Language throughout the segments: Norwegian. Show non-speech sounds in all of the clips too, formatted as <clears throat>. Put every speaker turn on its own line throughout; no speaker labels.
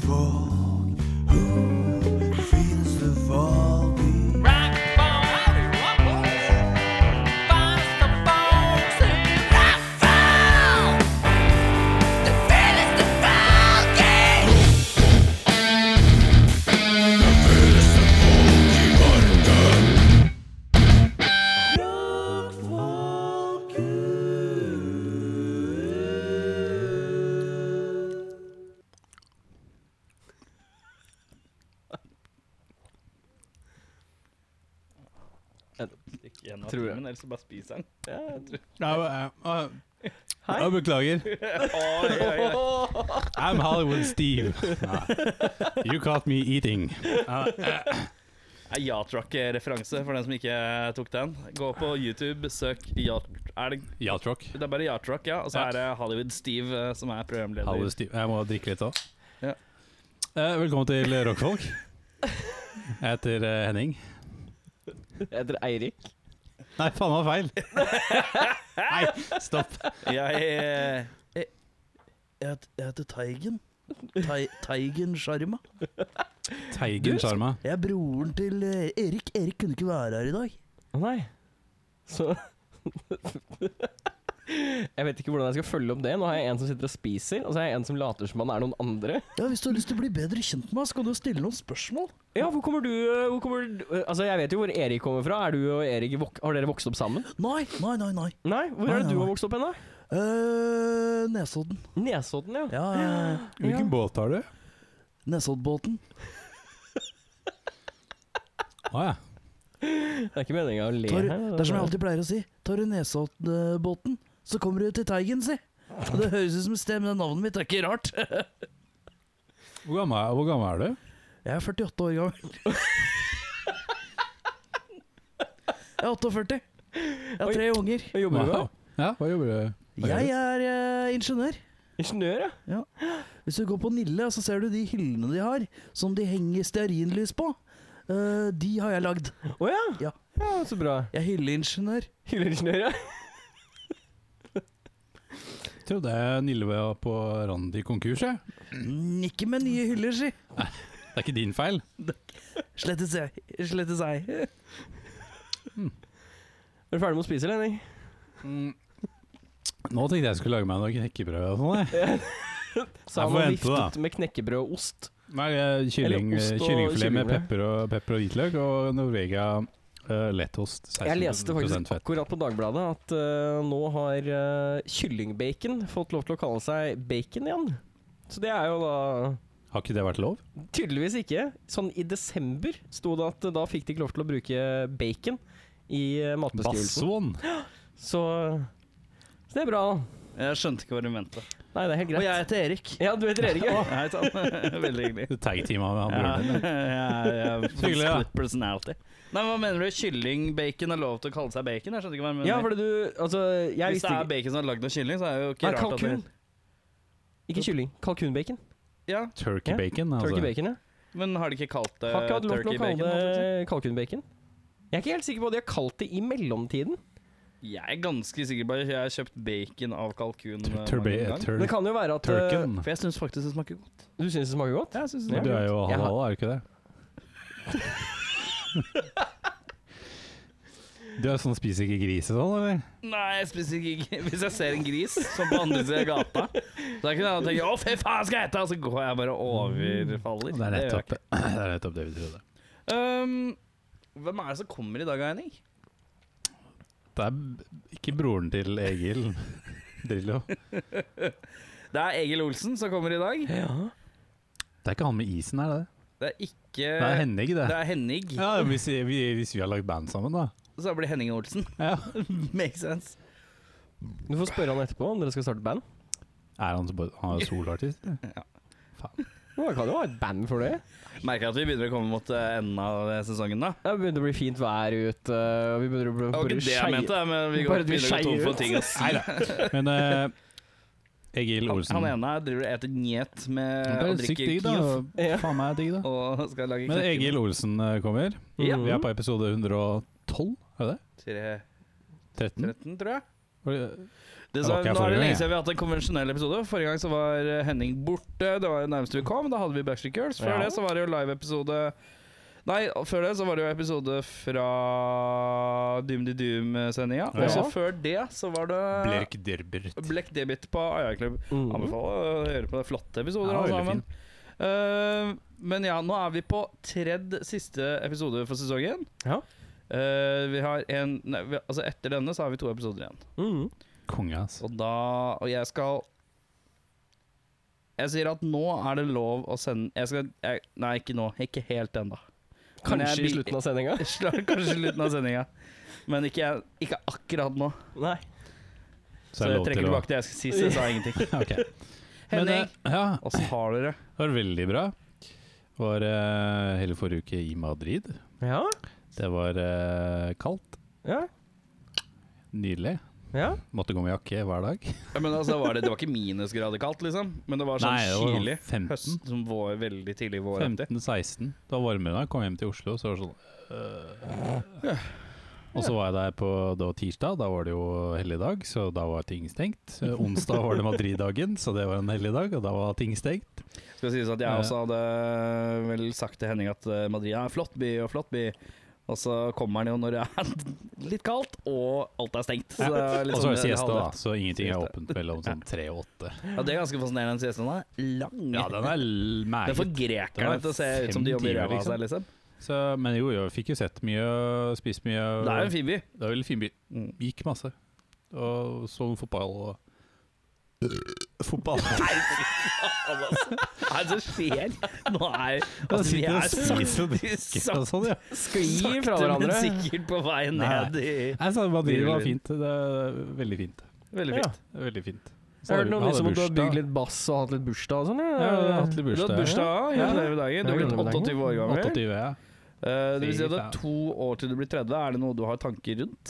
folk? Who feels the fall beat?
Tror
Tror
jeg.
jeg. Ellers så bare spiser den. Ja, jeg tror.
Nei, eh, eh, jeg beklager.
Oi, oi, oi.
I'm Hollywood
<laughs>
Steve. Ah. You caught me eating. Ah, eh,
Det er Yachtruck-referanse for den som ikke tok den. Gå på YouTube, søk Yacht... Er det,
Ja, Trock.
det er bare Yachtruck, ja. Og så
Ja.
er det Hollywood Steve eh, som er programleder.
Hollywood Steve. Jeg må drikke litt òg.
Ja.
Velkommen til Rockfolk. Jeg heter eh, Henning.
Jeg heter Eirik.
Nei, faen, det var
<laughs>
feil. Nei, stopp.
Jeg, eh, jeg, jeg, het- jeg heter Teigen. Tei- Teigen Sharma.
Teigen Sharma.
Jeg er broren til eh, Erik. Erik kunne ikke være her i dag.
Å nei. Så <laughs> Jeg vet ikke hvordan jeg skal følge opp det. Nå har jeg en som sitter og spiser, og så har jeg en som later som han er noen andre.
Ja, Hvis du har lyst til å bli bedre kjent med meg, så kan du jo stille noen spørsmål.
Ja, hvor kommer du eh, hvor kommer, Altså, jeg vet jo hvor Erik kommer fra. Er du og Erik vok Har dere vokst opp sammen?
Nei, nei, nei. nei.
Nei, hvor
Nei, nei,
er det du
nei.
har vokst opp hen, da?
Eh, Nesodden.
Nesodden, ja.
Ja, ja, ja.
Hvilken båt har du?
Nesoddbåten.
Å ja.
Det er ikke meninga å le
Tar,
her.
det er som jeg alltid pleier å si. Tar du Nesoddbåten, så kommer du til Teigen, si. Og Det høres ut som et sted, men det navnet mitt er ikke rart.
Hvor gammel, hvor gammel er du?
Jeg er 48 år gammel. <laughs> Jeg er 48. Jeg har tre unger.
Hva Jobber du
Wow.
med?
Ja, hva jobber du Hva gjør
Jeg er eh, ingeniør.
Ingeniør, ja.
Hvis du går på Nille, så ser du de hyllene de har, som de henger stearinlys på. Eh, de har jeg lagd.
Å ja.
Ja.
ja. Så bra.
Jeg er hylleingeniør.
Hylleingeniør, ja.
Jeg trodde Nille var på rand i konkurs, jeg.
Mm, Ikke med nye hyller, si.
Det er ikke din feil.
Slettes jeg. Slettes jeg.
Er du ferdig med å spise, eller, Henning?
Nå tenkte jeg jeg skulle lage meg noe knekkebrød og sånn. jeg.
Så
Jeg får
han har
vente, da.
viftet med knekkebrød og ost.
Nei, eh, kylling,
Eller ost og
Kyllingfilet med
kyllingfilet.
pepper og, pepper og hvitløk og Norvegia eh, lettost. 16
Jeg leste faktisk
fett.
akkurat på Dagbladet at eh, nå har eh, kyllingbacon fått lov til å kalle seg bacon igjen. Så det er jo da
Har ikke det vært lov?
Tydeligvis ikke. Sånn i desember sto det at eh, da fikk de ikke lov til å bruke bacon i eh, matbeskrivelsen.
Basson!
Så, så det er bra.
Jeg skjønte ikke hva du mente.
Nei, det er helt
Og
greit.
jeg heter Erik.
Ja, du heter Erik. ja.
Hei sann. <laughs> Veldig hyggelig.
Tag-teama med han
<laughs> Ja,
broren din.
jeg, jeg,
Hyggelig, da.
split personality. Nei, Hva mener du? Kyllingbacon er lov til å kalle seg bacon? Jeg skjønner ikke hva du mener.
Ja, fordi du Altså, jeg
Hvis det
visste
er
ikke
bacon som er lagd av kylling, så er det jo ikke
Nei,
rart at det Altså-
kalkun. Ikke kylling. Kalkunbacon.
Ja,
Turkey
Ja.
bacon, altså.
Turkey bacon, ja.
Men har de ikke kalt det
Har ikke hatt lov til
eh, turkey
å kalle
bacon? holdt jeg på å si?
det kalkunbacon. Jeg er ikke helt sikker på hva de har kalt det i mellomtiden.
Jeg er ganske sikker på at jeg har kjøpt bacon av kalkun. eh, mange
Turbe-
ganger.
tur-
Det kan jo være at eh,
Turken.
For jeg syns faktisk det smaker godt.
Du syns det smaker godt?
Jeg synes det
Du
smaker
er jo
Jeg har-
halal, er du ikke det?
<laughs>
Du er sånn spiser ikke gris og sånn, eller?
godt. Nei, jeg spiser ikke <laughs> gris. Hvis jeg ser en gris som på andre siden av gata, så kan jeg tenke 'Å, fy faen, skal jeg hete?' Og så går jeg bare og overfaller.
Det er
gjør jeg
nettopp <clears throat> det, er nettopp det vi trodde.
ikke. Um, hvem er det som kommer i dag, Eining?
Det er b- ikke broren til Egil <laughs> Drillo.
Det er Egil Olsen som kommer i dag.
Ja.
Det er ikke han med isen, er det det?
Det er ikke
Det er Henning, det.
Det er Henning.
Ja, hvis vi, vi, hvis vi har lagd band sammen, da.
Så blir det Henning Olsen. <laughs>
Ja.
Makes sense.
Du får spørre han etterpå om dere skal starte band.
Er han, så bare- han er soloartist? eller?
Ja, Det kan jo ha et band for det.
Merker at vi begynner å komme mot eh, enden av eh, sesongen, da.
Det begynner å bli fint vær ute. og Vi begynner å bli
Det var ikke det jeg mente, men vi går,
Bare du
begynner å gå tom
skeier
for
ut.
ting. Ass.
<laughs>
<laughs>
Men eh, Egil
Han,
Olsen
han ene her driver og eter njet
Det
med
er
å
sykt
drikke
digg, da.
Kiev.
Ja.
Faen meg digg, da.
<laughs> Og skal lage
Men Egil Olsen eh, kommer.
Ja.
Vi er på episode 112, er det det?
13,
13?
tror jeg.
Var det-
Det som,
Det var ikke jeg
nå er
forrige
det lenge
gang, jeg.
siden vi har hatt en konvensjonell episode. Forrige gang så var eh, Henning borte. Det var det nærmeste vi kom. Da hadde vi Backstreet Girls. Før
Ja.
det så var det jo live-episode Nei, før det så var det jo episode fra Doom de Doom-sendinga.
Ja.
Og så før det så var det
Blerk Derbert.
Black Debit på AI Club.
Mm.
Anbefaler å høre på det. Flotte episoder,
Ja,
alle
veldig
sammen. Eh, men ja, nå er vi på tredje siste episode for sesongen.
Ja.
Eh, vi har en nei, vi, Altså etter denne så har vi to episoder igjen.
Mm.
Konge, ass.
Og da Og jeg skal Jeg sier at nå er det lov å sende Jeg skal jeg, Nei, ikke nå. Ikke helt ennå. Men <laughs>
Kanskje
jeg
i
vil-
slutten av sendinga?
Kanskje i slutten av sendinga. Men ikke, ikke akkurat nå.
Nei.
Så jeg trekker tilbake det jeg skal si, så jeg sa ingenting.
<laughs> Ok. Men,
Henning,
eh, ja,
åssen har dere
det var veldig bra. Var eh, hele forrige uke i Madrid.
Ja.
Det var eh, kaldt.
Ja.
Nydelig.
ja.
Måtte gå med jakke hver dag.
Ja, Men altså, var det, det var ikke minusgrader kaldt, liksom. Men det var sånn
Nei, det var sånn
kylig
15.
høst, som vår, veldig tidlig vår. aktig.
15-16. Det var varmere da jeg kom hjem til Oslo. Så var det sånn øh. Og så var jeg der på det var tirsdag, da var det jo helligdag, så da var ting stengt. Eh, Onsdag var det Madrid-dagen, så det var en helligdag, og da var ting stengt.
Skal sies at jeg også hadde eh, vel sagt til Henning at eh, Madrid er en flott by og flott by. Og så kommer den jo når det er <laughs> litt kaldt og alt er stengt. Så det er litt
Og så
sånn
er det siesta, da,
halvdødt.
så ingenting er
Siesta.
åpent mellom sånn tre og åtte.
Ja, det er ganske fascinerende. Den siesten er lang.
Ja, den er l-
<laughs> det får
meget.
grekerne
Den er
til å se ut som de
fem
jobber i
timer,
ræva av seg, liksom.
Så, men jo, jo, jeg fikk jo sett mye, spist mye.
Det er jo en fin by.
Det er veldig fin by.
Mm.
Gikk masse. Og så fotball og Fotball.
Hva er det som skjer? Nå er altså, vi
sitter og
er
spiser og drikker
sakte,
og sånn, ja.
Sklir fra
sakte, men
hverandre.
sikkert på vei
Nei.
ned i
Jeg sa Madrid var
Virvelvind.
fint. Det er veldig fint.
Veldig fint.
Det er Veldig fint.
Jeg har hørt noe om de som måtte ha
Hadde
bygd
bursdag.
litt bass og hatt litt bursdag og sånn.
Ja, jeg har hatt litt
Du
bursdag.
hadde bursdag, ja. Gratulerer med dagen. Du
Ja,
er blitt
gratulerer med
28 år
ja.
gammel.
28, ja.
Eh, det vil si at det er
Fy faen.
to år til du blir 30. Er det noe du har tanker rundt?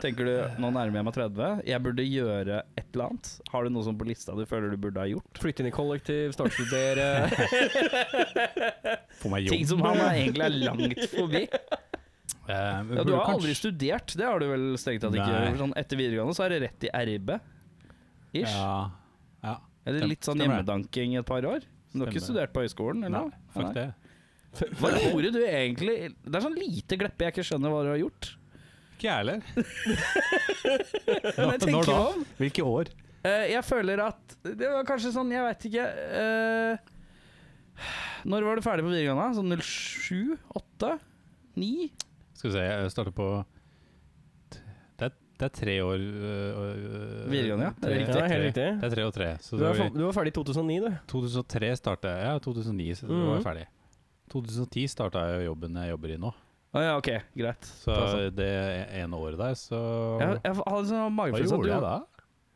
Tenker du
Eh.
nå nærmer jeg meg 30, jeg burde gjøre et eller annet? Har du noe sånn på lista du føler du burde ha gjort?
Flytte inn i kollektiv, startstudere.
Få meg
Ting
jobb.
som han er egentlig er langt
<laughs>
forbi.
Eh, men
Ja, du
burde
har
kanskje-
aldri studert, det har du vel strengt tatt ikke.
Nei.
gjort. Sånn, etter videregående så er det rett i RB. Ish.
Ja. ja.
Eller litt sånn
Stemmer det.
hjemmedanking i et par år. Men du har ikke
Stemmer.
studert på høyskolen?
Nei,
Eller? noe?
fuck
Nei.
det.
Hva gjorde du egentlig? Det er sånn lite gleppe jeg ikke skjønner hva du har gjort.
Ikke jeg heller.
Men jeg
Når
tenker
da?
meg om.
Hvilke år?
Eh, jeg føler at Det var kanskje sånn, jeg veit ikke eh, Når var du ferdig på videregående? Sånn 07? 8? 9?
Skal vi se, jeg starter på Det er, det er tre år øh, øh,
Videregående, ja. Det er
tre-
riktig. Ja, helt
tre.
riktig.
Det er tre og tre. Så
Du
da er
var,
vi-
fa- du var ferdig i 2009, du.
2003 starta jeg, ja 2009 så da var
Mhm.
jeg ferdig. 2010 starta jeg jobben jeg jobber i nå.
Å ja, OK, greit.
Så
Ta sånn.
det ene året der, så
Jeg, jeg hadde sånn
Hva
magefølelse
gjorde jeg
at
da?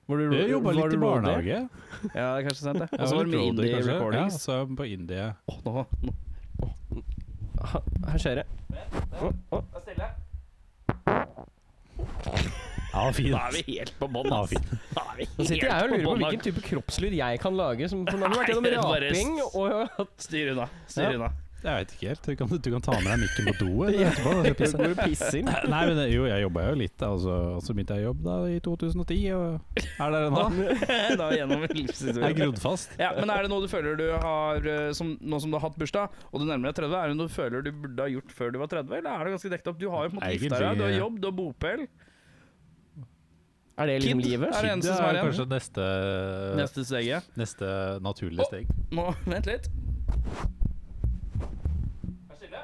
Var du
Jeg jobba
var
litt
du
i
roadie?
barnehage.
du Ja, det er kanskje sant, det.
Jeg
Og så
var
var det
litt roadie,
Indie
kanskje.
Recordings.
Ja, så jeg var på Indie.
Å, nå, nå.
Ha- Her skjer det. Å, å.
Vær stille.
Ja,
Da er vi helt på bånn,
Ja,
ass.
fint.
Da er vi
Nå sitter
helt
jeg og lurer på
bånn,
hvilken type kroppslyd jeg kan lage. Som for nå har vi vært
Nei,
gjennom
det er <laughs> bare-
raping
<laughs>
og
da. Styr unna. Styr unna.
Jeg veit ikke helt. Du kan, du kan ta med deg mikken på
<laughs>
do eller etterpå. da, så jeg pisser.
Hvor du pisser.
Nei, men det- jo, jeg jobba jo litt, da, og så, og så begynte jeg å jobbe da i 2010, og er dere nå?
Da er vi gjennom
<laughs> Jeg er
livshistorien.
grodd fast.
Ja, men er det noe du føler du har eh, som, Nå som du har hatt bursdag, og du nærmer deg 30, er det noe du føler du burde ha gjort før du var 30? Eller er det ganske dekket opp? Du har jo på en måte gifta deg,
Egentlig-
du har jobb, du har bopel.
Er det liksom
Kid,
livet?
Er det eneste
Det
som er
er
igjen?
kanskje neste, Eh,
Neste steget.
neste naturlige steg.
Nå, vent litt. Vær stille.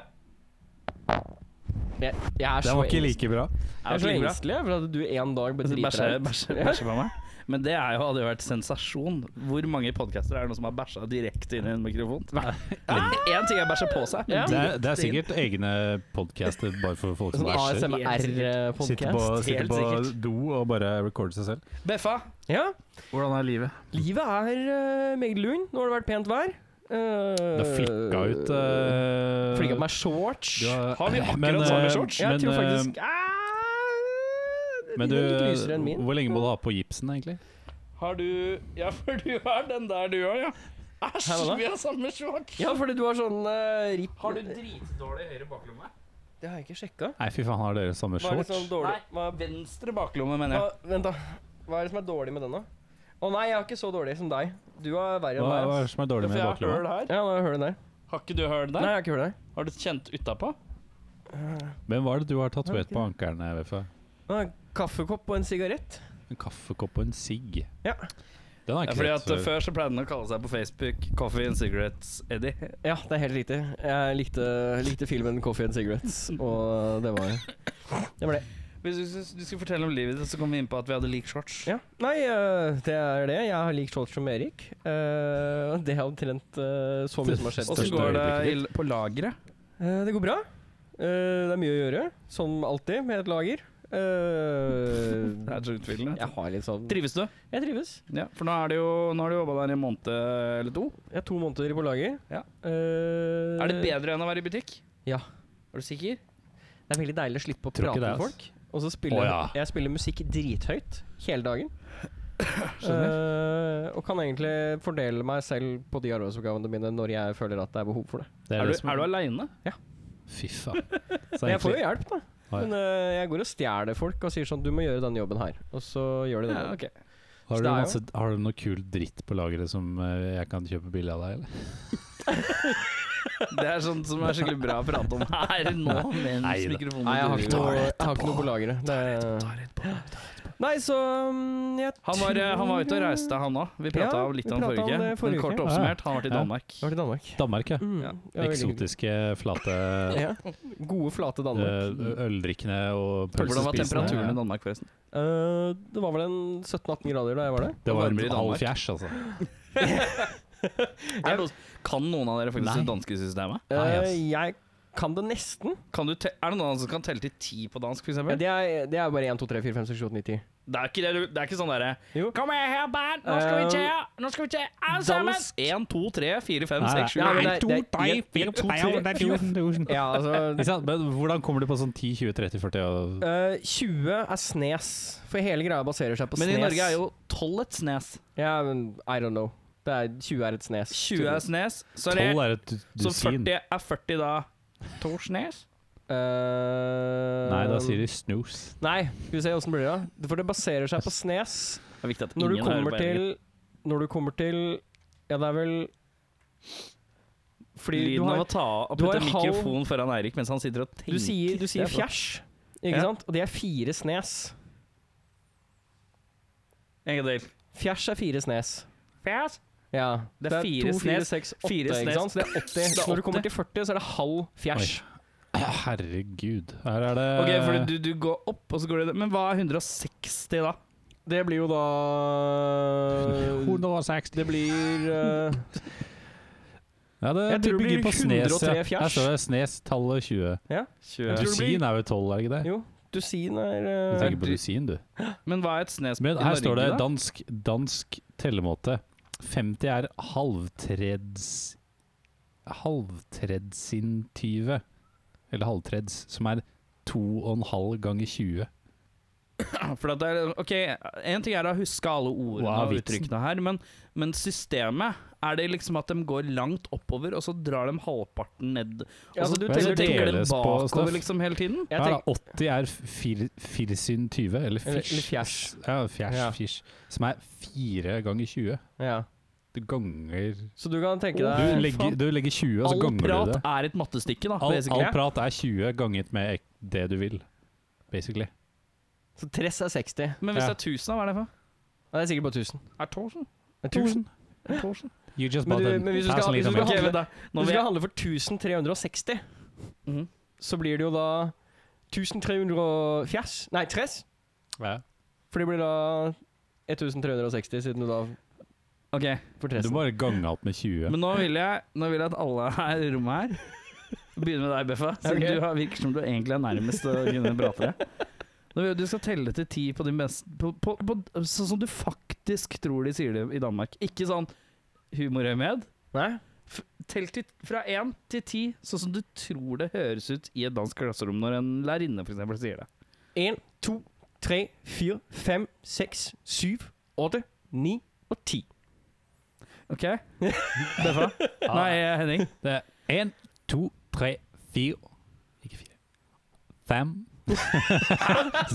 Jeg, jeg er
Den
så
var ikke
engstelig,
like bra.
jeg er så engstelig for at du en dag bare
Altså,
driter
Bæsje
deg ut.
bæsje- bæsje på meg. Men det er jo, hadde jo vært sensasjon. Hvor mange podcaster er det noen som har bæsja direkte inn i en mikrofon? Én ting er bæsje på seg. men
Ja.
Det er, det er
direkte inn.
sikkert egne podcaster bare for folk som
Sånn
bæsjer. Sitter på,
ASMR-podkast.
sitter
helt
på
sikkert.
do og bare recorder seg selv.
Beffa,
Ja.
Hvordan er livet?
Livet er eh, meget lun. Nå har det vært pent vær. Uh,
Det flikka ut eh,
Flikka på meg shorts.
du har- <laughs>
har vi
Men,
akkurat samme
eh,
shorts?
Jeg
men,
tror
eh,
faktisk ah,
Men du,
din er litt lysere enn min.
hvor lenge må du ha på gipsen, egentlig?
Har du Ja, for du har den der du har, ja.
Her
Æsj,
var det.
vi har samme shorts!
Ja, fordi du har sånn eh, ripp
Har du dritdårlig høyre baklomme?
Det har jeg ikke sjekka.
Nei, fy faen, har dere samme
Var
shorts?
litt sånn dårlig
Nei, venstre baklomme, mener jeg.
Hva- Vent, da. Hva Hva er det som er dårlig med denne? Å nei, jeg er ikke så dårlig som deg. Du er
Hva,
verre enn
hva er
meg. ass.
det som er dårlig
For
med
jeg har høl
båtløva?
her.
Ja, nå hører du der.
Har ikke du høl
Nei,
der?
jeg har ikke hørt deg.
Har du kjent utapå?
Hvem var det du har tatovert
Ok.
på ankerne? VFA?
Nå er det En kaffekopp og en sigarett.
En kaffekopp og en sigg.
Ja.
Den har
Ja,
ikke
fordi
sett
at eh,
før.
Før så pleide han å kalle seg på Facebook 'Coffee and Cigarettes Eddie'.
Ja, det er helt riktig. Jeg likte, likte filmen 'Coffee and Cigarettes', og det var Det var det.
Hvis du, hvis du skal fortelle om livet ditt, så kom vi inn på at vi hadde lik shorts.
Ja. Nei, øh, det er det. Jeg har likt shorts som Erik. Eh, det er omtrent øh, så mye som har skjedd.
Åssen
Største
går det
øyeblikket
i, på lageret?
Eh, det går bra. Eh, det er mye å gjøre, som alltid med et lager. Eh,
Det er så utvilende.
jeg har litt sånn
Trives du?
Jeg trives.
Ja, for nå, er det jo, nå har du jobba der i en måned eller to.
Jeg har to måneder på lager.
Ja.
Eh,
Er det bedre enn å være i butikk?
Ja.
Er du sikker?
Det er veldig deilig å slippe å
Tror ikke
prate
det, ass.
med folk. Og så spiller
Å, ja.
jeg spiller musikk drithøyt hele dagen. Eh, og kan egentlig fordele meg selv på de arbeidsoppgavene mine når jeg føler at det er behov for det.
Det
Er,
det
du,
som
er du aleine?
Fy
<laughs>
faen. Så
Men jeg får jo
egentlig-
hjelp, da.
Oi.
Men eh, jeg går og stjeler folk og sier sånn Du må gjøre den jobben her. Og så gjør de den.
Ja,
jobben.
ok.
har,
så
du
det er jo-
masse, har du noe kul dritt på lageret som eh, jeg kan kjøpe billig av deg, eller?
Det er sånt som er skikkelig bra å prate om her nå, mens
Nei da.
mikrofonen
Nei, jeg har ikke
durer.
noe, jeg har ikke noe på lageret. Det- Nei, så mm, jeg
Han var, eh, han var ute og
tror-
reiste, han òg. Vi prata
Ja,
om litt
vi
om
pratet
forrige
om
uke.
det forrige
Men kort
uke.
oppsummert, han har vært i
Ja.
Danmark.
Var til Danmark.
Danmark, ja.
Mm.
Ja.
det var veldig hyggelig.
Eksotiske,
<laughs>
flate
Ja. Gode, flate Danmark.
eh, øldrikkende og
Hvordan var temperaturen i
pølsespisende.
Danmark, forresten?
Eh, det var vel en 17-18 grader da jeg var der.
Det var en
Varmere i
halv
Danmark?
fjæsj, altså.
Er det noe- Kan noen av dere faktisk
Nei.
det danske systemet?
Nei, ass.
Eh, jeg kan det nesten.
Kan du te er det noen som kan telle til ti på dansk, f.eks.?
Ja, det, er, det er bare 1, 2, 3, 4, 5, 6, 7, 8, 9, 10.
Det er ikke, det, du- det er ikke sånn derre
Jo.
Kom her, her, barn! Nå skal vi se! Nå skal vi se! Alle sammen!
Dansk.
1, 2, 3, 4, 5,
Nei,
6, 7,
nei,
8
nei, det- det- jeg- jeg- Ja, altså
Ikke sant? Men hvordan kommer du på sånn 10, 20, 30, 40 og
eh, 20 er snes, for hele greia baserer seg på
Men
snes.
i Norge er jo 12 et snes.
Ja, men I don't know. Det er, 20 er et snes.
20 er snes. Så, er
12
det,
er et
så
dusin?
40 er 40 da to snes?
Eh,
Nei, da sier de snus.
Nei, skal vi se åssen blir det, da. For det baserer seg på snes.
Det er viktig at
Når du
ingen hører
kommer
på
til
Jørgen.
Når du kommer til Ja, det er vel Fordi
Lyden
du har
av å ta og
du har
putte
halv-
mikrofonen foran Eirik mens han sitter og tenker.
Du sier, du sier
Det er bra.
fjers, ikke
Ja.
sant? Og det er fire snes.
En gang til.
Fjers er fire snes.
Fjæs.
Ja.
Det er fire
to, fire,
snes.
seks, åtte,
Fire
ikke
snes.
sant? Så det er 80.
Det er
Når du
80.
kommer til 40, så er det halv fjers.
Herregud. Her er det
Ok, for du, du går opp, og så går du Men hva er 160, da?
Det blir jo da
Eh,
eh,
160
Det blir eh,
Ja, det,
Jeg tror det
bygger
blir
på Snes.
103
Ja. Her
fjers.
står det Snes tallet 20.
Jeg tror det blir-
Dusin er jo 12, er det ikke det?
Jo, dusin er
Du
eh,
tenker på dusin, du.
Men hva er et snes
Men
i
her står det
Norge, da?
dansk, dansk tellemåte. 50 er halvtreds Halvtredsintyve. Eller halvtreds, som er 2,5 ganger 20.
For at det er, ok, En ting er å huske alle ordene
Wow,
og
vitsen.
uttrykkene her, men, men systemet Er det liksom at de går langt oppover, og så drar de halvparten ned?
Ja,
Altså,
så
du
men
tenker,
det
tenker de
deles på
bakover
stuff.
liksom hele tiden?
Jeg
Her da,
tenker
80 er fir, firsyntyve, eller
Eller-
firs.
eller fjers.
Ja, fjers,
Ja.
firs. Som er 4 ganger 20.
ja.
Du ganger
Så du kan tenke
du
deg
legger, du legger 20, og så
All
ganger du
prat
det.
er et mattestykke, da.
All,
basically.
all prat er 20 ganget med ek- det du vil, basically.
Så tress er 60.
Men hvis
Ja.
det er 1000, da, hva er det for?
Nei, det er sikkert bare 1000.
Er 1000?
Det er 1000.
Er 1000?
You just
Men
bought
du-
a
men hvis du skal-
thousand
hvis du
liter
skal
milk.
handle-
Ok, vent da. Nå
Hvis du
vil
skal
jeg
handle for 1360,
Mhm.
så blir det jo da 1304 Nei, tress.
Ja.
For det blir da 1360, siden du da
Ok,
får
Du
tressen.
må bare gange alt med 20.
Men nå vil, jeg, nå vil jeg at alle her i rommet her Begynner med deg, Beffa. Siden
Ok.
du har, virker som du egentlig er nærmest å kunne prate det. Nå vil jeg at Du skal telle til ti på din beste på, på, på, Sånn som du faktisk tror de sier det i Danmark. Ikke sånn humorøyemed.
Nei?
Tell til, fra én til ti, sånn som du tror det høres ut i et dansk klasserom når en lærerinne for eksempel sier det.
1, 2, 3, 4, 5, 6, 7, 8, 9 og 10.
OK? Beffa? Nei, Henning.
Det er 1, 2, 3, 4 Ikke
<laughs>
4. 5,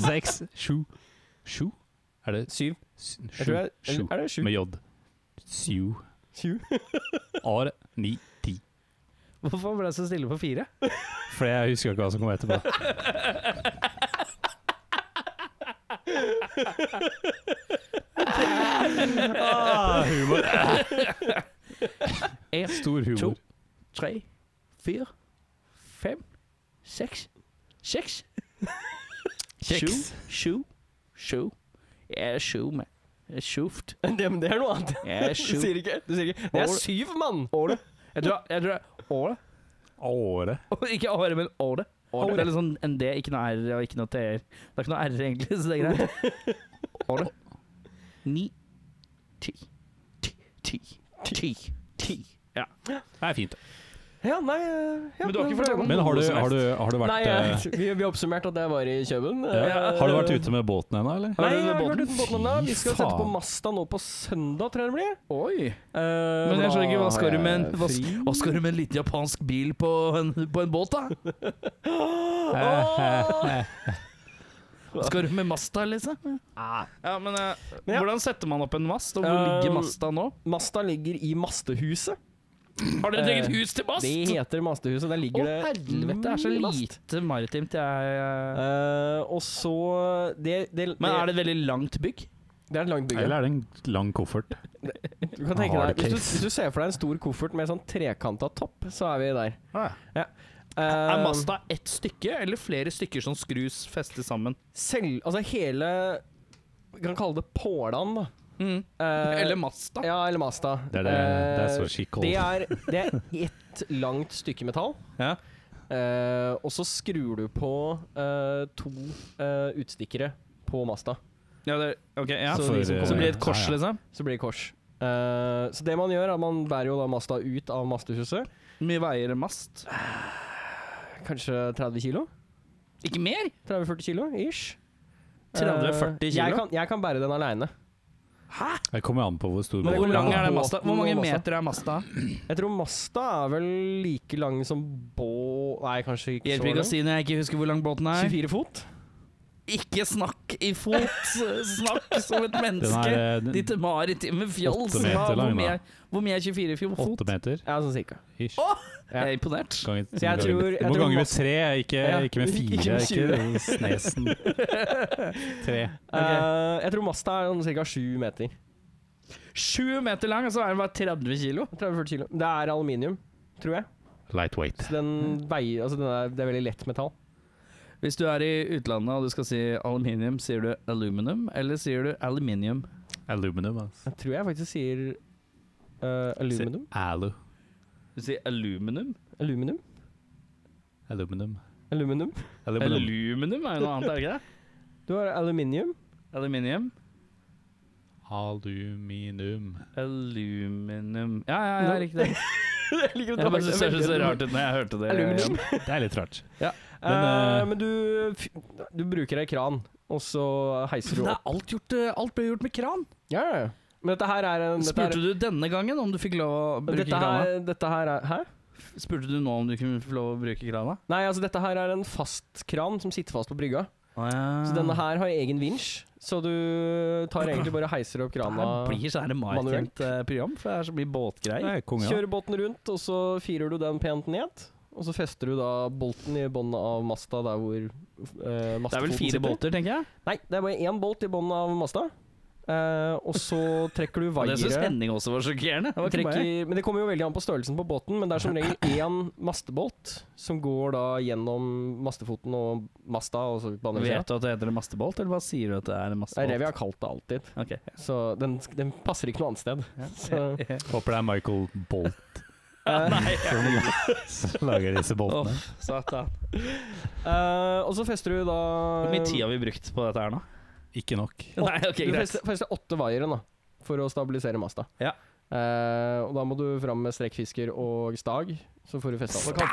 6, 7, 7 Er det
Syv.
s-
Jeg tror
sju?
jeg,
Sju.
er det sju?
Med J. Sju.
Sju. <laughs>
Ar. Ni. Ti.
Hvorfor ble jeg så stille på fire?
For jeg husker ikke hva som kom
<laughs>
etterpå. ah, humor.
En,
Stor humor.
to, tre, fire, fem, seks, seks.
Kjeks.
Sju, sju, sju. Jeg er sju, mann. Jeg er sjuft.
Det, men det er noe annet.
Jeg er
<laughs> Du
sju.
sier ikke Du sier ikke Det er
Ål.
syv, mann!
Åre. Jeg tror jeg tror det er åre.
Åre.
<laughs> Ikke åre, men åre.
Åre.
Det er litt sånn en D, ikke noe R og ikke noe TR. Det er ikke noe R egentlig, så det er <laughs> greit. Åre. Ni. Ti. Ti. Ti. Ti. Ti. Ja.
Det er fint.
Ja, nei eh,
Men
ja,
du har ikke
det-
fortalt om-
Men har du,
Noe som
har du, har du vært
Nei,
eh,
eh, vi, vi har oppsummert at jeg var i Kjøben.
ja. Har du vært ute med båten ennå, eller?
Nei,
Har du
jeg har ikke
båten?
vært uten båten ennå. Vi skal
Fy
sette på
faen.
Masta nå på søndag, tror jeg det blir.
Oi.
Eh,
Men jeg
da
skjønner ikke, hva skal
har
du med en,
jeg
hva,
fri.
hva skal du med en liten japansk bil på en, på en båt, da?
Åh!
Hva skal du med Masta, liksom? Ja, men eh,
Men ja.
hvordan setter man opp en mast, og hvor
Eh,
ligger Masta nå?
Masta ligger i Mastehuset.
Har dere et eget
eh,
hus til mast?
Det heter Mastehuset. Der ligger
Å
det
helvete, det er så
mye mast.
lite maritimt jeg eh.
Eh, og så det, det,
Men er det et veldig langt bygg?
det er et langt bygge.
<laughs> Eller er det en lang koffert?
Du kan tenke
Hard
deg, hvis du,
case.
hvis du ser for deg en stor koffert med sånn trekanta topp, så er vi der.
Ah,
Er
Eh,
Masta ett stykke, eller flere stykker som skrus festet sammen?
selv, altså hele Vi kan kalle det pålan, da. Eh,
Eller Masta?
Ja, eller Masta.
Det er det- det er så
Eh,
chic old.
Det er, det er ett langt stykke metall.
Ja.
Eh, og så skrur du på eh, to eh, utstikkere på Masta.
Ja, det, ok, ja.
Så
Så,
de som
eh,
kommer-
blir det et kors,
ja, ja.
liksom?
Så blir det kors. Eh, så det man gjør, er at man bærer jo da Masta ut av Mastehuset.
Mye veier mast?
Kanskje 30 kilo?
Ikke mer?
30-40 kilo ish.
30-40
Eh, Jeg
kilo?
kan, jeg kan bære den aleine.
Det kommer an på hvor stor
Men
Hvor
båten
lang
da.
er den masta? Hvor mange
Båten og masta.
meter er masta?
Jeg tror Masta er vel like lang som Bå... Nei, kanskje ikke
Hjelper ikke å
så lang.
si når jeg ikke husker hvor lang båten er.
24 fot?
Ikke snakk i fot! Snakk som et
Den
menneske!
er eh,
Ditt maritime fjols!
Åtte meter
Hva-
lang,
Hvor
da.
mye, hvor mye er 24 i fot?
åtte meter.
Ja, sånn cirka.
Ish.
Ja.
Jeg er imponert.
Ganger,
Så jeg
ganger-
tror-
du
jeg
må
tror
gange med
masse-
tre, ikke,
Ja.
ikke med
Ikke med
fire. Ikke,
20.
snesen. Tre.
Eh, jeg tror Masta er sånn cirka 7 meter.
Sju meter lang, og så er den bare 30 kilo.
30-40 kilo. Det er aluminium, tror jeg.
Lightweight.
Så den
Mm.
veier Altså, den er, det er veldig lett metall.
Hvis du er i utlandet og du skal si aluminium, sier du aluminum, eller sier du aluminium?
Aluminum, altså.
Jeg tror jeg faktisk sier eh, aluminium.
Si- Alu.
Du sier aluminium?
Aluminium?
Aluminum.
Aluminium.
Aluminum.
Aluminium er jo noe annet, er det ikke det?
Du har aluminium.
Aluminium.
Aluminum.
Aluminium Ja, ja, ja,
Nå-
riktig.
Jeg liker
Jeg
at du
bare
har-
synes det hørtes så rart ut når jeg hørte det.
Aluminium.
Det er litt rart.
<laughs> Eh,
Men, eh,
men du, f- du bruker ei kran, og så heiser du
Det
opp.
er alt, gjort, eh, alt ble gjort med kran.
Ja, ja, ja. Men dette her er en dette
Spurte
er,
du denne gangen om du fikk lov å bruke
dette
krana?
her, dette her er Hæ?
Spurte du nå om du kunne få lov å bruke krana?
Nei, altså dette her er en fast kran som sitter fast på brygga.
Ah, ja.
Så denne her har egen vinsj, så du tar egentlig bare og heiser opp
Det
krana.
her blir så her maritimt eh, program, for det er så mye båtgreier.
Det er konge, da.
Kjører båten rundt, og så firer du den pent ned. Og så fester du da bolten i båndet av masta der hvor eh,
Det er
mastefoten
vel fire
sitter.
båter, tenker jeg.
Nei, det er bare én bolt i båndet av masta. Eh, og så trekker du
Og det syns
vaiere.
Henning også var sjokkerende. Det var ikke bare jeg.
trekker, men det kommer jo veldig an på størrelsen på båten, men det er som regel én mastebolt som går da gjennom mastefoten og masta. Og så banevira.
Vet du at det heter en mastebolt, eller bare sier du at det er en
Det er det vi
mastebolt?
har kalt det alltid.
Ok.
Så den, den passer ikke noe annet sted. <laughs> Så,
Håper det er Michael Bolt
Nei, <laughs>
som lager disse boltene.
Eh, Åh, satan.
eh, og så fester du da
Hvor mye tid har vi brukt på dette her nå?
Ikke nok.
Nei, ok,
Du
greit.
fester, fester åtte vaiere da, for å stabilisere masta.
Ja.
Eh, og da må du fram med strekkfisker og stag, så får du festa opp.
Hva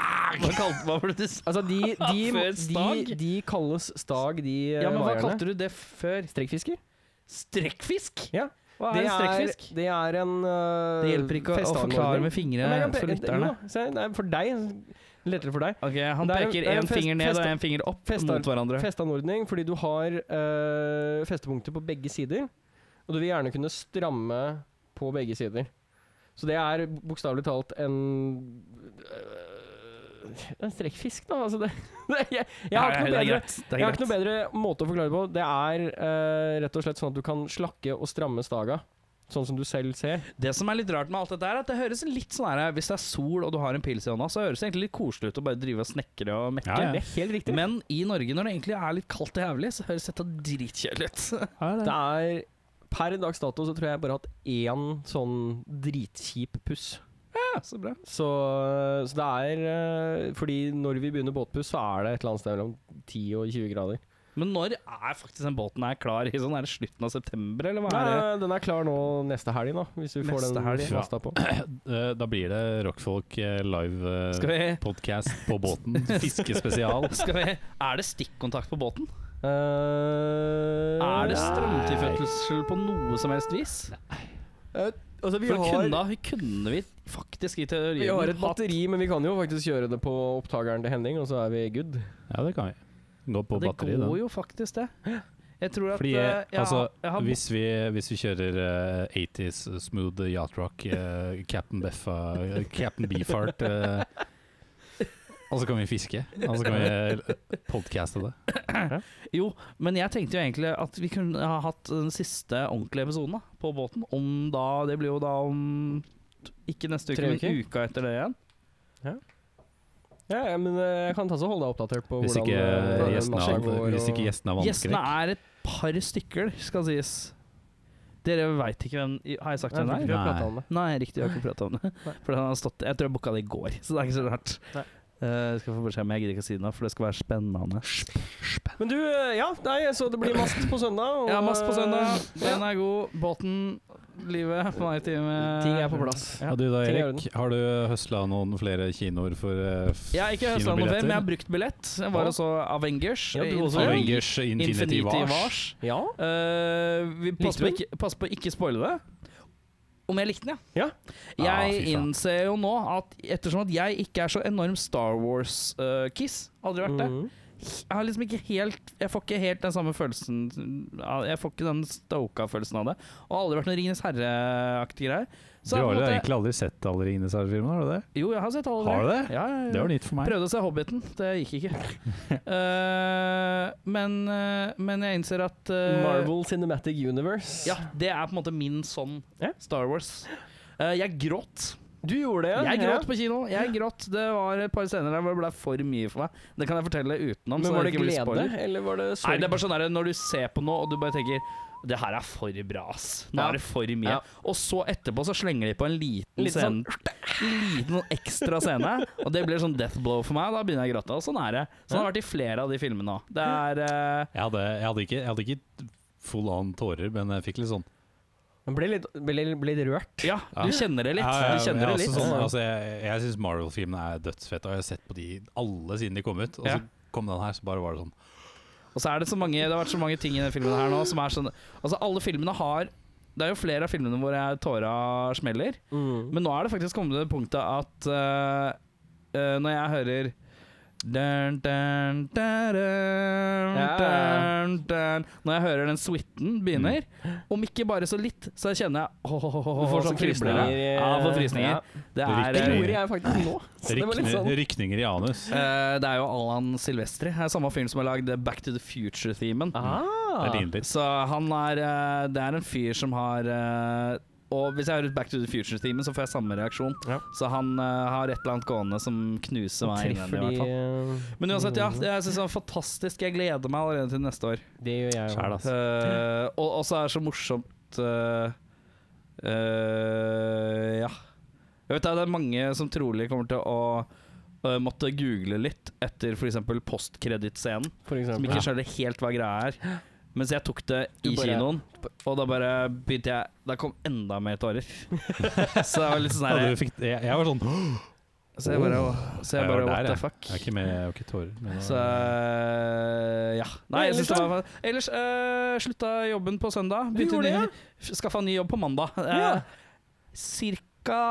kalte hva var det du sa?
Altså, de, de,
<laughs> Før
de,
stag?
de kalles stag, de eh,
Ja, men hva
vaierne.
kalte du det før?
Strekkfisker?
Strekkfisk?
Ja.
Hva
Det
er en
er,
strekkfisk?
det er en øh,
Det hjelper ikke å- å
festanordning.
forklare med fingre
Ja, men jeg kan
for
peke-
lytterne.
Jo da, se, det er for deg. Lettere for deg.
Ok, Han
Det er-
peker
det er
én
fest-
finger ned og
fest-
én finger opp
fest-
mot hverandre.
Festanordning fordi du har øh, festepunkter på begge sider. Og du vil gjerne kunne stramme på begge sider. Så det er bokstavelig talt en øh, En strekkfisk, da. Altså det, <laughs> det, jeg, jeg har ikke
Nei, det er
noe bedre
greit. Det er
Jeg har
greit.
ikke noe bedre måte å forklare det på. Det er eh, rett og slett sånn at du kan slakke og stramme staga. Sånn som du selv ser.
Det som er litt rart med alt dette, er at det høres litt sånn her Hvis det er sol og du har en pils i hånda, så høres det egentlig litt koselig ut å bare drive og snekre og mekke.
Ja, ja.
Det er helt riktig.
Men i Norge, når det egentlig er litt kaldt og jævlig, så høres dette dritkjedelig ut. <laughs>
det er Per dags dato så tror jeg jeg bare har hatt én sånn dritkjip puss.
Ja, så bra.
Så, så det er eh, Fordi når vi begynner båtpuss, så er det et eller annet sted mellom 10 og 20 grader.
Men når er faktisk den båten her klar? I sånn Er det slutten av september, eller hva
Nei,
er det?
Eh, den er klar nå neste helg, da. Hvis vi får
Neste
den
helg,
ja.
festa på.
Eh, Da blir det Rockfolk eh,
Skal
live
vi,
podkast på
<laughs>
båten. Fiskespesial.
skal vi Er det stikkontakt på båten?
Eh,
Er det
nei.
strømtilfødsel på noe som helst vis?
Eh, altså, vi
For
har
kunne, kunne vi faktisk i teorien
Vi har et
hatt-
batteri, men vi kan jo faktisk kjøre det på opptakeren til Henning, og så er vi good.
Ja, det kan vi. Gå på
det
batteri,
går
den.
jo faktisk det. Jeg tror at
Fordi,
eh, jeg,
altså,
jeg har
Hvis vi, hvis vi kjører eh, 80s smooth yacht rock, eh, Captain Beffa, eh, Captain Beefheart eh, Og så kan vi fiske. Og så kan vi eh, podcaste det.
Jo, men jeg tenkte jo egentlig at vi kunne ha hatt den siste ordentlige episoden da, på båten. Om da Det blir jo da om ikke neste uke,
Tre
men
uker?
uka etter det igjen.
Ja, ja, men eh, jeg kan ta så holde deg oppdatert på
Hvis ikke,
hvordan eh,
gjestene,
natta
har,
går,
hvis
og-
ikke gjestene har
Gjestene
vannskrekk.
er et par stykker, skal sies. Dere veit ikke hvem Har jeg sagt
Nei,
hvem
jeg tror ikke vi
det er?
har
Nei.
pratet om det.
Nei, riktig, jeg har ikke prata om det.
Nei.
For den har stått Jeg tror jeg booka det i går, så det er ikke så rart.
Nei.
Eh, jeg skal få beskjed om jeg gidder ikke å si det nå, for det skal være spennende.
Men du, eh, ja, nei, så det blir mast på søndag. og- eh,
Ja, mass på søndag. Den
Ja.
er god. Båten, livet, maritime
Ting er på plass.
Ja.
Og du da,
Ting er i
Erik, har du høsla noen flere kinoer for eh, f-
Jeg har ikke høsla noe mer, men jeg har brukt billett. Jeg var
Ja.
også Avengers.
Ja, du
eh,
også.
Infinity-
Avengers Infinity Wars.
Wars.
Ja.
Eh, vi passer på,
Likte du
ikke, passer på å ikke spoile det. Om jeg likte den,
Ja.
Ah,
Jeg
fy faen.
innser jo nå at ettersom at jeg ikke er så enorm Star Wars-kiss Aldri vært det.
Mhm.
Jeg har liksom ikke helt Jeg får ikke helt den samme følelsen av- Jeg får ikke den stoka-følelsen av det. Og aldri vært noen Ringenes herre-aktig greier.
du har
på en
jo
måte-
egentlig aldri sett alle Ringenes herre-filmene, har du det?
Jo, jeg har sett alle
Har du det?
Ja, ja, ja.
Det var nytt for meg.
Prøvde å se Hobbiten, det gikk ikke. Eh, men, eh, men jeg innser at eh,
Marvel Cinematic Universe.
Ja, det er på en måte min sånn
Ja.
Star Wars. Eh, jeg gråt.
Du gjorde det.
Jeg
ja.
gråt på kino. Jeg gråt. Det var et par scener der hvor det ble for mye for meg. Det kan jeg fortelle utenom.
Men
så
var
det
det
ikke blir
glede,
spoiler.
eller var det sorg?
Nei, det er bare sånn der, Når du ser på noe og du bare tenker det her er for bra, ass. Nå
Ja.
er det for mye.
Ja.
Og så etterpå så slenger de på en liten
Litt
scene.
sånn
Liten sånn ekstra scene.
<laughs>
Og det blir sånn death blow for meg. Da begynner jeg å gråte. Og sånn er det. Sånn har det vært i flere av de filmene òg. Det er eh,
Jeg hadde, jeg, hadde ikke, jeg hadde ikke full on tårer, men jeg fikk litt sånn
Man ble litt, ble, ble litt rørt.
Ja, du kjenner det litt.
Ja, ja,
Du kjenner
ja,
det
altså
litt.
Sånn, altså, jeg jeg syns Marvel-filmene er dødsfete, og jeg har sett på de alle siden de kom ut. Og
Ja.
så kom den her, så bare var det sånn.
Og så er det så mange Det har vært så mange ting i denne filmen her nå som er sånn Altså, alle filmene har Det er jo flere av filmene hvor jeg tåra smeller.
Mm.
Men nå er det faktisk kommet til det punktet at eh, eh, når jeg hører dun, dun, dun, dun,
Ja, ja,
dun, dun, Når jeg hører den suiten begynner, om ikke bare så litt, så kjenner jeg oh, Du får sånn kribler.
kribler,
ja. Ja, får frysninger.
eh, Ja.
Det er,
Det
Riktig.
eh,
gjorde jeg faktisk nå. Så det var litt
Rykne,
sånn
Rykninger i anus.
eh, det er jo Alan Silvestri. Det er Samme fyren som har lagd eh, Back to the Future-themen.
Det
ah.
er pinlig.
Så han er eh, Det er en fyr som har eh, Og hvis jeg hører Back to the Future-timen, så får jeg samme reaksjon.
Ja.
Så han eh, har et eller annet gående som knuser meg innvendig, i hvert fall.
eh,
Men uansett, ja. Jeg synes det er fantastisk. Jeg gleder meg allerede til neste år.
mm, Det gjør jeg
Skjæl,
jo.
ass.
Eh, og og så er det så morsomt eh, eh, Ja. Jeg vet det, det er mange som trolig kommer til å eh, måtte google litt etter f.eks. postkredittscenen.
For
Som
eksempel.
ikke skjønner helt hva greia er. Mens jeg tok det i
Du bare-
kinoen, og da bare
<laughs>
begynte jeg Da kom enda mer tårer. Så jeg var litt sånn
Ja,
her
du fikk, jeg, jeg var sånn
Så jeg bare, så jeg
Jeg var
bare what
der,
the fuck.
Jeg er ikke med, jeg har ikke tårer. Men
Så eh, ja. Nei, jeg
Ellers
synes det var Ellers eh, slutta jobben på søndag.
Du
Begynte
gjorde
ny,
det,
f- Skaffa ny jobb på mandag. Eh,
Ja.
Cirka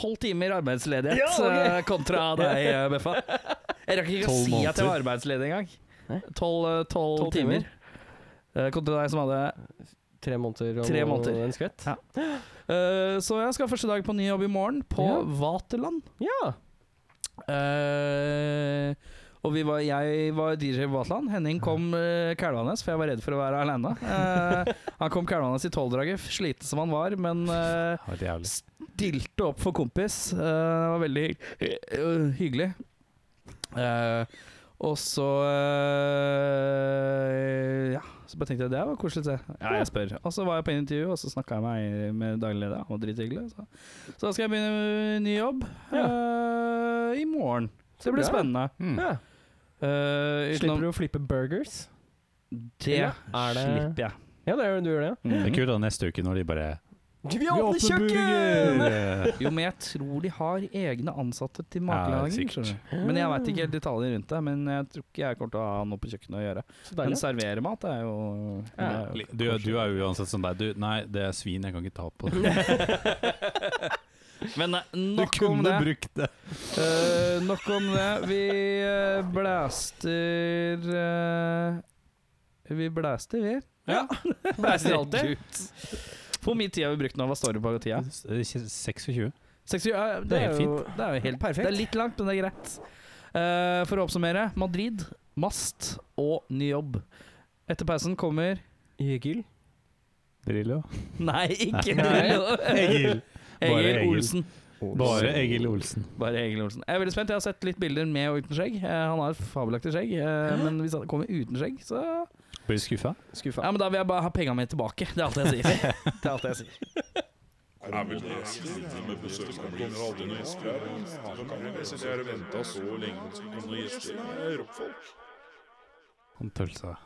tolv timer arbeidsledighet
Ja, ok.
eh, kontra deg, eh, Beffa. Jeg rakk ikke å
Tolv
si at jeg var
måneder.
arbeidsledig engang.
Nei.
Tolv eh, tolv
Tolv timer.
timer. Eh, kontra deg som hadde
Tre måneder og
Tre måneder.
en skvett.
Ja. Eh, Så jeg skal ha første dag på ny jobb i morgen, på
Ja.
Vaterland.
Ja.
Eh, og vi var, jeg var DJ på Vaterland. Henning kom uh, kælvende, for jeg var redd for å være aleine. han kom kælvende i tolvdraget, sliten som han var, men eh,
det var jævlig.
stilte opp for kompis. Eh, det var veldig hy øh, hyggelig. Eh, og så eh, Ja, så bare tenkte jeg det var koselig. å se. Ja, jeg spør. Og så var jeg på intervju, og så snakka jeg meg med daglig leder. Han var drithyggelig. Så. så da skal jeg begynne ny jobb eh, i morgen. Så det blir
bra.
spennende.
Mm.
ja.
Eh,
Slipper
utenom
du å flippe burgers?
det,
Ja, er det-
slipper jeg.
Ja, det gjør du gjør det.
Det er kult da neste uke når de bare
Vi
burger!
Jo, men jeg tror de har egne ansatte til
Ja,
matlaging.
sikkert.
skjønner du. Men jeg veit ikke helt detaljene rundt det. Men jeg tror ikke jeg kommer til å ha noe på kjøkkenet å gjøre.
Så
Men
deilig.
servere mat er jo det
Ja.
er jo
Du, du er jo uansett sånn der du, Nei, det er svin, jeg kan ikke ta på det.
Men nei,
<laughs>
nok om det.
brukt det.
Eh, nok om det. Vi eh, blaster eh, Vi blaster, vi.
Ja. <laughs>
blaster alltid. Hvor mye tid har vi brukt nå? Hva står det på tida?
eh, 26.
60, ja, det,
Det er
er
helt
jo, det er jo helt perfekt. Det er litt langt, men det er greit. Eh, for å oppsummere Madrid, mast og ny jobb. Etter pausen kommer
Egil?
Drillo.
Nei, ikke
Nei. <laughs> Egil. Bare
Egil
Egil.
Olsen.
Bare Egil Olsen.
Bare Egil Olsen. Jeg er veldig spent. Jeg har sett litt bilder med og uten skjegg. Eh, han har fabelaktig skjegg, eh, men hvis han kommer uten skjegg, så
Blir du skuffa?
Skuffa.
Ja, men da vil jeg bare ha pengene mine tilbake. Det er alt jeg sier. <laughs> Det er alt jeg sier.
Han tølsa.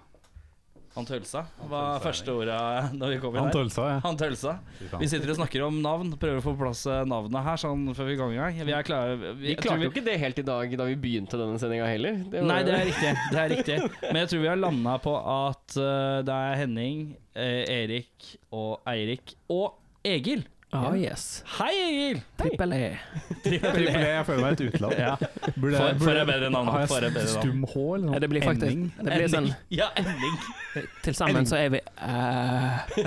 Han tølsa var første ordet da vi kom
Han
inn her.
tølsa, ja.
Han tølsa.
Fy faen.
Vi sitter og snakker om navn, prøver å få på plass eh, navnet her sånn før vi går i gang. Vi er klare
Vi
jeg tror
klarte jo ikke det helt i dag da vi begynte denne sendinga heller. Det var-
Nei, det er riktig. Det er riktig. Men jeg tror vi har landa på at eh, det er Henning, eh, Erik og Eirik og Egil.
Ah, yes.
Hei, Egil!
Trippel E.
Trippel E, jeg føler meg et utland.
Ja.
Burde,
For- for et bedre navn,
Har jeg
for et bedre navn.
stum H eller noe?
Ja, det blir faktisk
Ending?
Det blir sånn
Ja, <laughs> Henning.
Til sammen så er vi eh,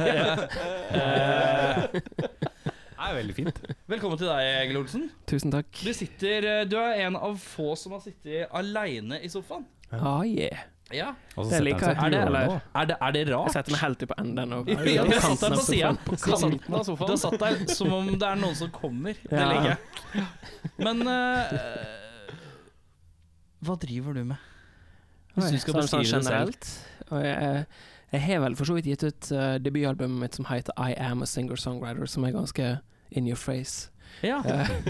Eh,
Det er veldig fint.
velkommen til deg, Egil Olsen.
Tusen takk.
Du, sitter, eh, du er en av få som har sittet aleine i sofaen.
Ah, yeah.
Ja.
Og så
Det
setter han
liker
seg
jeg.
til
Er det-
jordene, da.
Er det, er det
Jeg
rart?
setter meg helt ut på enden og
Ja, du har satt deg på sida. Du har satt-
Midten av
Du har
sofaen.
satt der som om det er noen som kommer. Det
Ja.
legger jeg. Men eh, Hva driver du med? Hvis du skal
sånn,
beskrive det selv.
sånn generelt. Og jeg, jeg har vel for så vidt gitt ut eh, debutalbumet mitt som heter I Am A Singer-Songwriter, som er ganske in your face.
Ja.
Eh, <laughs>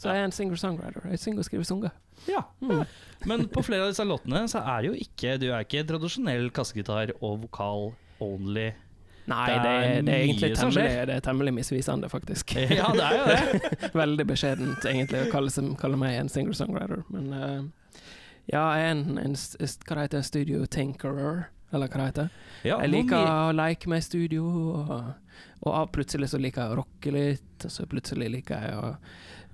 så jeg er en singer-songwriter. Jeg synger og skriver sanger.
ja.
Mm.
Men på flere av disse låtene så er det jo ikke Du er ikke tradisjonell kassegitar og vokal only.
Nei,
Det
det,
er
er- det er egentlig
mye som
temmelig, det er temmelig misvisende, faktisk.
Ja, det er jo det.
Veldig beskjedent, egentlig, å kalle, seg- kalle meg en singer-songwriter. Men eh, ja, jeg er en, en, s- s- hva det heter det, studio tinkerer, eller hva det heter.
<laughs> Ja,
Jeg
hvor
liker
mye-
å leke med i studio, og, og av- plutselig så liker jeg å rocke litt, og så plutselig liker jeg å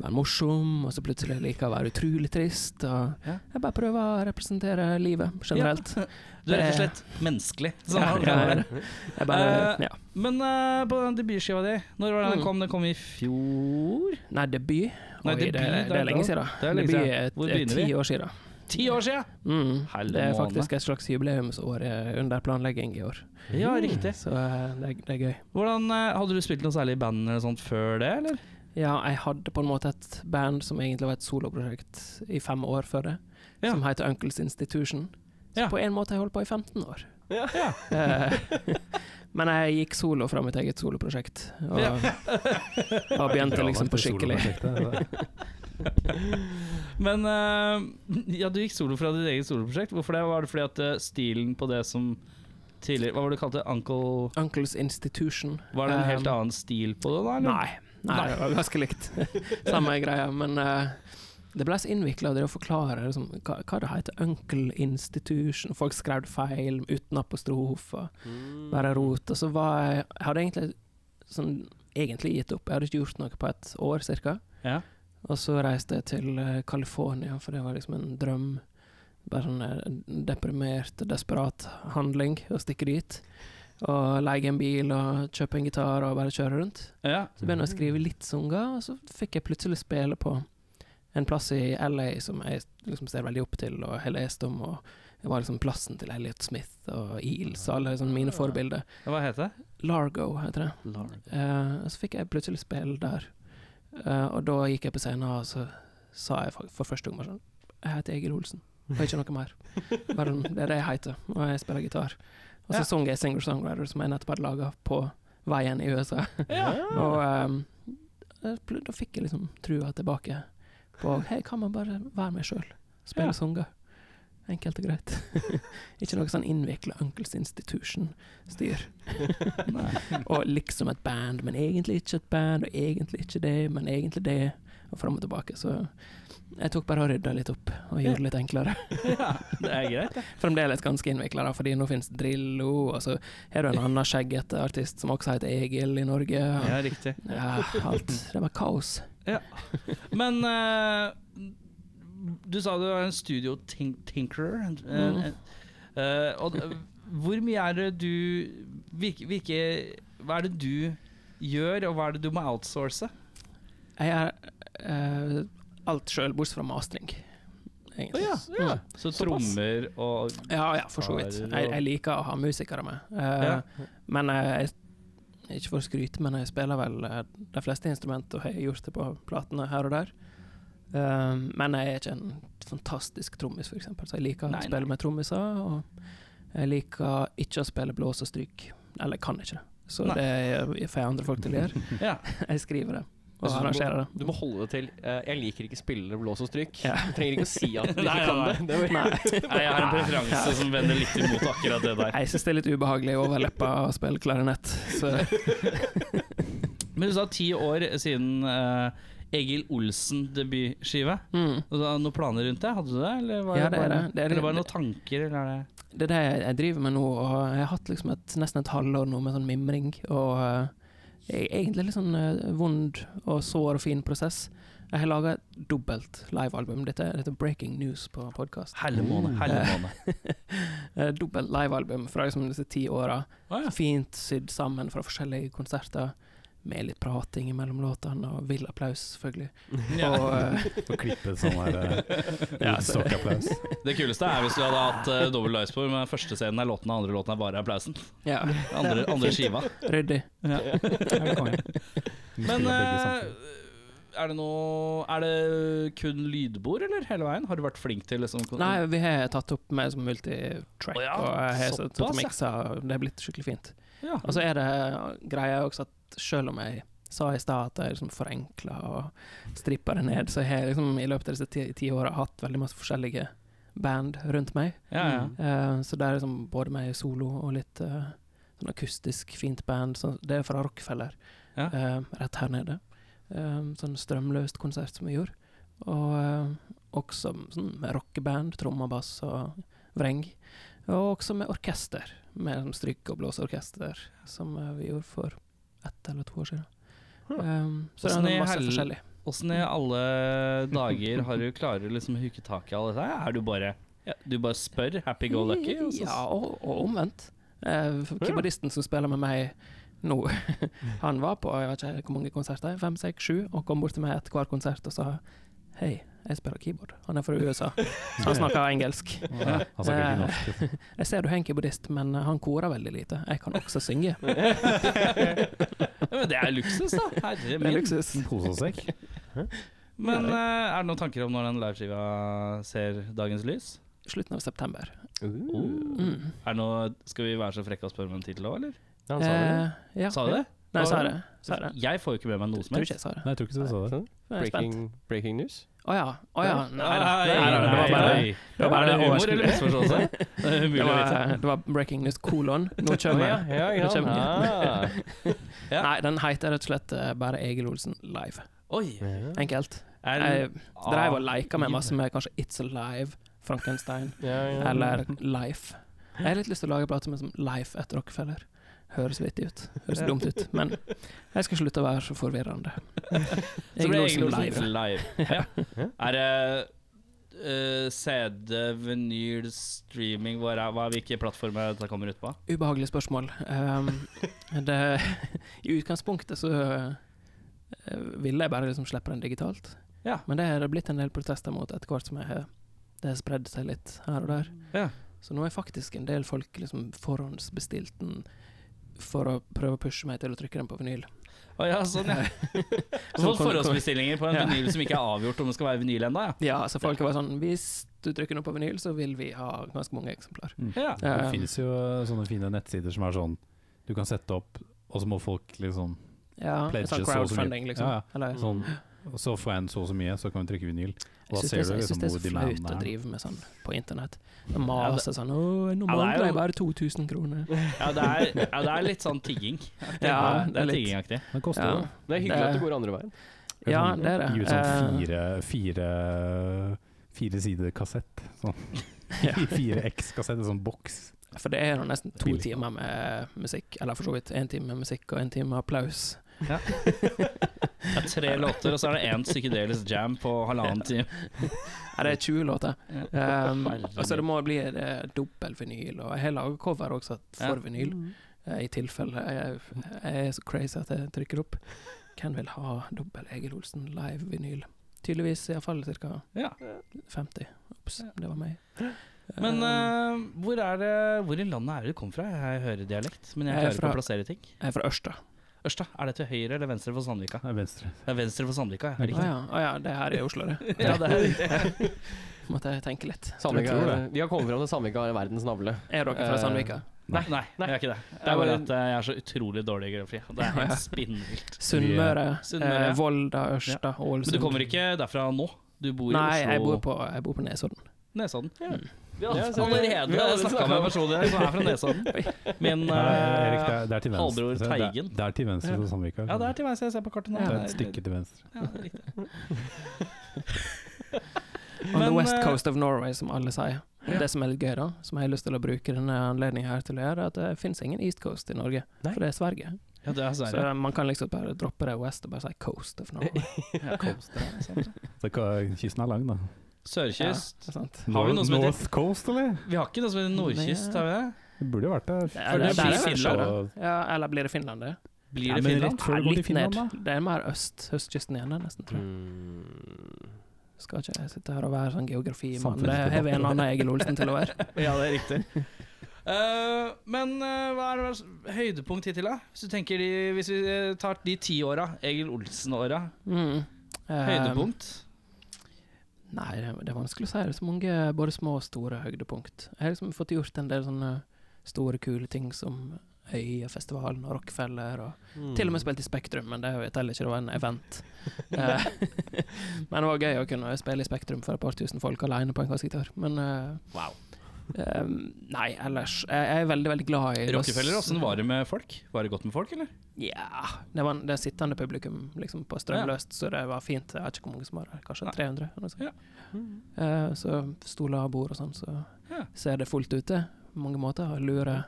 være morsom, og så plutselig liker jeg å være utrolig trist, og
Ja.
jeg bare prøver å representere livet generelt.
Du er rett og slett menneskelig. Sånn
Ja,
han
ja,
kaller det.
Jeg bare,
Eh,
ja.
Men eh, på den debutskiva di, når var det den
Mm.
kom? Den kom i fjor?
Nei, debut.
Nei,
Oi,
debut,
det, det,
det er
er lenge siden.
Det er lenge
debut
siden.
er,
Hvor
er
begynner
ti
vi?
år siden.
Ti år sia!
Mm.
Helle
Det er
måne.
faktisk et slags jubileumsår eh, under planlegging i år,
Ja, riktig.
så eh, det, er- det er gøy.
Hvordan, eh, hadde du spilt noe særlig i band eller sånt før det, eller?
Ja, jeg hadde på en måte et band som egentlig var et soloprosjekt i fem år før det,
Ja.
som heter Uncles Institution. Så
Ja.
på en måte har jeg holdt på i 15 år.
Ja.
Eh, <laughs> Men jeg gikk solo fra mitt eget soloprosjekt, og,
Ja.
og
<laughs>
begynte liksom på skikkelig.
Men eh, ja, du gikk solo fra ditt eget soloprosjekt. Hvorfor det? Var det fordi at eh, stilen på det som tidligere Hva var det du kalte Uncle
Uncles Institution.
Var det en helt
Um,
annen stil på det, da? eller?
Nei, Nei, det var ganske likt. Samme greia, men eh, det ble så innvikla å forklare liksom, hva, hva det heter Uncle Institution. Folk skrev det feil uten apostrofer.
Mm.
Bare rot. Og så var jeg Jeg hadde egentlig, sånn, egentlig gitt opp. Jeg hadde ikke gjort noe på et år cirka.
Ja.
Og så reiste jeg til eh, California, for det var liksom en drøm. Bare sånn eh, deprimert, desperat handling å stikke dit. Og leie en bil og kjøpe en gitar og bare kjøre rundt.
Ja.
Så begynte jeg å skrive litt sanger, og så fikk jeg plutselig spille på en plass i LA som jeg liksom ser veldig opp til og har lest om. og det var liksom plassen til Elliot Smith og Eels og alle sånne mine forbilder.
Hva
<laughs>
heter det?
Largo heter det. Eh, og så fikk jeg plutselig spille der. Eh, og da gikk jeg på scenen, og så sa jeg for, for første gang bare sånn Jeg heter Egil Olsen, og ikke noe mer. Bare, sånn, det er det jeg heter, og jeg spiller gitar. Og
Ja.
så sang jeg Singer Songwriter, som jeg nettopp hadde laga på veien i USA.
Ja.
Og ehm, eh, pl- da fikk jeg liksom trua tilbake på Hei, kan man bare være meg sjøl?
Ja.
Spille sanger. Enkelt og greit. <laughs> ikke noe sånn innvikla Uncles Institution-styr. og liksom et band, men egentlig ikke et band, og egentlig ikke det, men egentlig det. Og fram og tilbake. Så jeg tok bare og rydda litt opp, og gjorde det litt enklere. <laughs>
ja. Det er greit, det.
Fremdeles ganske innvikla, fordi nå finnes Drillo, og så har du en annen skjeggete artist som også heter Egil i Norge. og-
Ja, riktig.
ja, alt. Det var kaos.
Men eh, du sa du er en studio tink tinkerer. Eh,
Mm.
eh, og d- hvor mye er det du hvilke, hvilke, Hva er det du gjør, og hva er det du må outsource?
Jeg gjør eh, alt sjøl, bortsett fra mastring. Egentlig. Mm.
Så trommer og
ja, ja, for så vidt.
Gitar og-
Jeg, jeg liker å ha musikere med. Eh, Men eh, jeg ikke for å skryte, men jeg spiller vel eh, de fleste instrument og har gjort det på platene her og der. Eh, men jeg er ikke en fantastisk trommis, f.eks., så jeg liker
Nei,
å spille
nei.
med trommiser. Og jeg liker ikke å spille blås og stryk. Eller jeg kan ikke det. Så
Nei.
det eh, får jeg andre folk til å gjøre.
<laughs> Ja.
Jeg skriver det og
Altså, du må-
arrangerer det.
Du må holde det til eh, 'jeg liker ikke spillere, blås og stryk'.
Ja.
<laughs>
Du trenger ikke å si at du
Nei,
ikke kan
nei,
det. det var,
Nei, jeg har en preferanse som vender litt imot akkurat det der.
Jeg syns det er litt ubehagelig å overleppe og spille klarinett. Så
Men du sa ti år siden eh, Egil Olsen-debutskive.
mm.
Og da Noen planer rundt det? Hadde du det? Eller var
Ja,
det,
det er
bare,
det. Det er-
eller var det noen tanker? Eller er det
det er det jeg driver med nå, og jeg har hatt liksom et, nesten et halvår nå med sånn mimring. Og eh, jeg er egentlig litt sånn eh, vond og sår og fin prosess. Jeg har laga et dobbelt livealbum. Dette, er- dette er breaking news på podkast.
Helle
Mm.
måned, helle
<laughs>
måned.
Dobbelt livealbum fra liksom disse ti åra.
Å ja.
Fint sydd sammen fra forskjellige konserter. Med litt prating mellom låtene, og vill applaus, selvfølgelig.
Ja.
Og, eh,
Få klippe sånn her
Ja, så-
Woodstock-applaus.
Det kuleste er hvis du hadde hatt uh, dobbel livespor, men første scenen er låten, og andre låten er bare applausen.
ja,
Andre, andre skiva.
ryddig.
Men eh, er det noe Er det kun lydbord, eller hele veien? Har du vært flink til liksom kon-
Nei, vi har tatt opp med som multitrack,
Å ja,
og jeg har satt- satt og
såpass, ja. Mm.
miksa, og det er blitt skikkelig fint.
Ja.
Og så er det eh, greia også at selv om jeg sa i stad at jeg liksom forenkla og strippa det ned, så har jeg liksom i løpet av disse ti, ti åra hatt veldig masse forskjellige band rundt meg.
ja, ja.
Eh, så det er liksom både meg solo og litt eh, sånn akustisk fint band. Så det er fra Rockefeller,
Ja.
eh, rett her nede. Eh, sånn strømløst konsert som vi gjorde. Og eh, også sånn med rockeband, tromme, bass og vreng. Og også med orkester, med sånn stryke- og blåseorkester, som eh, vi gjorde for ett eller to år siden. Eh, så det
Hvordan
er
i
masse
hel-
forskjellig.
Åssen i alle dager har du klarer du liksom å huke tak i alle dette? her? Er du bare ja, Du bare spør? Happy go lucky? og så- <laughs>
Ja, og, og omvendt. Eh, Keyboardisten som spiller med meg nå, han var på jeg vet ikke hvor mange konserter, fem, seks, sju, og kom bort til meg etter hver konsert og sa Hei, jeg spiller keyboard. Han er fra USA, så han snakker engelsk.
Ja, han snakker
eh,
ikke norsk.
Jeg ser du har en keyboardist, men han korer veldig lite. Jeg kan også synge.
ja, men det er luksus, da. Herre
Det er
min.
luksus.
Pose og sekk.
Men eh, er det noen tanker om når den liveskiva ser dagens lys?
Slutten av september.
uh.
Mm.
Er det noe, skal vi være så frekke og spørre om en tittel òg, eller?
Ja, han sa det.
Eh, ja.
Sa du det?
Nei, jeg sa det. Sa det.
Jeg får jo ikke med meg noe som
Tror
helst.
ikke jeg sa det.
Nei, jeg tror ikke du sa det.
Sånn.
Jeg er spent.
Breaking, breaking news?
Å ja. Å ja. Nei da.
Nei, nei,
det var bare-
nei.
det var bare
Er det
en
humor eller misforståelse? <laughs> Det er
Det
umulig å vite.
var, det var breaking news kolon. Nå
Å
<laughs>
kommer
ja, ja,
Nå
<laughs> ja.
kommer
Ah.
Ja.
Nei, den heter rett og slett eh, bare Egil Olsen live.
Oi!
Enkelt.
Er det
Jeg dreiv og leika med masse med kanskje It's Alive, Frankenstein
Ja, ja.
eller Life. Jeg har litt lyst til å lage en plate som er som Life etter Rockefeller. Høres vittig ut. Høres dumt ut. Men jeg skal slutte å være så forvirrende.
<laughs> Så
Egil
blir
Olsen
Egil
live.
Olsen live. Ja. Er det eh, CD, vinyl, streaming Hva er, hva er hvilke plattformer dette kommer ut på?
Ubehagelig spørsmål.
<laughs>
Ehm, det, I utgangspunktet så eh, ville jeg bare liksom slippe den digitalt.
Ja.
Men det er det blitt en del protester mot etter hvert som jeg, har- det har spredd seg litt her og der.
Ja.
Så nå er faktisk en del folk liksom forhåndsbestilt den for å prøve å pushe meg til å trykke den på vinyl.
Å ja, sånn, ja. <laughs> Så
Sånn
fått
kom- kom-
forhåndsbestillinger på en
Ja.
vinyl som ikke er avgjort om det skal være vinyl ennå, <laughs> ja.
Ja, så folk var sånn Hvis du trykker den på vinyl, så vil vi ha ganske mange eksemplar.
ja.
Det
Ehm,
finnes jo eh, sånne fine nettsider som er sånn du kan sette opp, og så må folk liksom
ja,
pledges
sånn
så og så mye.
crowdfunding, liksom.
Ja, ja.
Eller,
sånn, Så får jeg en så og så mye, så kan vi trykke vinyl. Og da
Jeg syns
ser
det,
du
jeg
liksom hvor
synes det er så flaut
demanden
å
er.
drive med sånn på internett. Det
Ja,
Maser sånn 'Å, nå
Ja, det er
mangler jeg
jo-
bare 2000 kroner'.
Ja, det er, ja, det er litt sånn tigging.
Ja,
det er
litt.
tiggingaktig.
Det koster
Ja,
jo.
Det er hyggelig at det går andre veien.
ja det er det.
Gi ut sånn
Eh,
fire, fire, fire sider kassett. Sånn.
<laughs> Ja.
<laughs> Fire X-kassett, en sånn boks.
For det er jo nesten to
Billig.
timer med musikk. Eller for så vidt én time med musikk og én time med applaus.
Det er tre låter, og så er det én psykedelisk jam på halvannen time.
Ja, det er 20
<laughs>
låter. Um,
Herregud.
og så det må bli eh, dobbel vinyl. Og jeg har laga cover også for vinyl, eh, i tilfelle jeg, jeg er så crazy at jeg trykker opp. Hvem vil ha dobbel Egil Olsen live-vinyl? Tydeligvis iallfall ca.
Ja.
50. Ops, det var meg.
Men
Um,
eh, hvor, er det, hvor i landet er det du kommer fra? Jeg hører dialekt, men jeg
Jeg er
klarer ikke
fra-
å plassere ting.
Jeg er fra Ørsta.
Ørsta, er det til høyre eller venstre for Sandvika?
Det er venstre.
Det er venstre for Sandvika, ja.
Å
Riktig.
ja, å ja, det er her i Oslo, det.
<laughs> Ja, det er riktig.
<laughs> Måtte jeg tenke litt.
Sandvika,
tror
er- vi har kommet fram til Sandvika er verdens navle.
Er dere fra
Eh,
Sandvika?
Nei, nei, det er ikke det. Det
er
er bare
bare-
at eh, jeg er så utrolig dårlig i geografi. og Det er helt spinnvilt.
Sunnmøre,
Sunnmøre,
eh,
ja.
Volda, Ørsta, Ålesund.
Men du kommer ikke derfra nå? Du bor i
Nei,
Oslo?
jeg bor på, jeg bor på Nesodden.
Nesodden.
Ja.
Vi har
Ja, så vi- vi har
allerede
allerede
snakka
snakket
med
om-
en person der som er fra Nesodden. Min
Nei, Erik, det
eh,
er, det er til venstre.
halvbror
Det er-
Teigen.
Det er til venstre for Sandvika.
Ja, det er til venstre. Jeg ser på kartet nå.
Det er
Det
et
er-
stykke til venstre.
Ja, det er riktig.
On
Men,
the west
eh,
coast of Norway, som alle sier. Det som er litt gøy, da, som jeg har lyst til å bruke denne anledningen her til å gjøre, er at det finnes ingen east coast i Norge,
Nei.
for det er Sverige.
Ja, det er
Så
Sverige.
man kan liksom bare droppe det west og bare si coast of
<laughs>
Norway.
Ja, Coast, det er sant.
Så ka- kysten er lang, da.
Sørkyst.
Ja, <laughs> sant.
Har vi noe som heter-
North Coast, eller?
Vi har ikke noe som heter nordkyst, har vi det?
Det burde jo vært der.
Ja, det-
det er
Først
Finland,
og-
Ja, eller blir det Finland, det?
Blir
Ja,
det
men
Finland?
rett før
Nei,
du går til
litt ned.
Finland, da.
Det er mer øst, østkysten igjen, det, nesten, tror jeg.
Mm.
Mm.
Skal ikke jeg sitte her og være sånn geografimann. Det har vi en annen Egil Olsen til å være.
Ja, det er riktig. <laughs> Eh, men eh, hva er det- høydepunkt hittil, da? Hvis, du tenker de, hvis vi eh, tar de ti åra, Egil Olsen-åra.
Mm. Eh,
Høydepunkt?
Nei, det, det er vanskelig å si. Det er så mange både små og store høydepunkt. Jeg har liksom fått gjort en del sånne store, kule ting som Øyafestivalen og Rockefeller. Og Til
Mm.
og med spilt i Spektrum, men det teller ikke, det var en
<laughs>
event. Eh, <laughs> men det var gøy å kunne spille i Spektrum for et par tusen folk alene på en kassegitar. Men eh, eh, Nei, ellers Jeg, jeg er veldig, veldig glad i
Rockefeller, åssen var det med folk? Var det godt med folk, eller?
Ja Det var en- det sittende publikum liksom, på strømløst, så det var fint. Jeg vet ikke hvor mange som var der, kanskje
Nei.
300? Eller noe sånt.
Ja.
Eh, så stoler og bord og sånn, så
Ja.
ser det fullt ute. på Mange måter å lure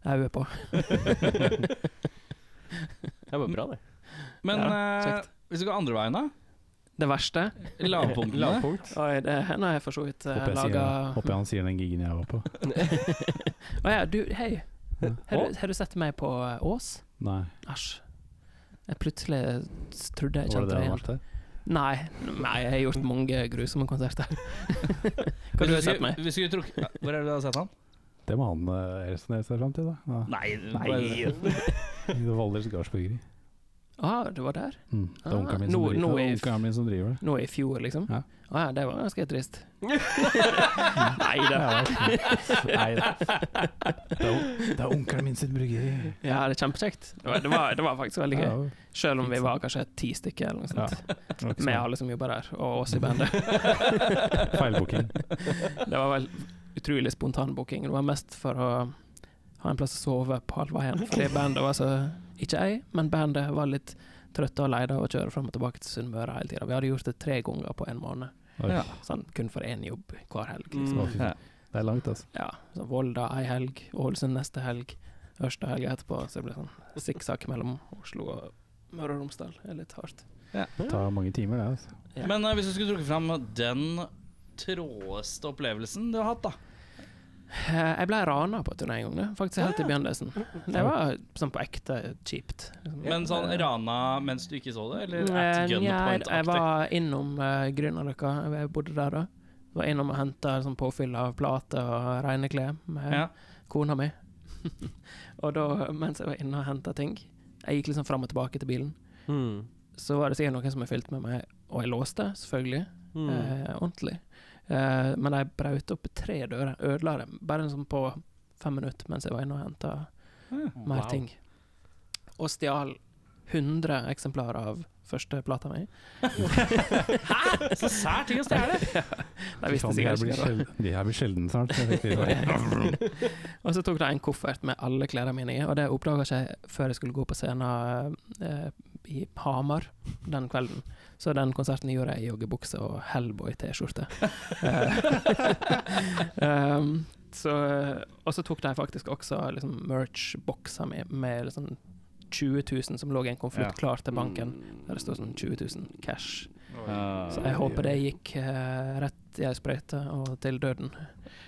øyet på. <laughs>
Det var bra, det.
Men
Ja,
eh,
kjekt.
hvis du går andre veien, da?
Det verste <laughs>
Lavpunktene?
Lavpunkt.
Oi, det er når jeg for så vidt eh,
Håper jeg, sier,
laga
håper jeg han sier den gigen jeg var på.
Å ja, du, hei.
Ja.
Har du, har du sett meg på eh, Ås?
Nei,
Æsj. Jeg plutselig s- trodde
var
jeg
det
kjente
det
deg
han
igjen.
var til?
Nei, nei, jeg har gjort mange grusomme
<laughs>
konserter. <laughs> Hva du har
Hvis
du sett meg?
Hvis du skulle trukket ja, Hvor er det du har sett han?
Det må han eh, resonnere seg fram til, da. Ja.
Nei,
Nei. I det Valdres Gardsborgeri.
ah, det var der?
Mm. Det er
Ah,
onkelen min,
nå-
som driver-
nå
det
er-
er onkelen min som driver det.
Nå i fjor, liksom?
Ja.
Ah, ja, det var ganske trist.
Nei da. Nei da. Det er, det er onkelen min sitt bryggeri.
Ja, det er kjempekjekt. Det, var- det, var- det var faktisk veldig gøy.
Ja,
Selv om vi var kanskje ti stykker, eller noe sånt. Med alle som jobber liksom der, og oss i bandet.
Feilbooking.
Det var vel utrolig spontan booking. Det var mest for å ha en plass å sove på halvveien. Fordi bandet var så Ikke jeg, men bandet var litt trøtte og leide av å kjøre fram og tilbake til Sunnmøre hele tida. Vi hadde gjort det tre ganger på en måned.
Oi.
Ja.
Sånn kun for én jobb hver helg.
Mm.
Liksom.
Å, fy faen. Det er langt, altså.
Ja, så Volda ei helg, Ålesund neste helg, Ørsta helga etterpå. Så det ble sånn sikksakk mellom Oslo og Møre og Romsdal. Det er litt hardt.
Det tar mange timer, det. altså.
Ja.
Men eh, hvis du skulle trukket fram den tråeste opplevelsen du har hatt, da?
Eh, Jeg ble rana på turné en gang, da. faktisk helt i begynnelsen. Det var sånn på ekte kjipt. liksom.
Men sånn
Eh,
rana mens du ikke så det, eller
Eh,
at
nja, Jeg
gunpoint-aktig?
var innom uh, Grünerløkka, jeg bodde der da. Var innom og henta sånn påfyll av plater og rene klær med
Ja.
kona mi. <laughs> og da, mens jeg var inne og henta ting Jeg gikk liksom fram og tilbake til bilen.
Mm.
Så var det sikkert noen som jeg fylte med meg, og jeg låste, selvfølgelig.
Mm.
Eh, ordentlig. Eh, men jeg braut opp tre dører, ødela dem, bare sånn på fem minutter mens jeg var inne og henta
Ah.
mer
Mm. Wow.
ting. Og stjal 100 eksemplarer av første plata mi.
Hæ?! Så sær ting å stjele!
De visste
Faen, de her
sikkert
blir
ikke hva det var.
sjel- de her blir sjelden snart. så jeg tenker-
Og så tok de en koffert med alle klærne mine i, og det oppdaga ikke jeg før jeg skulle gå på scenen eh, i Hamar den kvelden. Så den konserten gjorde jeg i joggebukse og Hellboy-T-skjorte. <laughs> Eh, um, så, og så tok de faktisk også liksom, merch-boksa mi med liksom 20 000 som lå i en konvolutt klar til
Mm.
banken.
Hmm.
Der det står sånn 20 000 cash. Så jeg håper det gikk eh, rett i ei sprøyte og til døden.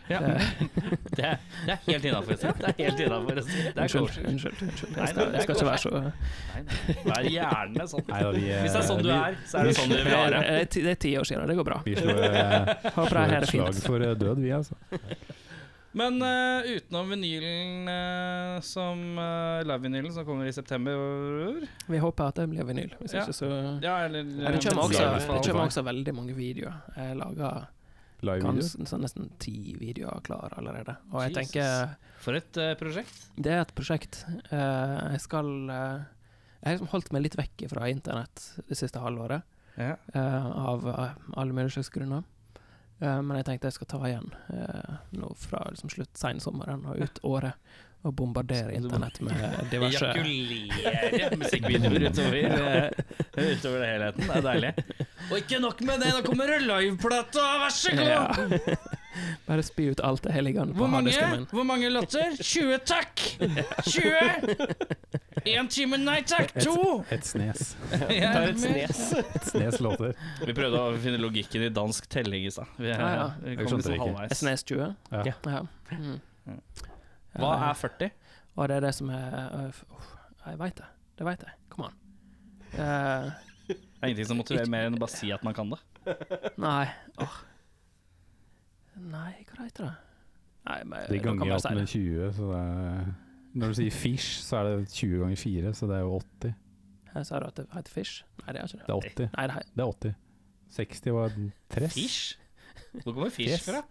Ja.
Eh,
<laughs> Det, er- det er helt innafor. Det er helt innafor. Det er
Unnskyld.
koselig.
unnskyld, unnskyld.
Nei,
Jeg skal,
nei, det er
jeg skal ikke være så
Nei, nei. Vær gjerne sånn.
Nei da, vi eh,
Hvis det er sånn du
vi-
er, så er det sånn du vil
Det
være.
er eh, ti- det er ti år siden, det går bra.
Vi slår, eh,
Håper jeg
slår
har
et
det
slag
fint.
for eh, død, vi, altså.
Men eh, utenom vinylen eh, som uh, live-vinylen som kommer i september
Vi håper at det blir vinyl. Hvis
Ja.
ikke så
Ja, eller eh,
ja, det, kommer også,
Live
det kommer også veldig mange videoer. Jeg lager
Live-video.
gans, sånn nesten ti videoer klar allerede. Og jeg
Jesus.
tenker
For et eh, prosjekt.
Det er et prosjekt. Eh, jeg skal eh, Jeg har liksom holdt meg litt vekk fra internett det siste halvåret,
Ja.
eh, av eh, alle mulige slags grunner. Eh, men jeg tenkte jeg skal ta igjen eh, nå fra liksom slutt sensommeren og ut året, og bombardere
Så du må-
internett
<laughs>
med diverse
Ejakulere musikkvideoer utover, eh, utover det helheten. Det er deilig. Og ikke nok med det, nå kommer det liveplate! Vær så god!
Ja. <laughs> Bare spy ut alt det helligende på
Hvor mange,
harddisken min.
hvor mange låter? <laughs> 20, takk! 20! Én time, nei takk! To!
Et snes.
Ja,
tar et
men-
Et snes låter.
Vi prøvde å finne logikken i dansk telling i stad. Vi, er-
Ja, ja.
vi
Jeg
kom
skjønte det
liksom
ikke.
halvveis.
SNS 20.
Ja.
Ja.
Ja. Mm.
Mm.
Ja,
Hva
det-
er 40?
Og det er det som er øh, uff, Jeg veit det. Det veit jeg. Kom an. Eh,
Det er ingenting som motiverer mer enn å bare si at man kan det.
nei Åh. Nei, hva heter det? Nei, men,
De
dere kan
ganger
bare
alt
si
med
det.
20, så det er Når du sier fish, så er det 20 ganger 4, så det er jo 80.
Her Sa du at det heter Fish? Nei, det er ikke det.
Det er 80.
Nei, det er,
Det er 80. 60 var tress.
Fish? Hvor kommer fish
Yes.
fra?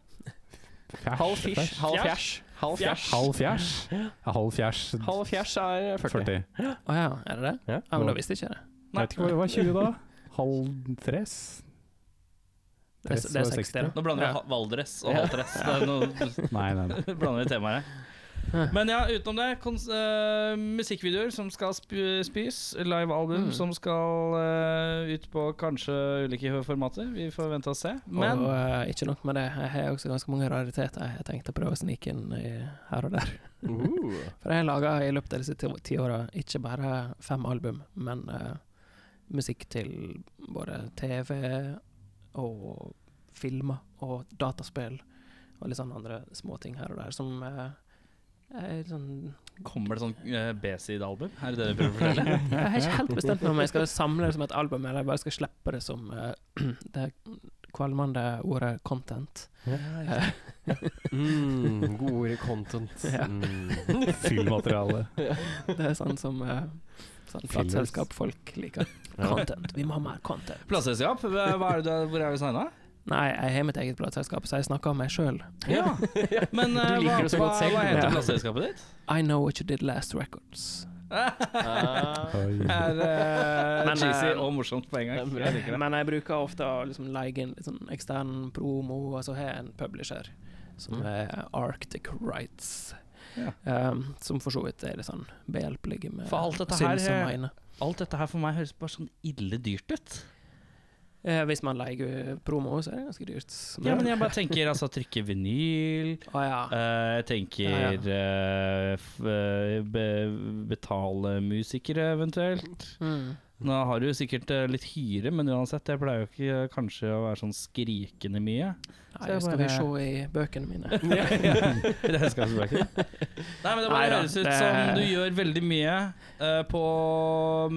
Fjers.
Halv fish, halv
Fjers.
fjæsj. Halv fjæsj.
Halv fjers. Ja, halv fjers.
Halv fjæsj er 40.
40.
Å ja, er det det?
Ja.
men da visste jeg ikke det.
Jeg vet ikke hva det var 20 da. Halv tress?
Det er,
Tress
det er
var
60, da.
Nå blander vi
Ja.
ha- Valdres og Halvtress. Det er noe-
Nei, nei, nei.
<laughs> blander vi temaer her. Men ja, utenom det, kons eh, musikkvideoer som skal sp spys, livealbum
Mm.
som skal eh, ut på kanskje ulike formater. Vi får vente og se. Men
og øh, ikke nok med det, jeg har også ganske mange rariteter jeg har tenkt å prøve å snike inn i her og der.
Uh.
For jeg har laga i løpet av disse ti, ti åra ikke bare fem album, men eh, musikk til både TV og filmer og dataspill og litt sånn andre småting her og der som eh, er litt sånn
Kommer det sånn eh, B-side-album? Er det det du prøver å fortelle? <laughs>
Jeg har ikke helt bestemt meg om jeg skal samle det som et album, eller jeg bare skal slippe det som eh, <clears throat> det kvalmende ordet 'content'. Eh.
Mm, gode ord i content.
Ja.
<laughs> Mm.
Fyllmateriale.
<laughs>
Det er sånn som eh, sånn plateselskapfolk
<laughs>
liker. Content. Vi må ha mer content.
Plateselskap, hva hva er det du- hvor er du signa?
Nei, jeg har mitt eget plateselskap, så jeg snakker om meg sjøl.
Ja. <laughs> Men eh,
Du liker
hva,
det så godt
hva-
selv,
hva
du.
heter
Ja.
plateselskapet ditt?
I know what you did last
<laughs>
records.
Ah.
er eh,
Men,
cheesy
eh,
og morsomt på en gang.
det er bra.
Jeg liker det.
Men jeg bruker ofte å liksom leie inn litt sånn ekstern promo, og så har jeg en publisher
Mm.
som er eh, Arctic Rights.
Ja.
Um, som for så vidt er litt sånn behjelpelig med
For alt dette her,
syns og mine.
Alt dette her for meg høres bare sånn ille dyrt ut.
Eh, hvis man leier promo, så er det ganske dyrt.
Ja, men jeg bare tenker altså trykke vinyl
Å ja.
eh, Jeg tenker
Ja,
eh, f, eh, be, betale musikere eventuelt.
Mm.
Nå har du sikkert eh, litt hyre, men uansett, jeg pleier jo ikke eh, kanskje å være sånn skrikende
<laughs>
mye.
Nei,
jeg
skal
bare-
vi se i bøkene mine.
<laughs> Ja, ja. I regnskapsbøker. Nei, men det bare
Neida,
høres ut
det-
som du gjør veldig mye eh, på,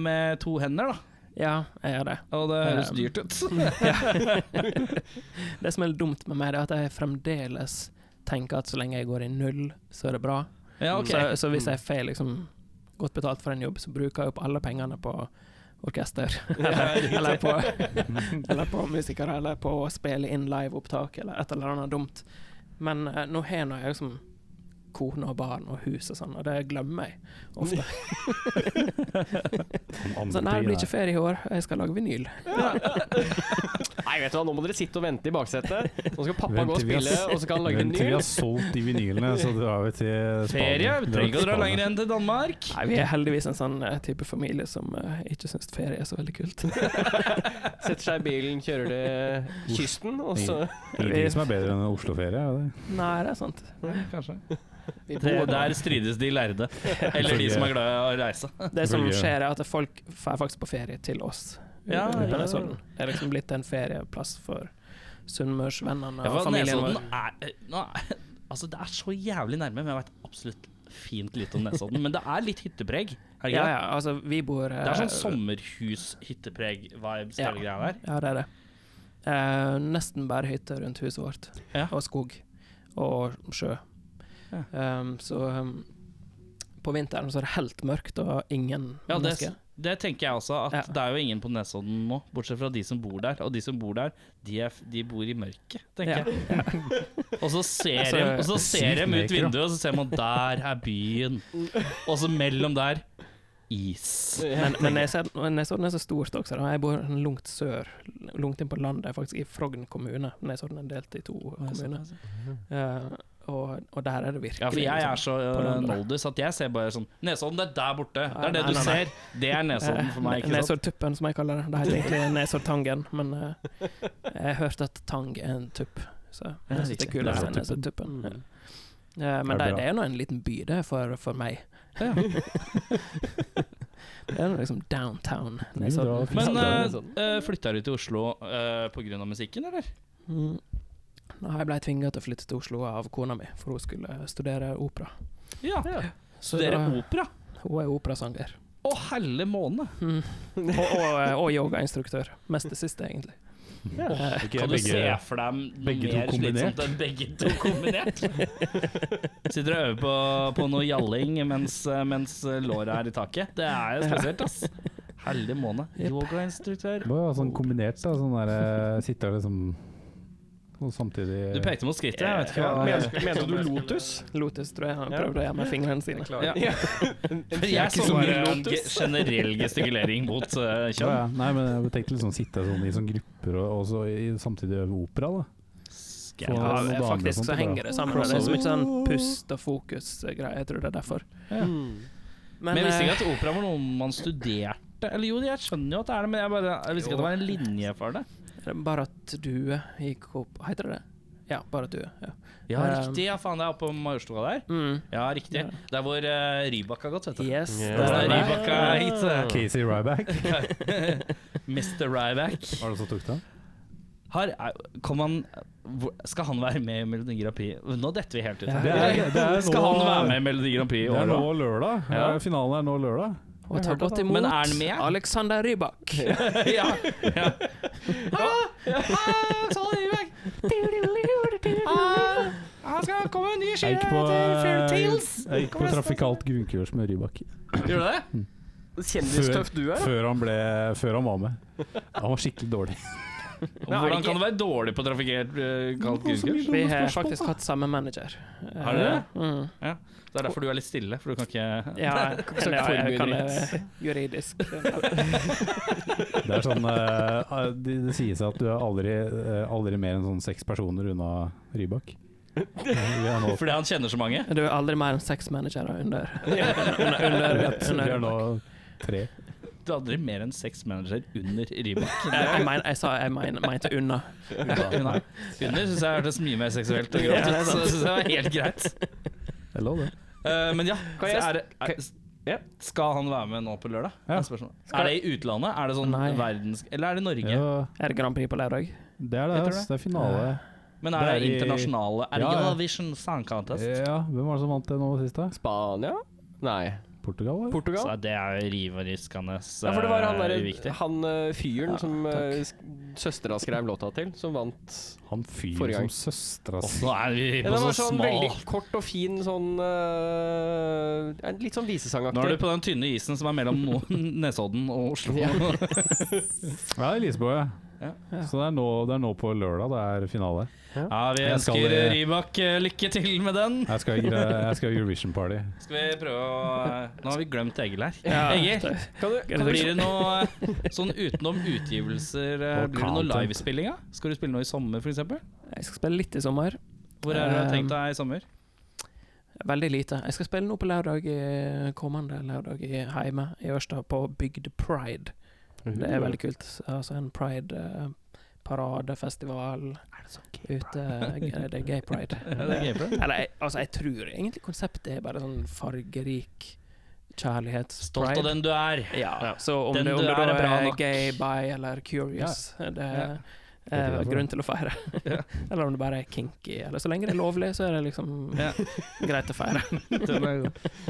med to hender, da.
Ja, jeg gjør det.
Og det høres
Um,
dyrt ut.
<laughs> Det som er litt dumt med meg, det er at jeg fremdeles tenker at så lenge jeg går i null, så er det bra.
<laughs> Ja, ok.
Så, så hvis jeg får liksom godt betalt for en jobb, så bruker jeg opp alle pengene på orkester. <laughs> Eller, eller, på, eller på musikere, eller på å spille inn liveopptak, eller et eller annet dumt. Men eh, nå har nå jeg liksom kone og barn og hus og sånn, og det glemmer jeg ofte. <laughs> Så nei, det blir ikke ferie i år, jeg skal lage vinyl.
Nei, vet du hva, nå må dere sitte og vente i baksetet. Nå skal pappa gå og
Vent til vi har-
spille, og så kan han lage
Vent til vi
vinyl.
har solgt de vinylene, så drar vi til Spania.
Ferie? Vi trenger ikke å dra lenger enn til Danmark.
Nei, vi er <laughs> heldigvis en sånn eh, type familie som eh, ikke syns ferie er så veldig kult.
<laughs>
<laughs>
Setter seg i bilen, kjører til kysten, og så
Ingenting som er bedre enn en Oslo-ferie. er det?
Nei, det er sant.
Kanskje.
Vi
Det,
bor-
der strides de
<laughs>
lærde. Eller de som er glad i å reise.
Det som
Selvfølgelig.
skjer, er at folk drar faktisk på ferie til oss.
Ja,
Uten
ja.
en sånn. Det er liksom blitt en ferieplass for sunnmørsvennene
Ja,
og
for sånn-
familien vår.
Nesodden er, eh, nå er <laughs> Altså, det er så jævlig nærme, men jeg veit absolutt fint lite om Nesodden. Men det er litt hyttepreg. Er det ikke
Ja,
det?
ja, altså, vi bor eh,
Det er sånn sommerhus-hyttepreg-vibes,
Ja.
hele greia der.
Ja, det er det. Eh, nesten bare hytter rundt huset vårt.
Ja.
Og skog. Og sjø.
Ja.
Ehm, så ehm, på vinteren så er det helt mørkt og ingen
Ja, det,
mennesker.
det tenker jeg også, at
Ja.
det er jo ingen på Nesodden nå, bortsett fra de som bor der. Og de som bor der, de, er, de bor i mørket, tenker
Ja.
jeg. Og
<laughs>
så ser
Altså,
de, og så ser
sykt
de ut
mørkt, da.
vinduet, og så ser man der er
<laughs>
byen. Og så mellom der is.
Men,
<laughs>
men Nesodden Nesodden er så stort også. Da. Jeg bor langt sør, langt inn på landet, faktisk i Frogn kommune. Nesodden er delt i to kommuner. Eh, og, og der er det virkelig
Ja, for jeg er
liksom-
så
på
uh,
landet.
noldus at jeg ser bare sånn Nesodden, det er der borte. Det
Nei,
er det
nei,
du
nei, nei.
ser. Det er Nesodden sånn for meg,
Eh,
ikke sant?
Nesoddtuppen, som jeg kaller det. Det heter egentlig Nesoddtangen, men eh, jeg hørte at tang er en tupp. Så
Ja, Mm.
jeg synes det er
riktig.
kult å si
Nesoddtuppen.
Nesoddtuppen. Ja.
Det
Eh, men det,
er
det
bra.
er nå en liten by, det, for, for meg. <laughs> det er nå liksom downtown
drar
Nesodden.
fint.
Men
Ja,
uh,
Nesodden.
uh, flytta du til Oslo uh, pga. musikken, eller?
Mm. Nei, jeg ble tvinga til å flytte til Oslo av kona mi, for hun skulle studere opera.
Ja.
Så
Studere
da-
opera?
hun er operasanger. <laughs>
Å, helle måne!
Mm. Og, og, eh, og yogainstruktør. Mest det siste, egentlig. Eh,
Ikke
Kan du
begge-
se for deg noe
begge to
mer slitsomt
kombinert?
enn <laughs> begge to kombinert? Sitter og øver på, på noe jalling mens, eh, mens låra er i taket. Det er jo spesielt, ass. Hellig måne.
Jep.
Yogainstruktør.
Det var jo sånn kombinert, da. Sånn der eh, Sitter liksom og samtidig
Du pekte mot skrittet, jeg vet ikke
Ja,
hva
men- Mente du Lotus?
Lotus tror jeg han prøvde å gjøre med fingrene sine.
<laughs>
Ja.
Ja.
For jeg
sånn
så bare en ge- generell gestikulering mot eh,
ja, ja.
kjønn.
Nei, men jeg tenkte liksom sitte sånn i sånn grupper og, og så i, samtidig øve opera, da.
Skal
Ja,
jeg-
Ja,
noen damer og
faktisk
sånt,
så
det er
henger det sammen. Det er så mye sånn pust og fokus-greier. Jeg tror det er derfor. Mm.
Men jeg visste
eh,
ikke at opera var noe man studerte. Eller jo, jeg skjønner jo at det er det, men jeg, bare, jeg visste ikke at det var en linje for det.
det er eh, bare at due gikk opp Heter det det? Ja, bare at due. Ja.
Ja,
Eh,
riktig. Ja, faen, det er oppe på Majorstua der.
Mm.
Ja, riktig.
Ja.
Det er hvor eh, Rybak har gått, vet du.
Yes.
Ja.
det
Der er sånn
er det.
Rybak er hit.
Casey Ryback.
Mr. Ryback.
Var det som tok den?
Har, er- kom han, hvor- skal han være med i Melodi Grand Prix? Nå detter vi helt ut.
Ja.
her.
Det
er- det er
skal
nå-
han være med i Melodi Grand Prix i
Det er
år,
nå
da?
lørdag.
Ja.
Eh, Finalen er nå lørdag.
Og
Jeg
ta
hørte at
godt
han-
imot
Men er han med?
Alexander <laughs> Rybak.
ja, ja.
Han skal komme en ny
Jeg gikk på,
eh,
jeg gikk på trafikalt grunnkurs med Rybak.
Gjør du det? Kjendistøff du er. da.
Før han, ble, før han var med. Han var skikkelig dårlig.
Og Hvordan kan du være dårlig på trafikkert uh, kaldt grunnkurs?
Vi har faktisk hatt samme manager.
Har dere det?
Mm.
Det er derfor du er litt stille, for du kan ikke
Ja,
så
eller, ja, jeg
for
<laughs> kan
mye
det juridisk.
Det er sånn eh, Det det sies at du er aldri, eh, aldri mer enn sånn seks personer unna Rybak. Vi er nå,
Fordi han kjenner så mange?
Du er aldri mer enn seks managere under.
vi er nå tre.
Du er aldri mer enn seks manager under Rybak.
Jeg, jeg, mener, jeg sa jeg mener, mente unna.
Under, under syns jeg hørtes mye mer seksuelt og grovt
Ja, det er
ut, så
sant.
det syns jeg var helt greit.
Det er lov, det.
Eh, men ja,
Kan jeg-
så er det, er,
Ja.
skal han være med nå på lørdag?
Ja.
Er spørsmålet. Er det i utlandet? Er det sånn
Nei.
verdens... Eller er det Norge?
Ja,
Er det Grand Prix på lørdag?
det er det,
Jeg tror
ass. Det er finale.
Men er
Det
det,
er i-
internasjonale Er det
Ja, ja.
Eurovision Song Contest?
Ja, hvem var det som vant det nå sist, da?
Spania? Nei,
Portugal? eller?
Portugal?
Så det er jo riv og riskende
Ja, for det var han,
eh,
der,
uviktig.
han eh, fyren
Ja,
som
takk.
eh, sk- søstera skrev låta til, som vant.
Han fyren
Forrige gang.
som søstera
Og
si
så er vi
Ja,
på
den
så
var sånn veldig
smal
kort og fin sånn eh, en Litt sånn
Nå er du
visesangaktig.
på den tynne isen som er mellom Mo- Nesodden og Oslo.
Ja, det er Lisboa, ja.
Ja.
Så det er, nå, det er nå på lørdag det er finale.
<laughs> Ja, Vi
Jeg skal-
ønsker eh, Rybak eh, lykke til med den.
Jeg skal i gre- jeg skal i Eurovision-party.
Skal vi prøve å eh, Nå har vi glemt Egil her.
Ja,
Egil,
Kan du,
det-
blir det noe eh, sånn utenom utgivelser eh,
Og
Blir det noe
content.
livespilling? da? Skal du spille noe i sommer, f.eks.?
Jeg skal spille litt i sommer.
Hvor er det du har
Eh,
tenkt deg i sommer?
Veldig lite. Jeg skal spille nå på lørdag i- kommende lørdag i hjemme i Ørsta, på Bygd Pride. Det er veldig kult. Altså en pride eh, paradefestival ute eh, Det er gay pride.
Er det gameplay?
Eller jeg- altså, jeg tror egentlig konseptet er bare sånn fargerik kjærlighets
Stolt av den du er.
Ja, så om
Den
det, om
du
det
er,
da
er bra
er
nok.
gay, bi eller curious, det er
Det er
eh,
derfor.
grunn til å feire. <laughs> eller om det bare er kinky. Eller så lenge det er lovlig, så er det liksom
Ja.
greit å
<laughs>
feire.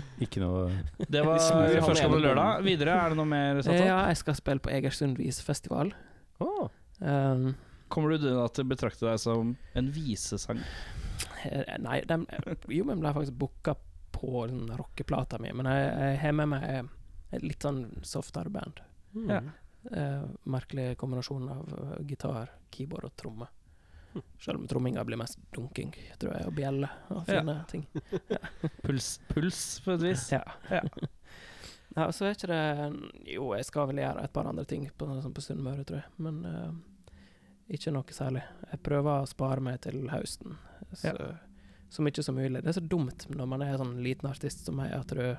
<laughs>
Ikke noe
Det var
De snur han
førstkommende
ene
lørdag. Videre, er det noe mer
Eh,
Sånn.
satsa?
ja, jeg skal spille på Egersund visefestival.
Å.
Um,
Kommer du da til å betrakte deg som en visesang?
Eh, Nei, dem- jo, men ble faktisk booka på den rockeplata mi, men jeg, jeg har med meg et litt sånn softere band.
Ja.
Eh, merkelig kombinasjon av eh, gitar, keyboard og tromme.
Hm.
Selv om tromminga blir mest dunking, tror jeg, og bjelle og
Ja.
fine ting.
Puls, puls på et vis?
Ja. Ja, og så er ikke det Jo, jeg skal vel gjøre et par andre ting på, sånn på Sunnmøre, tror jeg, men eh, ikke noe særlig. Jeg prøver å spare meg til høsten, så, så mye som mulig. Det er så dumt når man er sånn liten artist som meg, at du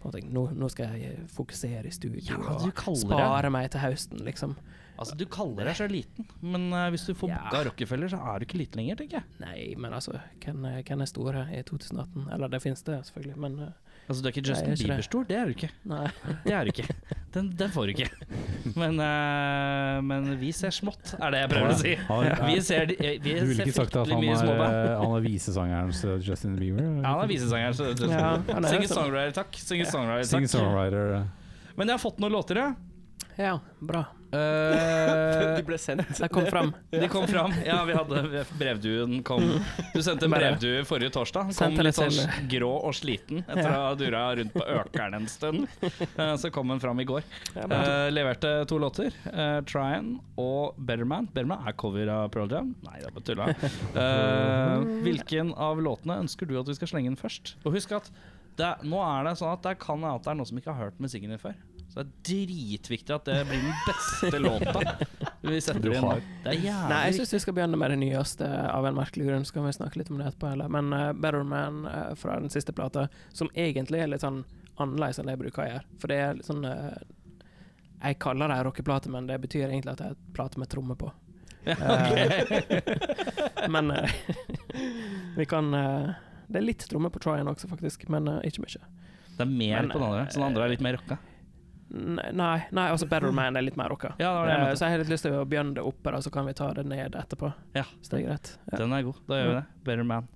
på en måte, tenker, nå, nå skal jeg fokusere i studio og
kaller, deg,
spare meg til høsten, liksom.
altså, du kaller deg så liten, men eh, hvis du får
Ja.
booka Rockefeller, så er du ikke liten lenger, tenker jeg.
Nei, men altså, hvem er- hvem er store i 2018? Eller det finnes det, selvfølgelig, men eh,
Altså, du er ikke
Nei, jeg
Justin
er ikke det.
Bieber-stor, det er du ikke.
nei.
Det er du ikke. Den, den får du ikke. Men, eh, men vi ser smått, er det jeg prøver å si.
Han,
Vi ser, de- eh, vi
Du ville
ser
ikke sagt at
fryktelig
han
mye
er,
småband.
eh, han er visesangerens eh, Justin Bieber?
Ja, han er visesangeren, så det
Ja,
er sånn.
han er det, så-
Singer-songwriter, takk. Singer-songwriter, takk.
Singer-songwriter. eh.
Men jeg har fått noen låter, ja.
Ja, bra. <laughs>
Du ble sendt.
Jeg kom fram.
De kom fram. Ja, vi hadde brevduen kom. Du sendte en
Bare-
brevdue forrige torsdag. Kom
Sendte det
litt sånn
til-
s- grå og sliten etter å ha dura rundt på økeren en stund. Eh, Så kom den fram i går.
Ja, bra.
Eh, leverte to låter. eh, 'Tryin' og 'Betterman'. 'Betterman' er cover av Pearl Jam. Nei, det er bare tulla. Eh, hvilken av låtene ønsker du at vi skal slenge inn først? Og husk at det, er- nå er det sånn at det kan være at det er noen som ikke har hørt musikken din før. Så det er dritviktig at det blir den beste låta vi setter
Du
inn.
har.
nå. Det er jævlig
Nei, jeg
<laughs> viktig.
syns vi skal begynne med det nyeste, av en merkelig grunn. Så kan vi snakke litt om det etterpå heller. Men eh, Better Man eh, fra den siste plata, som egentlig er litt sånn annerledes enn det jeg bruker å gjøre. For det er litt sånn eh, Jeg kaller det ei rockeplate, men det betyr egentlig at det er en plate med trommer på. Eh, men eh, <laughs> vi kan eh, Det er litt trommer på Tryan også, faktisk, men eh, ikke mye.
<laughs> Det er mer
Men,
på den andre, så den andre er litt mer rocka.
Nei, nei, nei, altså Better Man er litt mer rocka.
Ja, det var det jeg
Eh,
mente.
så jeg har litt lyst til å begynne det oppe, da, så kan vi ta det ned etterpå.
Ja.
Så det er greit. Ja.
Den er god. Da gjør vi det. Better Man.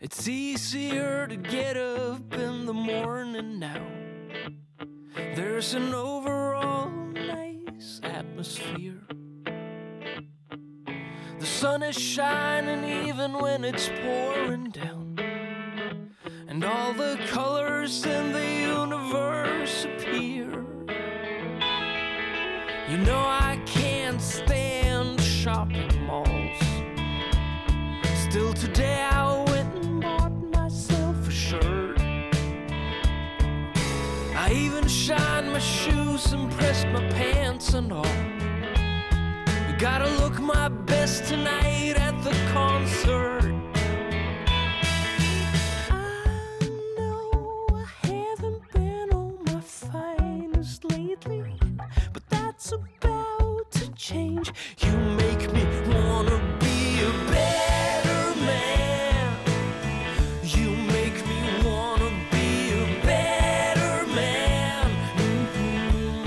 It's easier to get up in the morning now There's an overall nice atmosphere. The sun is shining even when it's pouring down. And all the colors in the universe appear. You know, I can't stand shopping malls. Still today, I went and bought myself a shirt. I even shined my shoes and pressed my pants and all. Gotta look my best tonight at the concert. I know I haven't been on my finest lately, but that's about to change. You make me wanna be a better man. You make me wanna be a better man. Mhm.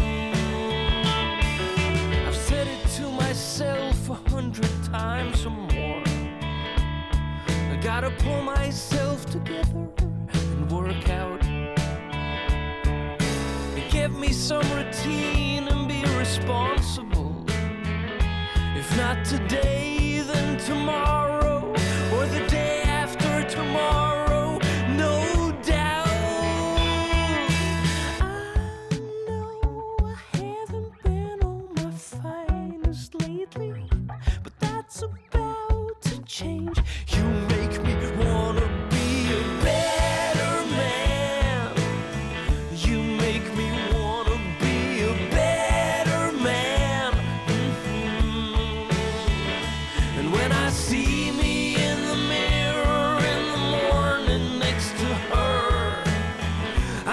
I've said it to myself a hundred times or more. I gotta pull myself together and work out. Give me some routine and be responsible. If not today, then tomorrow, or the day after tomorrow, no doubt. I know I haven't been on my finest lately, but that's about to change. You make me wanna be a better man. You make me wanna be a better man. Mhm. And when I see me in the mirror in the morning next to her,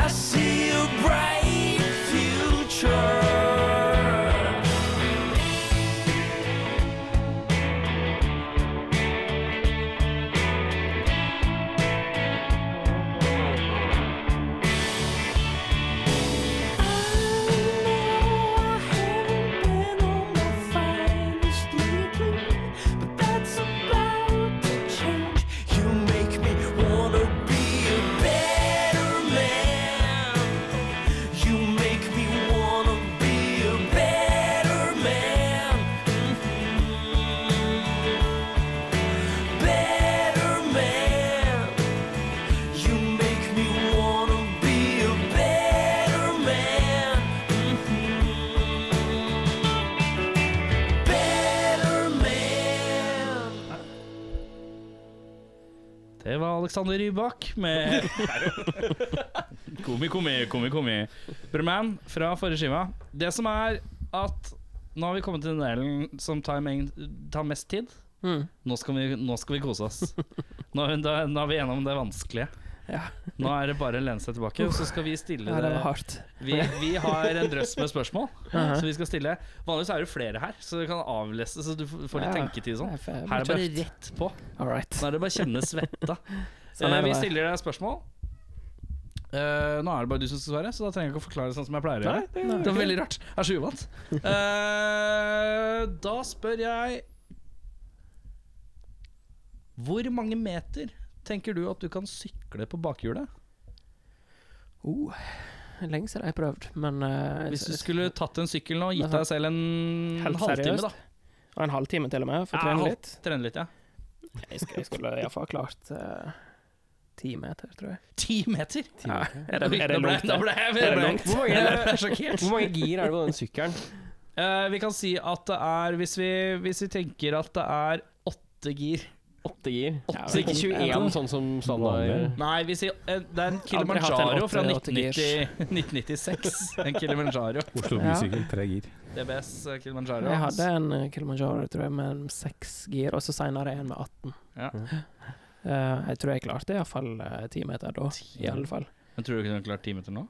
I see a bright future. You make me wanna be a better man. You make me wanna be a better man. Better man. You make me wanna be a better man. Mm-hmm. Better man.
Det var Alexander Rybak <laughs> med Komi, komi, komi, komi. Brumman fra forrige skiva. Det som er at nå har vi kommet til den delen som tar, meng- tar mest tid.
Mm.
Nå skal vi, nå skal vi kose oss. Nå, er vi- da, nå er vi gjennom det vanskelige.
Ja.
Nå er det bare å lene seg tilbake, og så skal vi stille
Ja, det var
det.
hardt.
Vi, vi har en drøss med spørsmål,
Aha.
så vi skal stille. Vanligvis er det flere her, så du kan avlese, så du f- får litt
Ja.
tenketid sånn.
Nei, for jeg
Her er det
blir
bare
tøft.
rett på.
All right.
Nå er det bare å kjenne svetta.
<laughs> Sånn
Eh,
er det
vi
bare.
stiller deg spørsmål. Eh, nå er det bare du som skal svare, så da trenger jeg ikke å forklare sånn som jeg pleier å gjøre.
Nei,
Det var veldig rart. Jeg er så uvant. Eh, da spør jeg Hvor mange meter tenker du at du kan sykle på bakhjulet?
Oh, lenge siden jeg har prøvd, men eh,
Hvis du skulle tatt en sykkel nå og gitt deg selv en
Helt
halvtime,
seriøst?
da.
Og en halvtime til og med, for å
Ja,
trene
halv-
litt.
Trene litt, ja.
Jeg skulle, jeg skulle iallfall klart eh, ti meter, tror jeg.
Ti meter?
Ja, er, det,
Oi,
er det
da ble-
langt?
Da
det?
ble jeg
Er det
ble-
langt?
Hvor
<laughs>
Jeg
mange,
ble sjokkert.
hvor mange gir er det på den sykkelen?
<laughs> Eh, vi kan si at det er Hvis vi, hvis vi tenker at det er åtte gir
Åtte gir.
Ja,
Så ikke 21, sånn som standard.
Nei, vi sier eh, Det er en
Aldri hatt en
Kilimanjaro
åtte-
fra
åtte gears.
1990, <laughs> 1996. En Kilimanjaro.
Oslo
Ja.
Bysykkel, tre gir.
DBS eh, Kilimanjaro.
Jeg hadde en eh, Kilimanjaro tror jeg, med en seks gir, og så senere en med 18.
Ja.
Eh, jeg tror jeg klarte iallfall eh, ti meter da. I alle fall.
Men tror du ikke du kunne klart ti meter nå?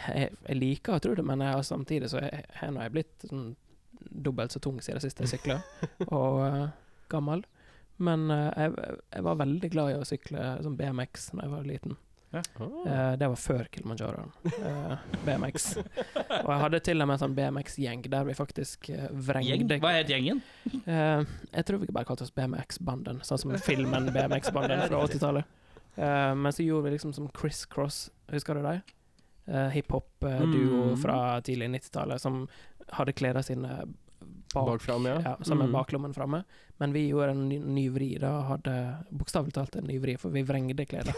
Jeg, jeg liker å tro det, men jeg har samtidig så jeg, her nå har jeg blitt sånn, dobbelt så tung siden sist jeg
<laughs>
sykla, <laughs> og eh, gammel. Men eh, jeg, jeg var veldig glad i å sykle sånn BMX da jeg var liten.
Mm.
Eh, det var før Kilimanjaroen. eh, BMX. Og jeg hadde til og med en sånn BMX-gjeng der vi faktisk eh,
Gjeng?
vrengde
Hva het gjengen?
Eh, jeg tror vi bare kalte oss BMX-banden, sånn som filmen BMX-banden fra 80-tallet. Eh, men så gjorde vi liksom som Criss Cross, husker du dem? eh, hiphop-duo
Mm.
fra tidlig 90-tallet som hadde klærne sine eh, bak,
Bak fram, ja.
ja, som
Mm.
er baklommen framme. Men vi gjorde en ny, ny vri da, og hadde bokstavelig talt en ny vri, for vi
<laughs>
vrengde klærne.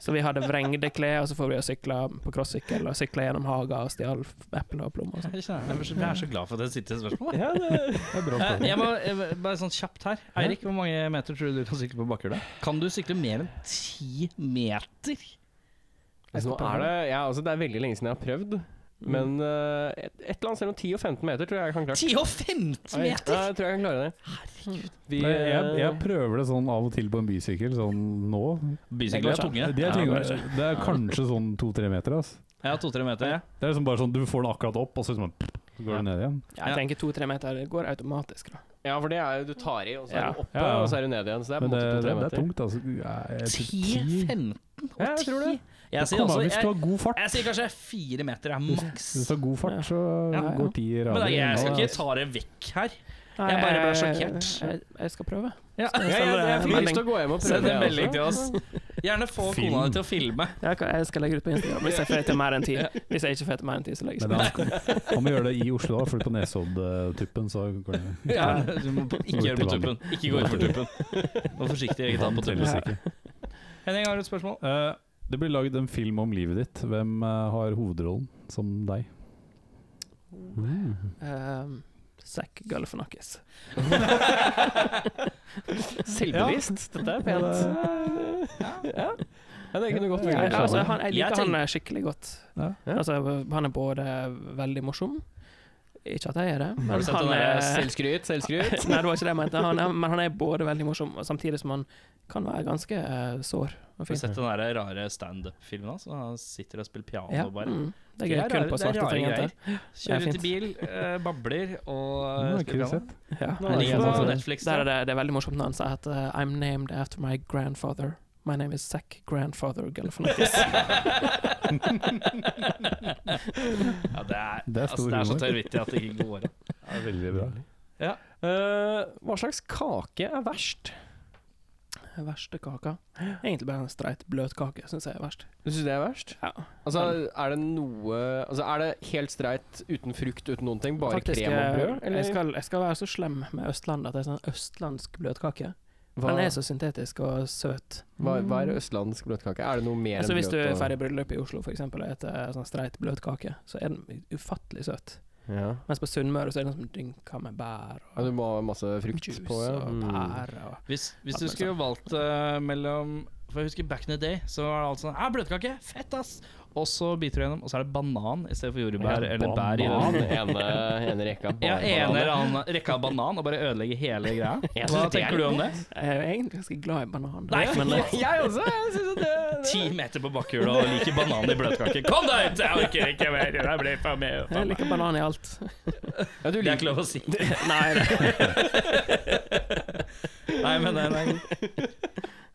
så vi hadde vrengde klær, og så får vi sykle på crossykkel, og sykle gjennom haga og stjal eple og plommer. og sånn.
Jeg kjenner- jeg er så- jeg er så glad for at det sitter spørsmålet.
Ja, det,
Det er bra
Eh,
spørsmål.
Jeg må, jeg, må- bare sånn kjapt her. Eirik, hvor mange meter tror du du kan sykle på bakhjulet? Kan du sykle mer enn ti meter?
altså, nå er det, ja, altså, det er veldig lenge siden jeg har prøvd,
Mm.
men eh, et, et eller annet sted mellom 10 og 15 meter tror jeg jeg kan klare.
10 og 15
Nei,
meter?!
jeg tror jeg kan klare det. Vi,
Nei, jeg, jeg
eh,
prøver det sånn av og til på en bysykkel, sånn nå.
Bysykler er tunge.
Det
Ja,
er,
bare-
tyngre. det er kanskje sånn to-tre meter. Ass.
Jeg har to-tre meter. Ja.
Det er liksom bare sånn, Du får den akkurat opp, og så liksom, så går den ned igjen.
Ja,
Ja.
jeg tenker to-tre meter det går automatisk, da.
ja, for det er jo du tar i, og så er
Ja.
du oppe,
Ja, ja.
og så er du ned igjen. Så det er på
Men det, det,
en måte 2-3
det er
meter.
tungt, altså. Jeg, jeg,
10, 15 og 10?
Ja, jeg tror det.
Jeg sier,
Kom, da,
altså,
hvis du
jeg,
har god fart,
jeg sier kanskje fire meter er
hvis
maks.
du har god fart, så
Ja, ja.
går ti
Men
rader.
da, jeg skal
unna,
ikke
ass.
ta det vekk her.
Nei,
Jeg bare ble
jeg-
sjokkert.
Jeg, jeg skal
Ja.
prøve. Så jeg
Ja,
sender
jeg, jeg
en
fikk
melding.
lyst til å gå hjem og prøve altså.
Send en
jeg
melding
også.
til oss. Gjerne få
Film.
kona di til å filme.
Jeg, kan- jeg skal legge ut på Instagram hvis jeg får til mer enn ti. Hvis jeg ikke får til mer enn ti, så legger
<laughs>
jeg
Men
ut.
han, han må gjøre det i Oslo, da, for på Nesoddtuppen så går det
Ja, du må på- ikke gjøre det på tuppen. Ikke gå utfor tuppen. Vær forsiktig, ikke ta på tuppen.
telles ikke.
Henning, har du et spørsmål?
Eh, det blir lagd en film om livet ditt. Hvem eh, har hovedrollen som deg?
Um, Zack Galifianakis.
Selvbevisst. Dette er pent. Ja. ja, det kunne godt
Ja,
vært.
altså, han, jeg
Jeg
liker
tenker-
han skikkelig godt.
Ja.
Altså, han er både veldig morsom Ikke at jeg er det, men
Har du sett
han
den
er
der selvskryt?
Selvskryt, selvskryt.
<laughs> Nei, det var ikke det jeg mente. Han er, men han er både veldig morsom, og samtidig som han kan være ganske eh, sår og
Har du
fin.
sett den der rare standup-filmen hans? Han sitter og spiller piano
Ja,
bare.
mm. Det er gøy
Det er
kun
rare-
på
det er
svarte
rare
tangenter.
<laughs> greier. Kjører
Det
ut
er
i bil, eh, babler og
Nå
eh,
har ikke
spiller
vi
piano.
sett.
Ja.
Nå er det
Ligger
ingen som
på
har sett.
Netflix.
Der
ja.
er
<laughs>
det, det er veldig morsomt når han sier at eh, I'm named after my grandfather. My name is Zack Grandfather
<laughs>
Galifianakis.
Ja, det er,
<laughs> Det er
altså,
stor
det er så
humor.
tørrvittig at det ikke går an.
Ja, veldig bra.
Eh, hva slags kake er verst?
Verste kaka. Egentlig bare en streit bløt kake, syns jeg er verst.
Du syns det er verst?
Ja.
Altså, er det noe Altså, er det helt streit uten frukt, uten noen ting? Bare
Faktisk,
krem og brød?
eh, Jeg skal, jeg skal være så slem med Østlandet at det er sånn østlandsk bløtkake.
hva,
Den er så syntetisk og søt. Mm.
hva, hva er østlandsk bløtkake? Er det noe mer
Altså,
enn
hvis du
brød?
er ferdig i bryllup i Oslo for eksempel, og spiser sånn streit bløtkake, så er den ufattelig søt.
ja.
Mens på Sunnmøre så er den som dynka med bær
ja,
og
Du må ha masse frukt
juice
på, ja. Mm.
og bær og
<laughs> Hvis, hvis
Ja,
du
men
skulle valgt eh, mellom For jeg husker back in the day, så var det alt sånn ah, Bløtkake! Fett, ass! Og så biter du gjennom, og så er det banan i stedet for jordbær
Ja,
eller bær.
<laughs>
i
Banan,
den.
ene, ene rekka
Ja,
bare
en
bananer.
eller annen rekke av banan og bare ødelegge hele greia.
Jeg
Hva
synes det er
tenker du om det?
Jeg er jo egentlig ganske glad i banan.
Nei,
men
jeg-
Jeg også! Jeg synes at det,
Ti meter på bakhjulet og liker banan i bløtkake. Kom deg ut! Jeg orker ikke mer. Det blir for mye. for
jeg
meg.
liker banan i alt.
ja, du
Det er ikke lov å si.
Nei,
Nei, men den er god. <laughs>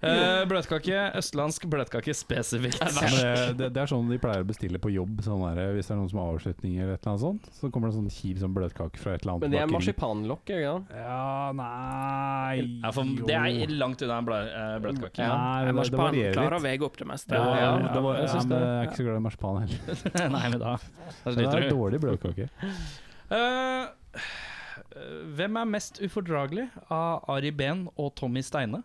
Eh, bløtkake. Østlandsk bløtkake spesifikt.
Ja, men det, det, det er sånn de pleier å bestille på jobb. Sånn der, hvis det er noen som har avslutning, eller et eller annet sånt, så kommer det en sånn kjip sånn bløtkake fra et eller annet
Men det er
bakeri.
marsipanlokk, er det ikke det?
Ja, nei
Ja, for det
jo.
er langt unna en blø- eh, bløtkake.
<laughs>
Ja.
Nei, det, det
Marsipan
varierer
klarer
litt.
å veie opp det meste.
Det var,
Ja,
det var,
jeg
ja,
synes
men eh, jeg er
det.
ikke så glad i marsipan heller.
<laughs> Nei, men da Da
Det er
sliter
en
du.
dårlig bløtkake.
Eh, hvem er mest ufordragelig av Ari Behn og Tommy Steine?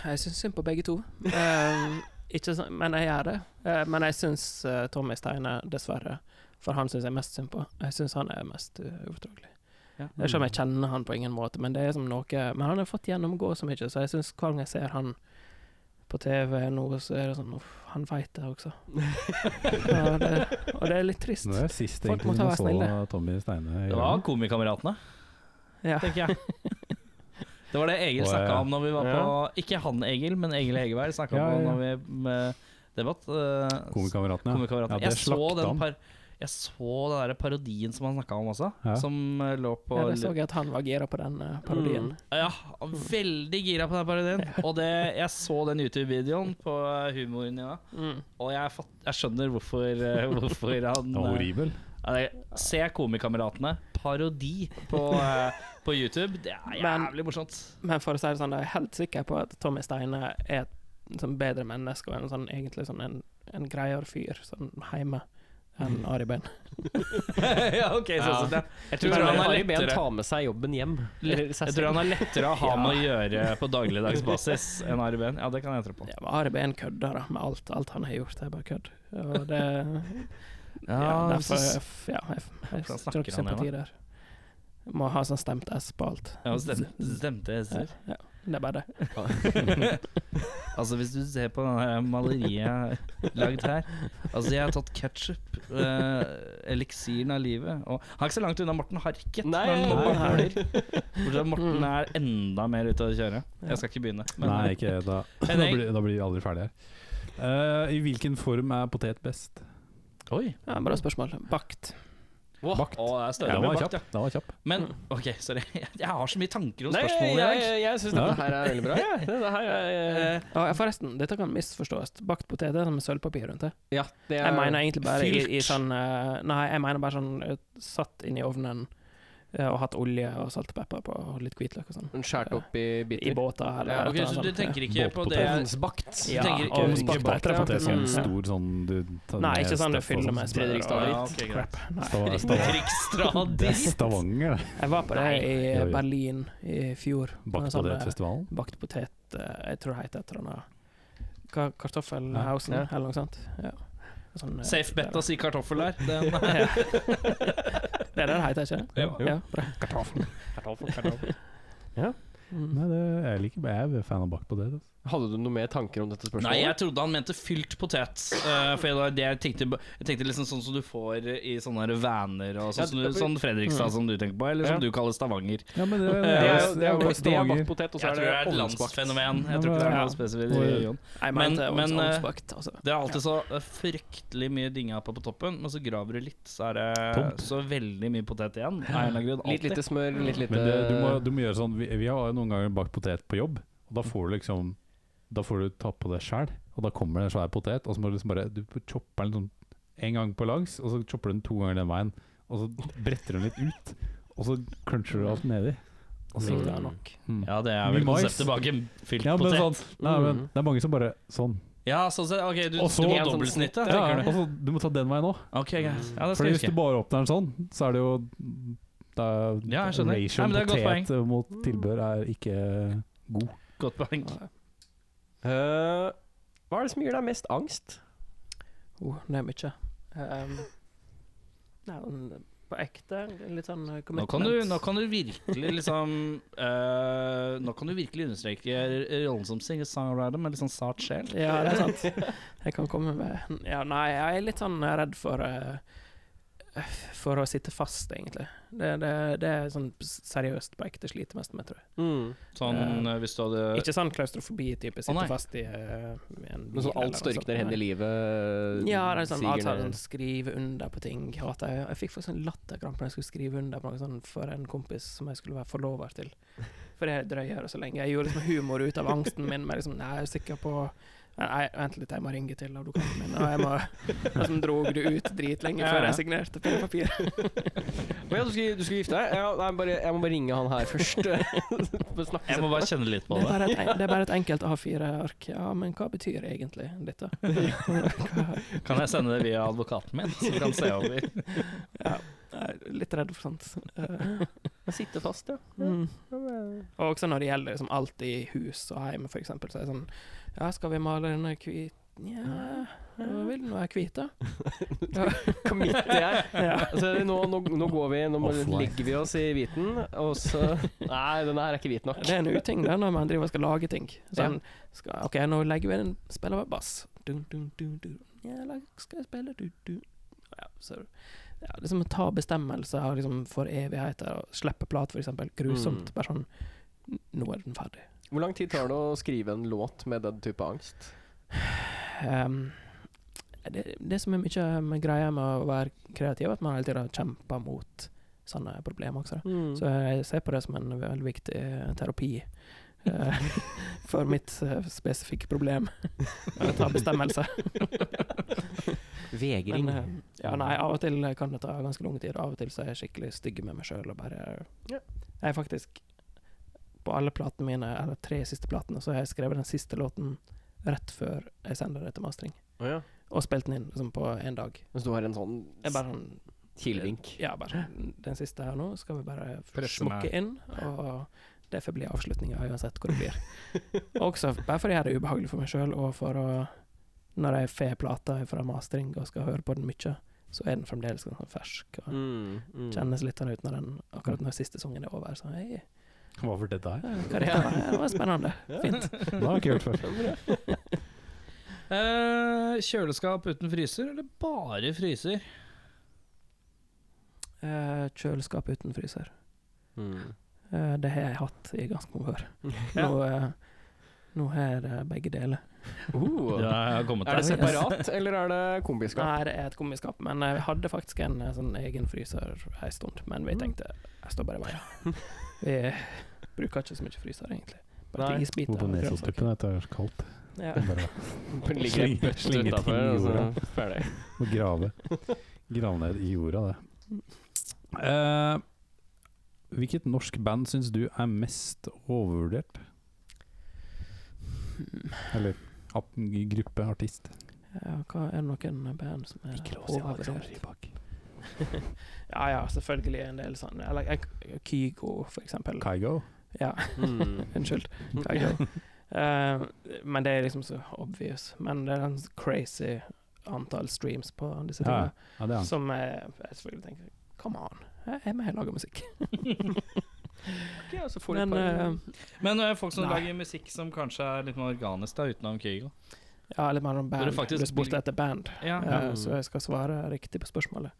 Jeg syns synd på begge to. Eh, ikke sånn, men jeg gjør det. Eh, men jeg syns eh, Tommy Steine, dessverre, for han syns jeg mest synd på. Jeg syns han er mest uh, ufordragelig.
Ja.
Jeg Selv om jeg kjenner han på ingen måte, men det er som noe Men han har fått gjennomgå så mye, så jeg syns hver gang jeg ser han på TV nå, så er det sånn Uff, han veit det også. og, det, og det er litt trist.
Det er sist
Folk må
egentlig man
ta være snille.
så Tommy Steine.
Det
gjøre
var
det.
Komikameratene,
Ja.
tenker jeg. <laughs> Det var det Egil
Å, ja.
snakka om når vi var på
Ja.
Ikke han Egil, men Egil Hegerberg snakka
Ja,
om
ja,
når vi med debatt. eh,
Komikameratene. ja.
Komikameratene.
det
jeg, så
slakta
den
han.
par, jeg så den der parodien som han snakka om også,
Ja.
som eh, lå på
Ja, det så jeg at han var gira på den eh, parodien.
Ja, veldig gira på den parodien.
<laughs>
Og det, jeg så den YouTube-videoen på eh, humoren i dag,
Mm.
og jeg, fatt, jeg skjønner hvorfor,
<laughs>
eh, hvorfor han
Den var
eh,
horribel.
ja, det- Se Komikameratene, parodi på, eh, på YouTube. Det er
Men-
jævlig morsomt.
Men for å si det sånn, jeg er helt sikker på at Tommy Steine er et sånn bedre menneske og en sånn, egentlig sånn en, en greiere fyr sånn hjemme enn Ari Behn.
<laughs> ja, ok, sånn
Ja.
sett, ja. Jeg
Jeg
tror
tror
han er
Ari Behn
lettere
tar med seg jobben hjem. Eller seg
Jeg tror han
selv.
er lettere å ha med å gjøre på dagligdagsbasis enn Ari Behn. Ja, det kan jeg tro på.
Ja, men Ari Behn kødder da, med alt, alt han har gjort. Det er bare kødd. Og det ja, derfor f- Ja, jeg, jeg,
Hvordan
jeg
snakker
tror ikke
han igjen,
sympati der. Må ha sånn stemt S på alt.
Ja, stem, stemte jeg
Ja,
selv.
ja, <laughs> det er bare det.
altså, hvis du ser på det her maleriet jeg har lagd her Altså, jeg har tatt ketsjup, eh, eliksiren av livet Og han er ikke så langt unna Morten Harket.
Nei,
når han
nei,
mobber
nei.
Harder. Bortsett fra at Morten er enda mer ute å kjøre. Jeg skal ikke begynne. men-
Nei, ikke da. Da
Henning?
blir, da blir vi aldri ferdig her. Eh, I hvilken form er potet best?
Oi.
Ja, bra spørsmål. Bakt.
Wow.
Bakt.
Å, det er
Den
større.
var
bakt,
kjapp. Den var kjapp.
Men OK, sorry. <laughs> Jeg har så mye tanker om
Nei, jeg,
spørsmålet i dag.
jeg, jeg syns dette her er veldig bra. Ja. <laughs> Dette her er, eh,
Ja, forresten, dette kan misforstås. Bakt potet er sånn med sølvpapir rundt det.
ja, det er
Eh,
Jeg mener egentlig bare i, i
fylt.
sånn eh, Nei, jeg mener bare sånn eh, satt inn i ovnen eh, og hatt olje og salt og pepper på, og litt hvitløk og sånn.
Skåret opp i
I
biter.
båter eller
Ja,
et
Ok,
eller
Så
annet
du
sånt.
tenker ikke på det
Ovnsbakt.
du
Ja,
tenker ikke-
ovnsbakt
Ikke
potet,
bakt
ja.
potet som en
Mm.
stor sånn du tar
Nei,
med
ikke sånn
støff
du
og
fyller
sånn.
med smør
Fredrikstad
og
dritt.
Ja, ok, greit.
Stava-
<laughs>
stava- Det er
Fredrikstad-diss.
Stavanger, det.
Jeg var på det i
Oi, oi.
Berlin i fjor.
Bakt
Sånn, eh,
potetfestivalen.
Bakt potet eh, Jeg tror det heter et eller annet Ka- Kartoffelhausen
Ja.
eller noe sånt. Ja. Sånn, eh,
Safe bet å si kartoffel der.
<laughs>
Den er
Ja. Det er det det heter, ikke det?
Jo, jo.
Ja, bra. Mm.
Nei, det, jeg liker Jeg er fan av bakt potet. Altså.
Hadde du noe mer tanker om dette spørsmålet?
Nei, jeg trodde han mente fylt potet. eh, for jeg, da- det jeg, tenkte, jeg tenkte liksom sånn som du får i sånne her vaner og
Ja,
sånn,
Mm.
som du- sånn Fredrikstad som du tenker på, eller som
Ja.
du kaller Stavanger.
Ja, men det, det,
Det er, jo- det er, jo- det er
Stavanger.
bakt potet,
Jeg
og så
tror
er
det er
det
et
ovnsbakt.
landsfenomen. Jeg tror ikke det er noe spesifikt
Oi.
region.
Jeg
Men-
mente
men, eh,
ovnsbakt, altså.
Det er alltid så eh, fryktelig mye dynga på på toppen, men så graver du litt, så er det
Tomt.
så veldig mye potet igjen. Av en eller annen grunn.
Litt
Alltid.
lite smør, litt lite
Men det, du, må, du må gjøre sånn Vi, vi har jo noen ganger bakt potet på jobb, og da får du liksom Da får du ta på deg sjæl, og da kommer det en svær potet, og så må du liksom bare Du chopper den sånn en gang på langs, og så chopper du den to ganger den veien, og så bretter du den litt ut, og så cruncher du alt nedi. Og så,
Sikta nok.
mm.
Ja, det er
Mye
vel
mais.
konseptet bak en fylt
Ja, men
potet. Mm.
sånn, nei, men det er mange som bare sånn.
Ja, sånn sett. Ok, du,
Og så-
du må
En sånn
dobbeltsnitte,
Ja,
tenker
og
du.
så du må ta den veien òg.
Ok, greit. Ja, det skal
Fordi
jeg
hvis du
huske.
bare åpner den sånn, så er det jo da,
Ja, jeg skjønner.
Ratio
Nei, men det er et godt
potet mot tilbør er ikke god.
Godt poeng.
Eh, Hva er det som gir deg mest angst?
Oh, det er mye. Um, nei, men på ekte litt sånn eh,
Nå
commitment.
kan, du, nå kan du virkelig liksom eh, Nå kan du virkelig understreke rollen som singer-songwriter med litt sånn sart sjel.
Ja, det er
<laughs>
sant. Jeg kan komme med Ja, nei, jeg er litt sånn redd for eh, For å sitte fast, egentlig. Det, det, det er sånn seriøst på ekte sliter mest med, tror jeg.
Sånn eh, hvis du hadde
Ikke sånn klaustrofobi-type, sitte
nei.
fast i eh, en
Men sånn alt
bil eller noe sånt.
størkner hen i
Nei.
livet?
Ja, det er sånn,
siger
alt
ned.
sånn skrive under på ting. Hater jeg. jeg fikk faktisk en latterkrampe når jeg skulle skrive under på noe sånn for en kompis som jeg skulle være forlover til. For det drøyer det så lenge. Jeg gjorde liksom humor ut av angsten min med liksom Nei, jeg er sikker på Nei, Nei, vent litt, jeg må ringe til advokaten min. Og jeg må liksom drog det ut dritlenge
Ja, ja.
før jeg signerte på det papiret.
Å ja, du skulle, du skulle gifte deg? Ja, nei, bare, jeg må bare ringe han her først. Få snakke
Jeg må bare kjenne litt på
Det er
det.
bare et, en- det er bare et enkelt A4-ark. Ja, men hva betyr egentlig dette? Hva-
Kan jeg sende det via advokaten min, så du kan se over?
Ja, jeg er litt redd for sånt. Eh,
Jeg sitter fast, ja.
Mm. Og også når det gjelder liksom, alt i hus og hjem, for eksempel, så er det sånn Ja, skal vi male denne hvit Nja, hva vil den være hvit,
<laughs>
da?
Committer
<laughs>
jeg. Altså, nå, nå, nå går vi, nå må,
Offline.
legger vi oss i hviten, og så Nei, denne her er ikke hvit nok.
Det er en uting det, når man driver og skal lage ting. Sånn, skal, OK, nå legger vi en spiller med bass. Dun, dun, dun, dun. Ja, lag- skal jeg spille du, du. Ja, så, ja, liksom å ta bestemmelser liksom, for evigheter og slippe plat, for eksempel. Grusomt.
Mm.
Bare sånn Nå er den ferdig.
Hvor lang tid tar det å skrive en låt med den type angst?
Ehm, det, det som er mye med greia med å være kreativ, er at man hele tida kjemper mot sånne problemer også. Da. Så jeg ser på det som en veldig viktig terapi eh, for mitt eh, spesifikke problem. Å ta bestemmelser.
Vegring.
Men, eh, ja, nei, av og til kan det ta ganske lang tid. Av og til så er jeg skikkelig stygg med meg sjøl og bare
Ja.
Jeg er faktisk På alle platene mine, eller tre siste platene, så har jeg skrevet den siste låten rett før jeg sender det til mastering.
Å ja.
og spilt den inn liksom, på én dag.
Mens du har en sånn
Jeg bare sånn
kilevink.
Ja, bare sånn, den siste her nå skal vi bare
Presse
smukke
meg.
inn, og det får bli avslutninga uansett hvor det blir. Også bare fordi jeg er ubehagelig for meg sjøl, og for å Når jeg får plata fra mastering og skal høre på den mye, så er den fremdeles ganske fersk. Og
Mm, mm.
kjennes litt sånn ut når den akkurat når siste sangen er over. Så hei,
Hva var det der?
hva er dette her? Det var spennende. Fint.
Det har jeg ikke hørt før.
Eh, kjøleskap uten fryser, eller bare fryser?
Eh, kjøleskap uten fryser.
Mm.
Eh, det har jeg hatt i ganske mange år. Nå, eh, nå har jeg det begge deler.
Uh.
Ja, jeg har kommet
Er det
der.
separat, eller er det kombiskap?
Nei, det er et kombiskap, men jeg hadde faktisk en eh, sånn egen fryser en stund. Men
Mm.
vi tenkte jeg står bare i veien.
<laughs>
Vi bruker ikke så mye fryser, egentlig. Bare
Nei.
til isbiter.
På
og
Nesostuppen, dette er så kaldt.
grønnsaker. Ja.
Det er bare
Den ligger en
Slinge-
bøtte
slinge ting i
utenfor, og så
jorda.
ferdig.
å grave. Grave ned i jorda, det. Eh, hvilket norsk band syns du er mest overvurdert? Eller ap gruppe, artist?
Ja, hva er det noen band som er overvurdert?
Rybak.
Ja ja, selvfølgelig en del sånn Eller eh, Kygo, for eksempel.
Kygo?
Ja,
Mm.
<laughs> unnskyld.
<laughs>
Kygo. Eh, men det er liksom så obvious. Men det er en crazy antall streams på disse
Ja,
tingene.
ja, det er han.
Som jeg, jeg selvfølgelig tenker Come on, jeg er med og lager musikk.
Ja, så får
Men
du et par-
eh,
Men eh, folk som
Nei.
lager musikk som kanskje er litt mer organisk, da, utenom Kygo.
ja, litt mer
Burde
om band.
faktisk
Du spurte
bli-
etter band,
Ja.
eh, så jeg skal svare riktig på spørsmålet.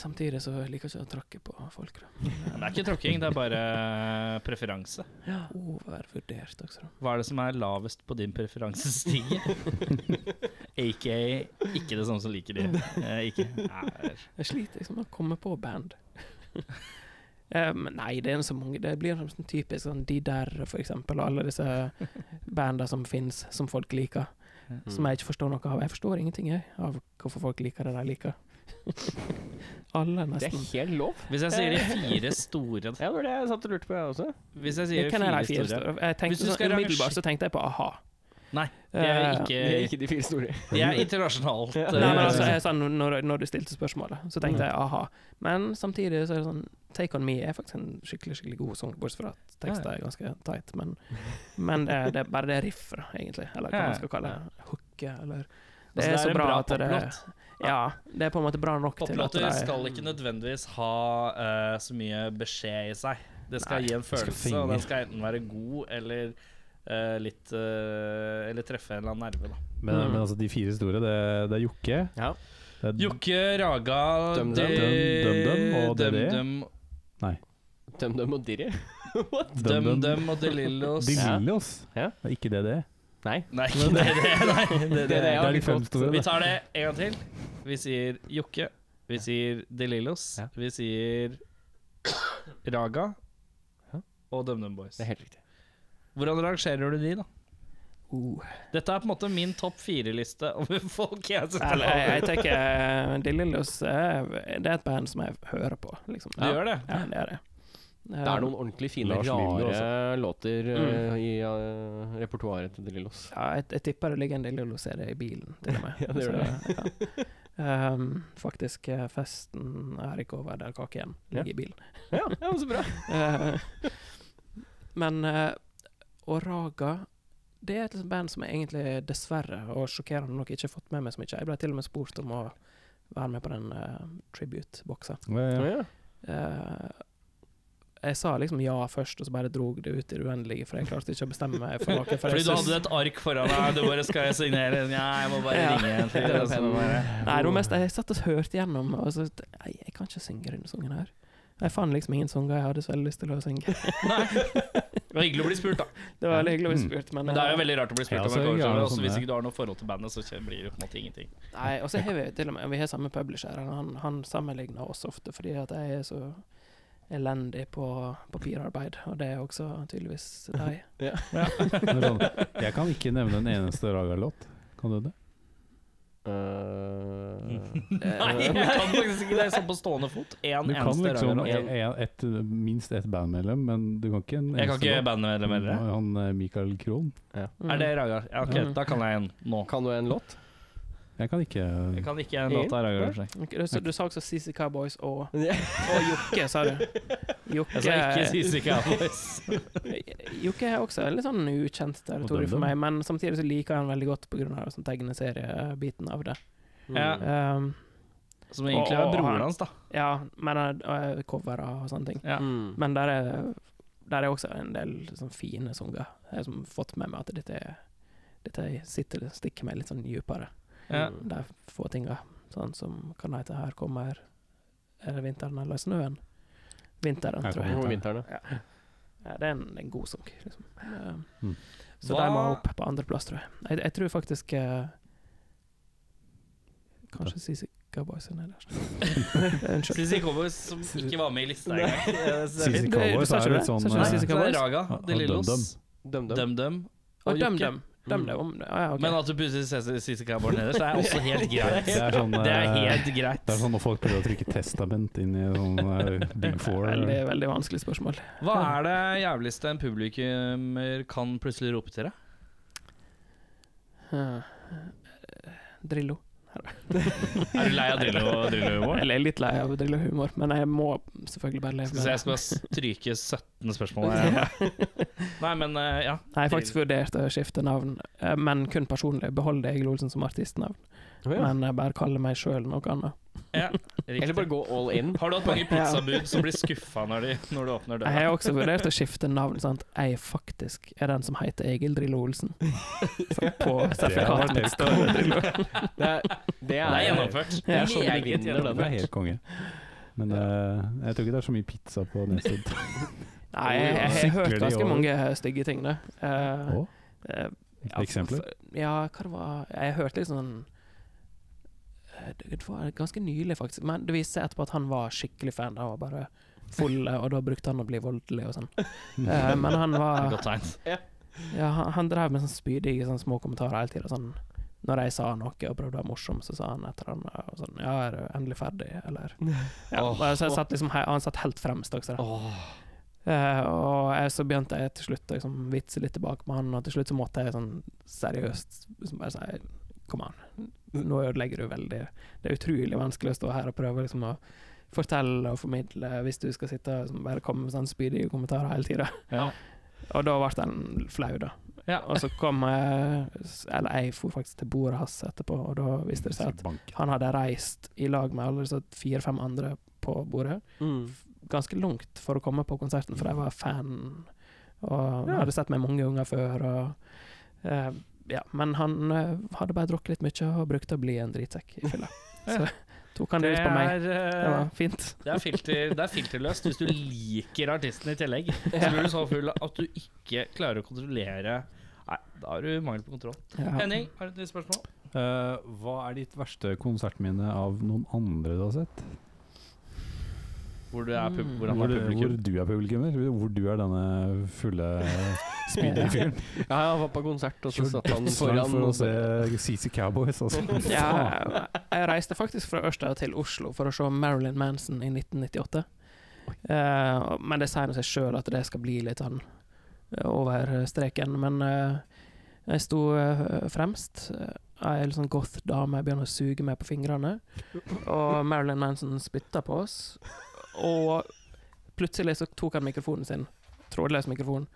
Samtidig så liker jeg ikke å tråkke på folk. da.
Men Det er ikke tråkking, det er bare eh, preferanse.
Overvurdert, altså. også. da.
Hva er det som er lavest på din preferansestige?
<laughs>
Aka ikke det samme som liker de. Eh, ikke. Nei,
Jeg sliter liksom med å komme på band. <laughs> Eh, men nei, det er så mange Det blir sånn typisk sånn De Der, for eksempel, og alle disse banda som fins, som folk liker. Som jeg ikke forstår noe av. Jeg forstår ingenting jeg, av hvorfor folk liker det de liker. <laughs> Alle,
Det er
nesten.
helt lov.
Hvis jeg sier de fire store
Ja, det var det jeg satt og lurte på, jeg også.
Hvis jeg sier
Jeg,
de
kan jeg,
fire
de fire
store
store? jeg
Hvis
tenkte
du
sånn,
skal range-
Umiddelbart så tenkte jeg på a-ha.
Nei, de er
Det er
ikke
ikke de fire store.
De er internasjonalt.
Ja.
eh,
Eh, Nei, men altså, jeg, sa når, når du stilte spørsmålet, så tenkte
Mm.
jeg a-ha. Men samtidig så er det sånn Take On Me er faktisk en skikkelig skikkelig god sang, bortsett fra at teksten er ganske tight. Men, men det, det er bare det riffet, da, egentlig. Eller hva
Ja.
man skal kalle det. Hooket, eller
Altså,
Det er så
en
bra at det
poplåt.
Ja, det er på en måte bra nok til at
Poplåter
de
skal ikke nødvendigvis ha eh, så mye beskjed i seg. Det skal
Nei,
gi en
skal
følelse, og den
fenge.
skal enten være god eller eh, litt eh, Eller treffe en eller annen nerve, da.
Men,
Mm.
men altså, de fire store, det, det er Jokke.
Ja.
Det er
Jokke, Raga,
Dum Dum.
de-
Dum Dum og DD.
Dum
DumDum og Dirry.
Dum, Dum Dum og De Lillos.
De Lillos.
Ja.
Det er ikke det det er.
Nei.
Nei, <laughs> det, det, nei det,
Det er det,
Det
ja.
er
vi
de fem
fått-
store.
Vi
da.
tar det en gang til. Vi sier Jokke. Vi sier De Lillos.
Ja.
Vi sier Raga
Ja.
og DumDum Boys.
Det er helt riktig.
Hvordan rangerer du de, da?
Uh,
Dette er på en måte min topp fire-liste over <laughs> folk jeg synes er
eller, jeg,
over.
jeg tenker De Lillos eh, Det er et band som jeg hører på, liksom.
Du gjør det?
Ja, det er det.
Det er noen ordentlig fine,
Lars
rare
Lillo,
låter eh, i eh, repertoaret til De Lillos.
Ja, jeg, jeg tipper det ligger en del LOC-er i bilen, til og med.
<laughs> Ja, det gjør
Så, ja. Um, faktisk, eh, festen er ikke over der kaken ligger i bilen.
Ja, ja, så bra.
Eh, men eh, Og Raga det er et liksom band som jeg egentlig dessverre og sjokkerende nok ikke har fått med meg så mye. Jeg ble til og med spurt om å være med på den eh, tribute-boksa.
Ja, ja.
Ja.
Eh, jeg sa liksom ja først, og så bare drog det ut i det uendelige, for jeg klarte ikke å bestemme meg for noe. For
Fordi
jeg
du
synes-
hadde et ark foran deg, du bare skal jeg signere Ja, jeg må bare
Ja.
ringe en fyr. og så bare-
Nei, det var mest jeg satt og hørte gjennom, og så t- Nei, jeg kan ikke synge denne sangen her. Jeg fant liksom ingen sanger jeg hadde så veldig lyst til å synge.
Det var hyggelig å bli spurt, da.
<laughs> Det var veldig hyggelig å bli spurt, men,
Mm. Men det er jo
eh,
veldig rart å bli spurt
Ja,
om
så
en
gjør det
cover. Også
sånn
hvis
det.
ikke du har noe forhold til bandet, så kjen- blir det jo på en måte ingenting.
Nei, og så har vi til og med Vi har samme publisher, og han, han sammenligner oss ofte fordi at jeg er så elendig på papirarbeid, og det er også tydeligvis deg.
<laughs> Det er Sånn, jeg kan ikke nevne en eneste Raga-låt. Kan du det?
Eh,
Nei, jeg kan faktisk ikke det sånn på stående fot. En
Du kan
eneste
liksom
rare-
en, en, et, minst ett bandmedlem, men du kan ikke en
Jeg kan
eneste
ikke
låt.
bandmedlem heller.
Han eh, Michael Krohn.
<laughs> Er det Raga? Ja, ok,
Mm.
da kan jeg en nå.
kan du en låt?
Jeg kan ikke
Jeg kan ikke en låt av Raga. Sleng.
Mm. Ok, du, så, du sa også CC Cowboys
<laughs>
og,
Ja.
og Jokke, sa du. Jokke,
Jeg sa Altså, ikke CC Cowboys.
Jokke er også en litt sånn ukjent territorium for meg, men samtidig så liker jeg han veldig godt pga. sånn tegneseriebiten av det.
Ja.
Mm.
Um,
<laughs> Som egentlig er
Åh, han-
broren hans, da.
ja, men han- og coverer og sånne ting.
Ja.
Mm.
Men der er, der er også en del sånn fine sanger. Jeg har liksom fått med meg at dette, er- dette sitter, stikker meg litt sånn dypere.
Mm.
Ja.
De få tinga. Sånn som kan hete 'Her kommer Er det vinteren eller snøen'? Vinteren,
Her
tror jeg.
Om vinteren, ja.
Ja, det er en, en god sang. Liksom. Eh,
Mm.
Så
Hva-
de må opp på andreplass, tror jeg. jeg. Jeg tror faktisk eh, Kanskje CC Cowboys er nederst.
<laughs>
Unnskyld.
CC Cowboys som ikke var med i lista engang.
CC
Du- du
Cowboys
sa ikke
er
det?
et sånn
Sa ikke
Nei,
du
eh,
så
CC
det er Raga,
Og
De
DumDum.
Lillos,
DumDum.
DumDum
Og
Jokke.
DumDum.
Mm.
DumDum. Ja, ja, ok.
Men at du putter CC Cowboys nederst, det er <laughs> også helt greit.
Det er sånn
Det er
eh,
helt greit.
det er sånn når folk prøver å trykke testament inn i sånn eh, Big Four.
Veldig, veldig vanskelig spørsmål.
Hva er det jævligste en publikummer kan plutselig rope til deg?
Eh, Drillo.
Er du lei av Drillo Drillo-humor?
Eller jeg er litt lei av Drillo-humor, men jeg må selvfølgelig bare leve
Så
med
jeg skal
det.
bare stryke 17 spørsmål her. Nei, men eh, ja.
Jeg har faktisk vurdert å skifte navn, eh, men kun personlig. Beholde Egil Olsen som artistnavn,
Å, ja.
men jeg bare kalle meg sjøl noe annet.
ja
Eller bare gå all in.
Har du hatt mange pizzabud som blir skuffa når, de, når du åpner
Jeg har
døra?
også vurdert å skifte navn, sånn at jeg faktisk er den som heter Egil Drillo Olsen. Sånn på sertifikatet mitt står Drillo.
Det er, det
<laughs> Det
er,
er gjennomført.
Det er
sånn
Meget
du
Det
vinner den.
er helt konge. Men eh, jeg tror ikke det er så mye pizza på
<laughs>
Nesod.
Nei, jeg, jeg har
Sykler
hørt
de
ganske
over?
mange stygge ting, da. Eh,
Å?
eh, ja,
Eksempler?
f- Ja, hva det var Jeg hørte litt sånn eh, Det var ganske nylig, faktisk. Men det viste seg etterpå at han var skikkelig fan. Han var bare full, eh, og da brukte han å bli voldelig og sånn.
Mm.
Eh, men han var
Godt tegn.
ja, han, han drev med sånn spydige sånn små kommentarer hele tida. Sånn, når jeg sa noe og prøvde å være morsom, så sa han et eller annet og sånn Ja, er du endelig ferdig, eller ja,
Åh.
så jeg satt liksom, he- Han satt helt fremst også. da.
Åh.
Eh, og jeg, så begynte jeg til slutt å liksom, vitse litt tilbake med han, og til slutt så måtte jeg sånn seriøst liksom, bare si Kom an, nå ødelegger du veldig Det er utrolig vanskelig å stå her og prøve liksom, å fortelle og formidle hvis du skal sitte og liksom, bare komme med sånne spydige kommentarer hele tida.
Ja.
Og da ble han flau, da.
Ja.
Og så kom jeg Eller jeg for faktisk til bordet hans etterpå, og da viste det
<laughs>
seg at
Bank.
han hadde reist i lag med alle disse fire-fem andre på bordet
Mm.
ganske langt for å komme på konserten, for jeg var fan og
Ja.
hadde sett meg mange ganger før. Og, eh, ja. Men han eh, hadde bare drukket litt mye og brukte å bli en drittsekk i fylla. Så tok han det ut på meg. Det
eh,
var fint.
det, er filter, det er filterløst hvis du liker artisten i tillegg. Så blir du så full at du ikke klarer å kontrollere Nei, da har du mangel på kontroll.
Ja.
Henning, har du et nytt spørsmål?
Eh, hva er ditt verste konsertminne av noen andre du har sett?
Hvor du er, pub
Mm.
hvor han
Hvor,
er
du- hvor
publikum.
du er publikummer? Hvor du er denne fulle,
<laughs>
spydige fyren?
Ja, han var på konsert, og så
Kjør
satt han
dødslangt
foran.
for å
og så-
se CC Cowboys, altså.
Ja, jeg- jeg reiste faktisk fra Ørsta til Oslo for å se Marilyn Manson i 1998. Eh, og- men det sier nå seg sjøl at det skal bli litt sånn eh, over streken. Men eh, jeg sto eh, fremst. Eh, Ei litt sånn goth dame begynner å suge meg på fingrene. Og Marilyn Manson spytta på oss. Og plutselig så tok han mikrofonen sin, trådløs mikrofon,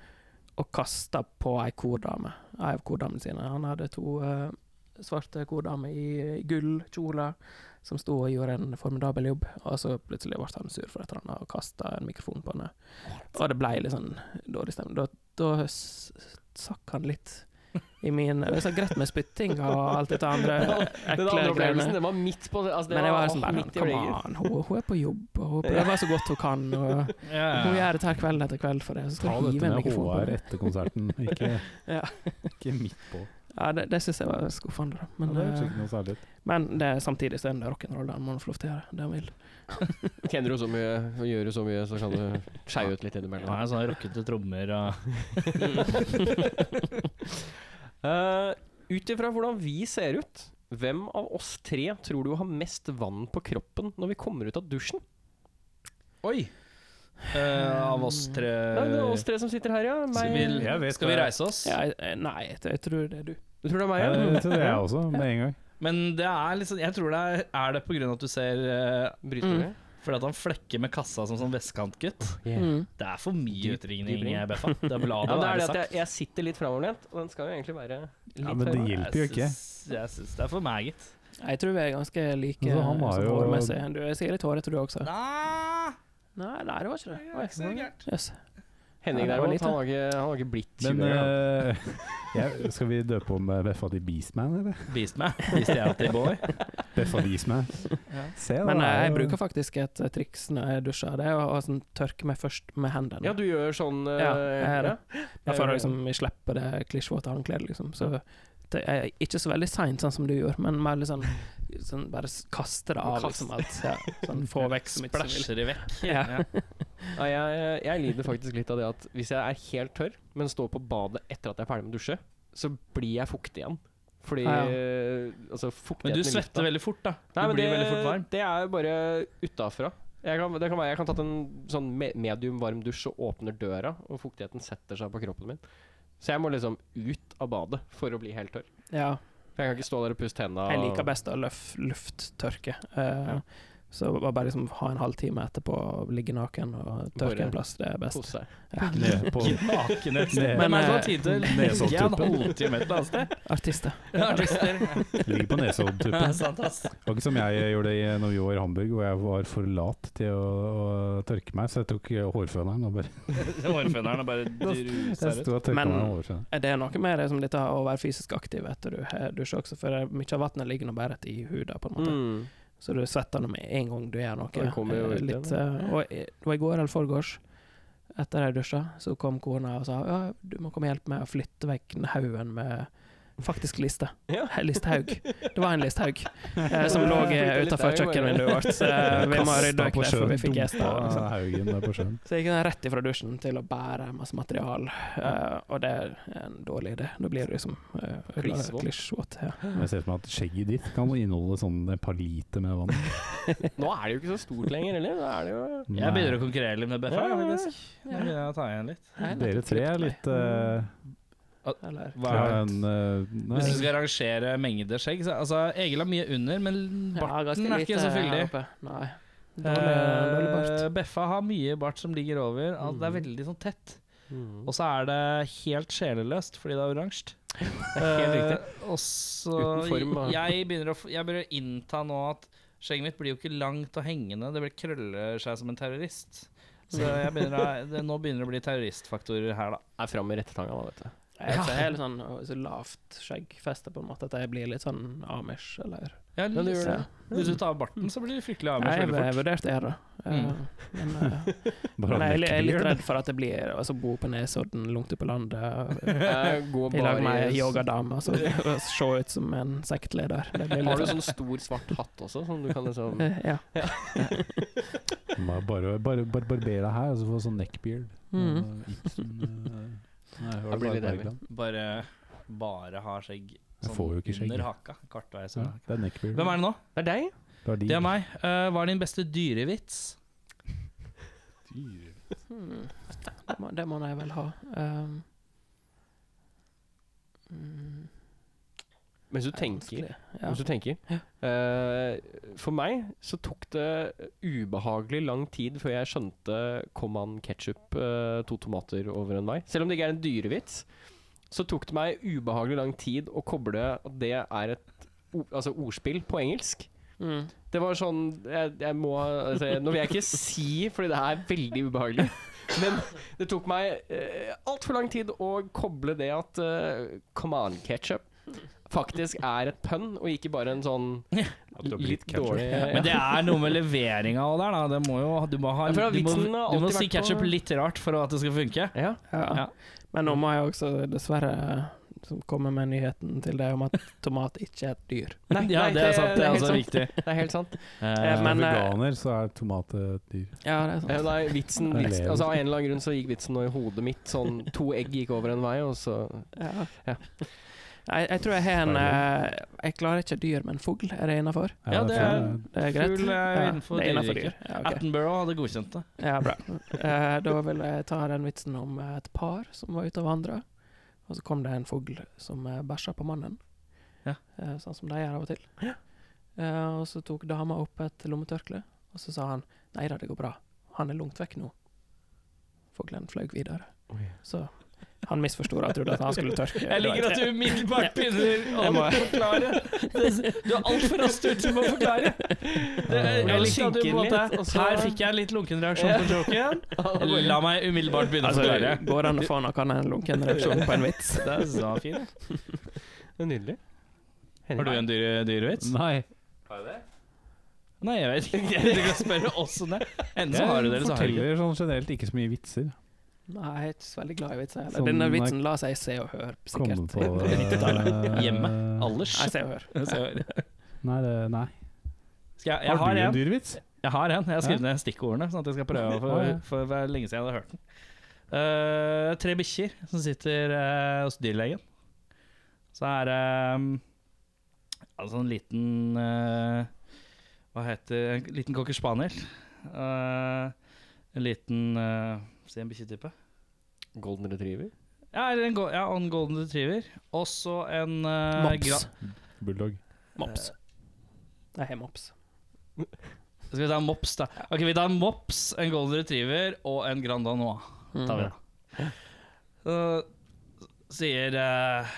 og kasta på ei kordame. Ei av kordamene sine. Han hadde to eh, svarte kordame i gullkjole som sto og gjorde en formidabel jobb, og så plutselig ble han sur for et eller annet og kasta en mikrofon på henne. Og det ble litt sånn dårlig stemning. Da, da s- sakk han litt i min Det er så greit med spytting og alt dette andre
<laughs> Den
ekle
andre opplevelsen,
greiene.
den var midt på altså, det
Men jeg var
åh,
liksom bare
midt i
Kom
øyeblikket.
an, hun, hun er på jobb, og hun prøver så godt hun kan.
<laughs>
Og
Ja,
hun
ja.
gjør dette her kveld etter kveld for det, og så
Ta
skal hun
dette
hive en
med
mikrofon på
HR
henne.
etter konserten, ikke,
Ja.
ikke midt på.
Ja, det, det syns jeg var skuffende, da.
Ja,
Men,
det hørtes
eh,
ikke noe særlig ut.
men det, samtidig så er det rock'n'roll, da. Man må få lov til å gjøre det man vil.
Kjenner du så mye, og gjør du så mye, så kan du skeie ut litt
Det
innimellom.
er sånne rockete trommer og
Mm. <laughs> Eh, Ut ifra hvordan vi ser ut, Hvem av oss tre tror du har mest vann på kroppen når vi kommer ut av dusjen?
Oi! Eh, av oss tre
Nei, det er oss tre som sitter her, ja.
Skal vi,
Meg.
Jeg vet
skal vi
hva-
reise oss?
Ja, jeg- jeg- nei, jeg, jeg tror det er du.
Du tror det er meg,
Ja,
ja?
det tror jeg også, med en gang.
Men det er liksom Jeg tror det er, er det på grunn av at du ser eh,
Bryter du?
Fordi at han flekker med kassa som sånn vestkantgutt.
Mm.
Det er for mye
Dyp-
utringning,
dypring.
Beffa. Det er bra
Ja, det er det
være
at
sagt.
jeg, jeg sitter litt framoverlent, og den skal jo egentlig være litt
Ja, men det
høyere.
hjelper jo ikke.
Jeg syns- Jeg syns det er for meget.
Jeg tror vi er ganske like
Altså, han var
sånn
jo-
hårmessig. Du er sikkert litt hårete, du også.
Nei,
Nei, nei, det var ikke det. Oi. Jøss.
Henning
Ja, det var
derimot,
lite.
han har ikke, han har ikke blitt
Men
tjuere, han.
eh, <laughs> jeg, skal vi døpe om eh, Beffa til Beastman, eller?
Beast meg. Beast jeg alltid boy. <laughs>
Beffa Beastman. Se, da,
Men
det
eh,
er
jeg
jo-
bruker faktisk et eh, triks når jeg dusjer. Det er å å sånn, tørke meg først med hendene.
Ja, du gjør sånn eh,
Ja, jeg er det.
Jeg
Jeg føler
gjør
liksom jeg slipper det klisjvåte håndkledet, liksom. Så det er ikke så veldig seint, sånn som du gjør, men mer litt sånn, sånn bare s- kaste det av,
Kaste.
liksom alt. <laughs> Ja, sånn få vekk så mye som mulig.
Splæsjer det vekk.
Ja.
Nei, jeg, jeg lider faktisk litt av det at hvis jeg er helt tørr, men står på badet etter at jeg er ferdig med å dusje, så blir jeg fuktig igjen. Fordi
Ja, ja.
eh, altså,
Men du
fuktigheten i lufta-
svetter veldig fort, da. Du
Nei, men
blir
det,
veldig fort varm.
Det er bare utafra. Jeg kan, det kan være jeg kan tatt en sånn me medium varm dusj og åpner døra, og fuktigheten setter seg på kroppen min. Så jeg må liksom ut av badet for å bli helt tørr.
Ja.
For jeg kan ikke stå der og puste hendene.
Jeg liker best å løf, lufttørke. Eh,
Ja.
Så bare bare liksom ha en halvtime etterpå, ligge naken og tørke
Bare
en plass. Det er
og
best.
kose seg.
Ja.
Ned på
Ikke nakenhet.
Ned-
Hvem er det som har
eh,
tid til å
nesopptuppen.
ligge en halvtime et eller annet
<laughs>
sted?
Artister.
Ja, artister.
Ligger på
Ja,
Nesoddtuppen.
sant, ass.
Det var ikke som jeg gjorde i, eh, når vi var i Hamburg, hvor jeg var for lat til å, å tørke meg, så jeg tok eh, hårføneren og bare
Hårføneren er bare
<laughs> Jeg
druser ut.
sto og tørka
Men-
meg med hårføneren.
Det er noe med det som dette å være fysisk aktiv etter du har dusja også, for det er mye av vannet ligger nå bare i huden, på en måte.
Mm.
Så du svetter nå med en gang du gjør noe.
Det kommer jo
Eh,
ut
litt,
igjen,
eh, og i- det var i går eller forgårs, etter jeg dusja, så kom kona og sa ja, du må komme og hjelpe meg å flytte vekk den haugen med faktisk liste.
Ja.
He- Listehaug. Det var en listhaug eh, som
Ja,
lå
flytte litt
utafor
haug, bare.
kjøkkenvinduet vårt. Så eh, vi må rydde
Kasta
vekk
på
det, for vi
sjøen,
fikk gjester.
dumpa
Liksom.
Haugen der på sjøen.
Så jeg gikk rett ifra dusjen til å bære masse material, eh, og det er en dårlig idé. Da blir du liksom eh,
Klissvåt.
klissvåt. Ja.
<laughs> Jeg ser for meg at skjegget ditt kan inneholde sånn et par liter med vann.
Nå er det jo ikke så stort lenger heller. Da er det jo
Jeg
eh,
begynner å konkurrere litt med Beffa,
Ja, ja, ja.
faktisk. Nå begynner jeg å ta igjen litt.
Nei,
Dere
nettopp
tre er
klippet meg.
litt eh,
Eller-
Hva er
har
det?
en, eh, nei,
Hvis du skal rangere mengder skjegg så, Altså, Egil har mye under, men barten er ikke så fyldig.
Nei.
Eh, Beffa har mye bart som ligger over. Alt det er
Mhm.
veldig sånn tett.
Mm.
Og så er det helt sjeleløst fordi det er oransje.
<laughs> Helt riktig.
Eh, og så
Uten form, da.
jeg begynner, å, f- jeg begynner å innta nå at skjegget mitt blir jo ikke langt og hengende. Det blir krøller seg som en terrorist. Så
Mm.
jeg begynner å, det, nå begynner det å bli terroristfaktorer her, da.
Er fram med rettetanga, da, vet du.
Jeg
Ja.
er helt sånn øh, så lavt skjeggfeste, på en måte, at jeg blir litt sånn Amish, eller
Ja,
Ja, det gjør
så-
det.
Hvis du tar barten, så blir du fryktelig avmørkt
Nei, jeg,
veldig
jeg
fort.
vurderte jeg, da. Eh,
Mm.
Men, eh,
bare
men jeg, jeg er litt
neckbeard.
redd for at jeg blir altså, bo på Nesodden, langt ute
<laughs>
på landet, øh,
Jeg går
i lag
Eh, bare
med
i-
yogadame, altså, <laughs> og se ut som en sektleder. Det
<laughs>
blir
Har du
litt <laughs>
sånn stor, svart hatt også, som du kan liksom
Eh, Ja.
Bare, bare, bare, bare barber deg her, og så får du sånn neckbeard.
Mm.
Og Ibsen, eh, Nei,
Da
var det
blir
bare
det det,
Bergland?
Bare, eh, bare har skjegg sånn
Jeg får jo ikke skjegg.
under haka. Kartveis.
Ja, det er neckbeard.
Hvem er det nå?
Det er deg?
Det var de.
Det er meg. Eh, hva er din beste dyrevits?
Hmm. Det, må, det må jeg vel ha. Um, mm,
Mens du
det er
tenker.
vanskelig.
Mens du tenker. Eh, for meg så tok det ubehagelig lang tid før jeg skjønte kom han ketsjup, to tomater over en vei. Selv om det ikke er en dyrevits, så tok det meg ubehagelig lang tid å koble at det er et o- altså ordspill på engelsk.
Ja. Mm.
Det var sånn Jeg, jeg må altså, jeg- Nå vil jeg ikke si, fordi det er veldig ubehagelig. <laughs> Men det tok meg eh, altfor lang tid å koble det at eh, come on, ketchup faktisk er et pønn, og ikke bare en
<laughs>
sånn litt dårlig
Men det er noe med leveringa òg der, da. Det må jo, du må, ha,
Ja, for da,
du må,
vitsen har
du må si
alltid vært på-
ketsjup litt rart for at det skal funke.
Ja.
Ja.
Ja.
Men nå må jeg også dessverre som komme med nyheten til deg om at <laughs> tomat ikke er et dyr.
Nei,
<laughs> ja,
nei,
det er sant. Det er
helt
også
sant.
viktig.
<laughs> Det er helt sant.
Eh,
Er
men,
du
eh,
veganer, så er tomat et dyr.
Ja, det er
Eh, Nei,
Jeg
vitsen, vitsen
lever.
altså, Av en eller annen grunn så gikk vitsen nå i hodet mitt. Sånn to egg gikk over en vei, og så
Ja.
Ja.
Jeg, jeg tror jeg har en eh, Jeg klarer ikke dyr, men fugl er det innafor?
Ja, det er-
Det er greit?
Fugl er
Ja,
eh, innenfor
det er innenfor
dyreriket.
dyr. Ja, ok.
<laughs> Attenborough hadde godkjent det.
Ja, bra. Eh, da vil jeg ta den vitsen om eh, et par som var ute og vandra, og så kom det en fugl som eh, bæsja på mannen.
Ja.
Eh, sånn som de gjør av og til. Eh, og så tok dama opp et lommetørkle, og så sa han nei da, det går bra, han er langt vekk nå. Fuglen fløy videre.
Oi.
Så han misforsto og trodde at han skulle tørke.
Jeg liker at du umiddelbart begynner
Jeg
å
må-
<laughs> forklare. Det- Du er altfor raskt ute med å forklare. Det, jeg
<laughs>
likte at du på en måte Her fikk jeg en litt lunken reaksjon på <laughs> joken. La meg umiddelbart begynne å
Altså,
forklare.
går det an å få noen en lunken reaksjon på en vits?
Det er så fint.
<laughs> Det er nydelig.
Har du en dyre, dyrevits?
Nei.
Nei, jeg vet ikke. <laughs> Du kan spørre oss om det. Enten så har du det, eller så har du det ikke.
forteller sånn generelt ikke så mye vitser.
Nei, jeg er ikke så veldig glad i vitser. heller.
Sånn,
Denne
nei.
vitsen la seg se og høre,
Kommer
<laughs> sikkert.
på det.
Hjemme. Alders.
Nei, se og hør.
Skal
Nei, det, nei.
jeg, jeg har en.
dyrevits?
Jeg har en. Jeg har skrevet ned stikkordene, sånn at jeg skal prøve å få
Å, ja.
for det er lenge siden jeg hadde hørt den. Eh, tre bikkjer som sitter eh, hos dyrlegen. Så er det eh, altså en liten eh, Hva heter En liten cocker spaniel. Eh, en liten eh, Si en bikkjetype.
Golden retriever?
Ja, eller en, go- ja, og en golden retriever. Og så en eh, gra- eh,
Mops.
Bulldog.
Mops. Jeg har mops.
Skal vi ta en mops, da? Ok, Vi tar en mops, en golden retriever og en Grand Danois.
Mm.
Mm.
Tar vi, da. Så sier eh,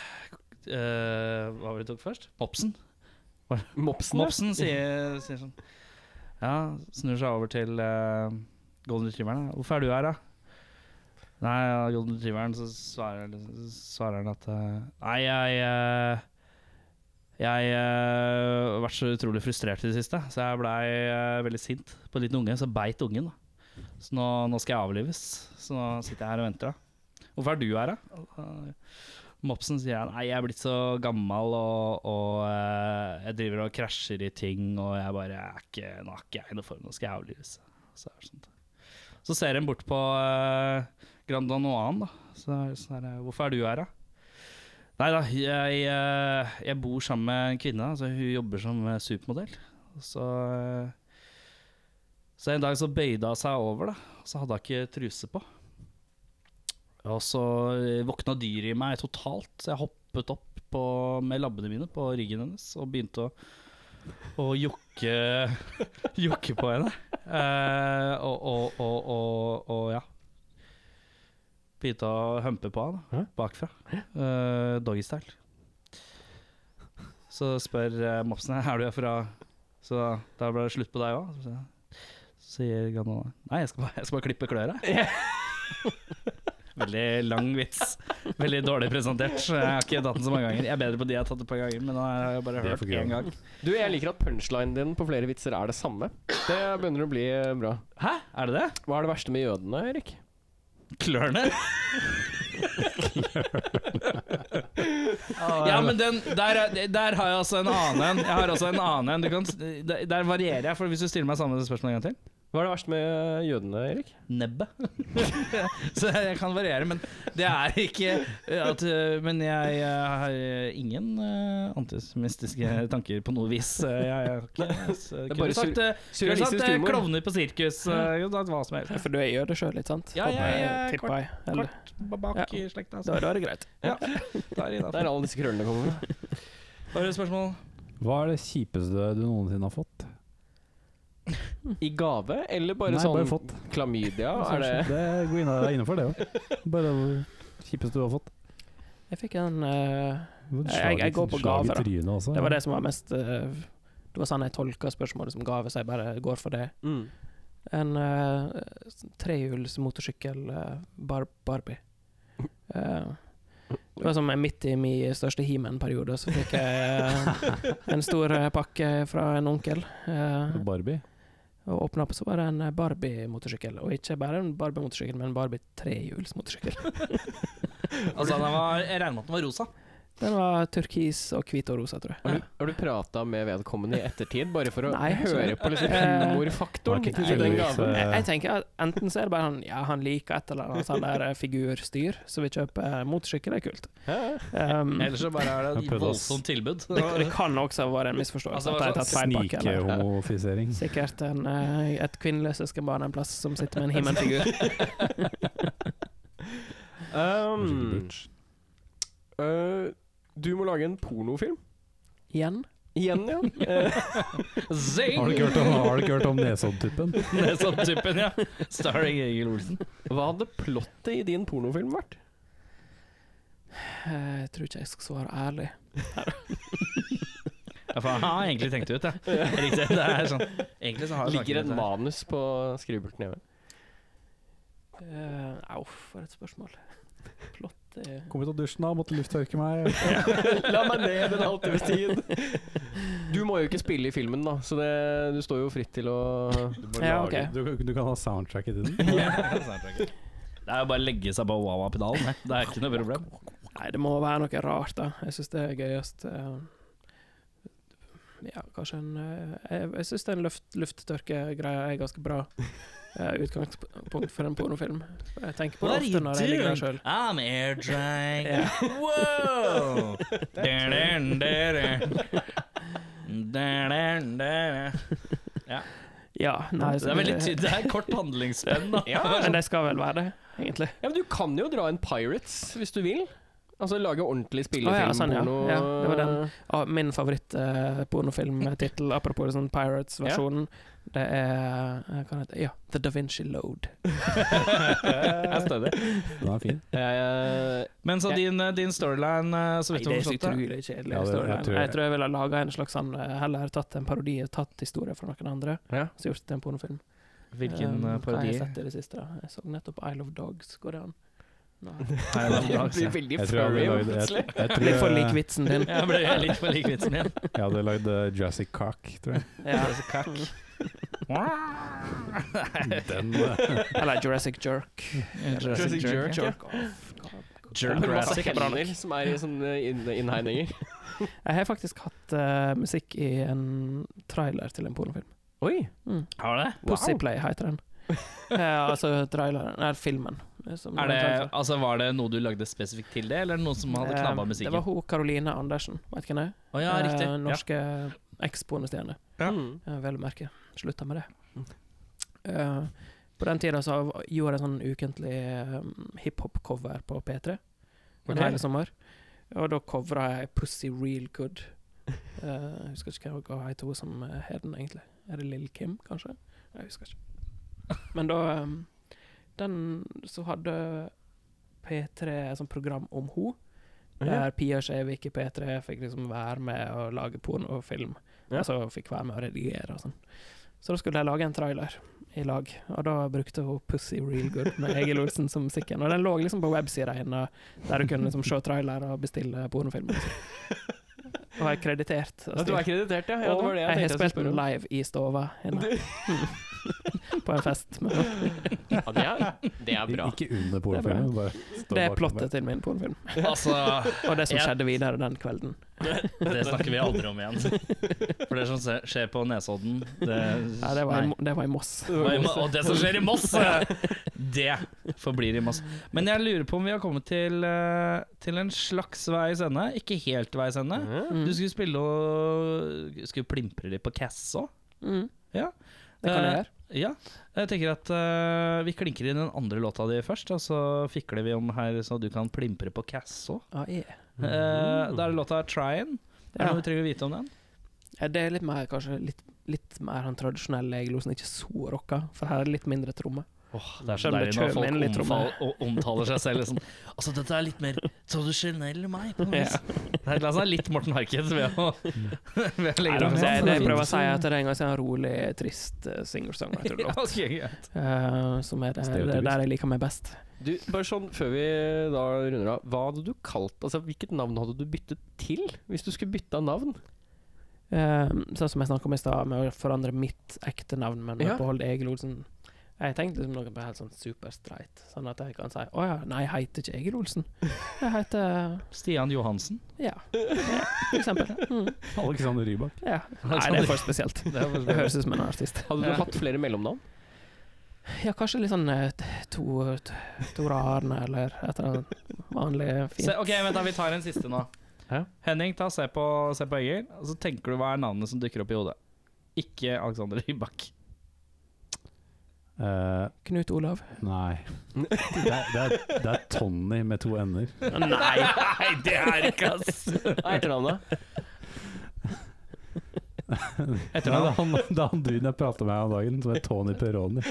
eh, Hva var det du tok først? Mopsen?
Mopsen? ja.
Mopsen sier, sier sånn Ja, snur seg over til eh, golden retrieveren. da. 'Hvorfor er du her, da?' Nei, ja, golden retrieveren så svarer, så svarer han at eh, Nei, jeg eh, Jeg eh, har vært så utrolig frustrert i det siste, så jeg blei eh, veldig sint på en liten unge. Så beit ungen, da. Så nå, nå skal jeg avlives. Så nå sitter jeg her og venter, da. 'Hvorfor er du her, da?' Mopsen sier jeg, Nei, jeg er blitt så gammel og, og eh, jeg driver og krasjer i ting, og jeg bare er ikke, nå er ikke jeg i noen form, nå skal jeg avlives. Så, er det sånt. så ser en bort på eh, Grand Danoan, da. Så, er det sånn her, hvorfor er du her, da? Nei da, jeg, eh, jeg bor sammen med en kvinne, altså hun jobber som eh, supermodell. Så, eh, så en dag så bøyde hun seg over, da, og så hadde hun ikke truse på. Og så eh, våkna dyret i meg totalt, så jeg hoppet opp på, med labbene mine på ryggen hennes og begynte å, å jokke, <laughs> jokke på henne. Eh, og, og, og, og, og ja. Begynte å humpe på henne da, bakfra. Uh, Doggystyle. Så spør eh, mopsen er du er fra Så da ble det slutt på deg òg. Sier Ganona nei, jeg skal bare, jeg skal bare klippe kløra. <laughs> Veldig lang vits. Veldig dårlig presentert. Jeg har ikke tatt den så mange ganger. Jeg er bedre på de jeg har tatt et par ganger, men nå har jeg bare
Det er
hørt
for gøy.
én gang.
Du, jeg liker at punchlinen din på flere vitser er det samme. Det begynner å bli eh, bra.
Hæ, er det det?
Hva er det verste med jødene, Erik?
Klørne? ja, men den, der, er- der har jeg altså en annen en. Jeg har altså en annen en. Du kan, s- der der varierer jeg, for hvis du stiller meg samme spørsmål en gang til
Hva er det verste med jødene, Erik?
Nebbet. <laughs> Så jeg kan variere, men det er ikke at øh, Men jeg øh, har ingen øh, antisemittiske tanker på noe vis. Jeg, jeg, jeg, jeg, jeg
bare
kunne sagt, øh, kunne
surrealistisk
sagt øh,
humor.
klovner på sirkus. øh, Jeg kunne sagt hva som helst.
For du er jøde sjøl, ikke sant? Eh,
Ja, jeg er
Tipper jeg. Eller,
Kort bak
Ja.
i slekta.
da, da er det greit.
Det er alle disse krøllene kommer fra.
Har du et spørsmål?
Hva er det kjipeste du noensinne har fått?
I gave, eller bare
Nei,
sånn
bare fått.
klamydia? Er det
sånn.
det er god inna- det er innenfor, det òg. Bare det kjipeste du har fått.
Jeg fikk en eh, Jeg- jeg
Slag i-
går på
slag i
gaver, da.
trynet også.
Det var det som var mest eh, Det var sånn jeg tolka spørsmålet som gave, så jeg bare går for det.
mm.
En eh, trehjuls motorsykkel eh, bar Barbie. Eh, det var som midt i min største himen-periode, så fikk jeg eh, en stor eh, pakke fra en onkel. eh,
Barbie.
Og åpna opp, så var det en eh, Barbie-motorsykkel. Og ikke bare en Barbie-motorsykkel, men en Barbie trehjulsmotorsykkel.
Altså, den var, jeg regner med at den var rosa.
<laughs> Den var turkis og hvit og rosa, tror jeg.
Har du, har du prata med vedkommende i ettertid, bare for å
Nei, jeg har
høre
ikke
på liksom
Eh,
det
humorfaktoren?
var ikke
i den
tilfeldigvis,
gaven?
Jeg,
Eh.
jeg tenker at enten så er det bare han Ja, han liker et eller annet sånn der eh, figurstyr, så vi kjøper eh, motorsykkel, det er kult.
Hæ?
Um,
Ellers så bare er det
Jeg
et
prøvde å s-
voldsomt tilbud.
det, det kan også være en misforståelse.
Altså,
at jeg har tatt feil pakke. eller-
Snikehomofisering.
Sikkert en, eh, et kvinnelig søskenbarn en plass som sitter med
<laughs>
en himmelfigur.
Um, eh, du må lage en pornofilm.
Igjen.
Igjen, ja. <laughs> Eh,
Zing!
Har du ikke hørt om, har du ikke hørt om Nesodd-tuppen?
Nesodd-typen, ja. Starring Egil Olsen.
hva hadde plottet i din pornofilm vært?
Eh, Jeg tror ikke jeg skal svare ærlig.
Ja, faen, jeg har egentlig tenkt det ut, <laughs> ja. Riktig. Det er sånn. Egentlig så har jeg snakket <laughs>
Ligger et
litt her.
manus på skrivepulten hjemme?
Eh, Au, for et spørsmål. Plott eh, er
Kom ut av dusjen da, måtte lufttørke meg.
La meg ned en
<laughs>
halvtimes tid. Du må jo ikke spille i filmen, da, så det, du står jo fritt til å
Du, må
Ja,
lage-
ok.
du, du kan ha soundtracket til den.
Det er jo bare å legge seg på Wawa-pedalen. det. Det er ikke noe problem.
Nei, det må være noe rart, da. Jeg syns det er gøyest eh, Ja, kanskje en eh, Jeg, jeg syns den luft, lufttørkegreia er ganske bra eh, utgangspunkt for en pornofilm. Jeg tenker på det ofte når jeg ligger der sjøl.
I'm air drank.
Ja.
Wow! Der, der, der, der. Der, der, der.
Ja,
<laughs>
nei,
Det
så
er veldig tydelig. Det er kort handlingspenn, da.
ja,
Men det skal vel være det, egentlig.
ja, men du kan jo dra en Pirates, hvis du vil. Altså lage ordentlig spillefilm.
Å ja, sånn, ja.
porno.
Ja, det var den. Og Ah, min favoritt-pornofilmtittel, apropos sånn Pirates-versjonen, det er eh, Hva heter det? Ja, The Da Vinci Load.
<laughs> Jeg støtter.
Den er fin.
Eh,
Men så din, din storyline, eh, så
Nei,
vidt jeg
det er så
har forstått det
utrolig kjedelig.
Ja, det- jeg
storyline.
tror-
jeg, tror jeg ville laga en slags sånn eh, Heller tatt en parodi og tatt historie fra noen andre,
Ja.
så gjort det til en pornofilm.
Hvilken
Um,
eh,
Hva har jeg
parodi?
sett i det siste, da? Jeg så nettopp Isle of Dogs, går det an? Nei.
det blir veldig
Jeg tror jeg
furry,
hadde lagd- jeg-
plutselig.
jeg tror
Litt for
jeg-
lik vitsen
<laughs>
din.
Jeg ble litt for lik vitsen igjen.
Jeg hadde lagd eh, Jurassic Cock, tror jeg.
Ja.
Den, eh,
Eller Jurassic Jerk.
Jurassic Jerk, ja.
Jerk
Det er masse
Jurassic.
hender som er i sånne inn- innhegninger.
Jeg har faktisk hatt eh, musikk i en trailer til en pornofilm.
Oi,
Mm.
Har du det?
Pussyplay heter den. Ja, altså traileren Nei, filmen. eh, som
Er
den
det,
trailer-
altså, var det noe du lagde spesifikt til det, eller noen som hadde
Eh,
knabba
Det
musikken?
var hun Karoline Andersen, vet ikke hvem det er?
Å ja,
Eh,
riktig.
Norske eks-pornostjerne.
Ja.
Mm.
Eh, Vel å merke. Slutta med det. Eh, på den tida så av- gjorde jeg sånn ukentlig um, hiphop-cover på P3
Ok.
en hel sommer. Og da covra jeg Pussy Real Good. Eh, jeg husker ikke hva- hva het hun som eh, het den, egentlig. Er det Lill Kim, kanskje? Jeg husker ikke. Men da um, Den så hadde P3 et sånt program om henne. Der Pia Skjevik i P3 fikk liksom være med og lage pornofilm.
Ja.
Og så fikk være med å redigere og sånn. Så da skulle jeg lage en trailer i lag, og da brukte hun Pussy Real Good med Egil Olsen som musikken. Og den lå liksom på websida hennes, der du kunne liksom se trailer og bestille pornofilm. Og, sånn. og jeg er kreditert.
Ja, du er kreditert, ja. ja det
og
var det
jeg,
jeg,
har
tenkte jeg
spilt den live i stova inne. <laughs> på en
<laughs>
fest. Med.
Ja, det, er, det er bra.
ikke under pornofilmen. bare stå
Det er
bak meg.
plottet til min pornofilm.
Altså,
Og det som
Ja.
skjedde videre den kvelden.
det snakker vi aldri om igjen.
<laughs>
For det som se- skjer på Nesodden det,
Ja, det, var
nei.
i, Mo- det var i Moss.
Og i Mo- Og det som skjer i Moss, eh, det forblir i Moss. Men jeg lurer på om vi har kommet til, eh, til en slags veis ende. Ikke helt veis ende.
Mhm.
Du skulle spille og Skulle plimpre litt på Cass òg.
Mm.
Ja.
Det kan jeg gjøre.
Ja. Jeg tenker at eh, vi klinker inn den andre låta di først, og så fikler vi om her så du kan plimpre på Cass òg.
Ah, yeah.
Eh, Da er det låta 'Tryin'. Er det
Ja.
noe vi trenger å vite om den?
Ja, det er litt mer kanskje litt, litt mer han tradisjonelle Egil-Osen, ikke så rocka, for her er det litt mindre tromme.
det er
så deilig når folk omfal-
omtaler seg selv liksom Altså, dette er litt mer tradisjonell meg, på noe
Ja.
vis. Nei, La oss ha litt Morten Harket ved å, <laughs> ved å
Nei,
legge
det,
det
det,
fram.
det jeg prøver å si, er at det er en ganske sånn rolig, trist uh, <laughs> singer-songwriter-låt,
<laughs>
eh, som er det, det er der jeg liker meg best.
Du, bare sånn før vi da runder av, hva hadde du kalt Altså, hvilket navn hadde du byttet til, hvis du skulle bytta navn?
Eh, sånn som jeg snakka om i stad, med å forandre mitt ekte navn, men
Ja.
beholde Egil Olsen. Jeg tenkte liksom noe på helt sånn superstreit, sånn at jeg kan si å ja, nei, jeg heter ikke Egil Olsen. Jeg heter
Stian Johansen.
ja, ja for eksempel. Mm,
Alexander Rybak.
ja. Nei, det er for spesielt. Det høres ut som en artist.
Hadde du
Ja.
hatt flere <laughs> mellomnavn?
Ja, kanskje litt sånn eh, t- Tor t- Tor Arne, eller et eller annet vanlig fint.
Se, ok, vent da, vi tar en siste nå.
Hæ?
Henning, ta, se på, se på Egil, og så tenker du hva er navnet som dukker opp i hodet. Ikke Alexander Rybak.
Eh,
Knut Olav.
nei. Det er, det, er, det er Tony med to n-er.
Nei!
Nei, det er ikke ass!
Hva er etternavnet?
Nei, Det er han, det er han duden jeg prata med her om dagen, som er Tony Peroni.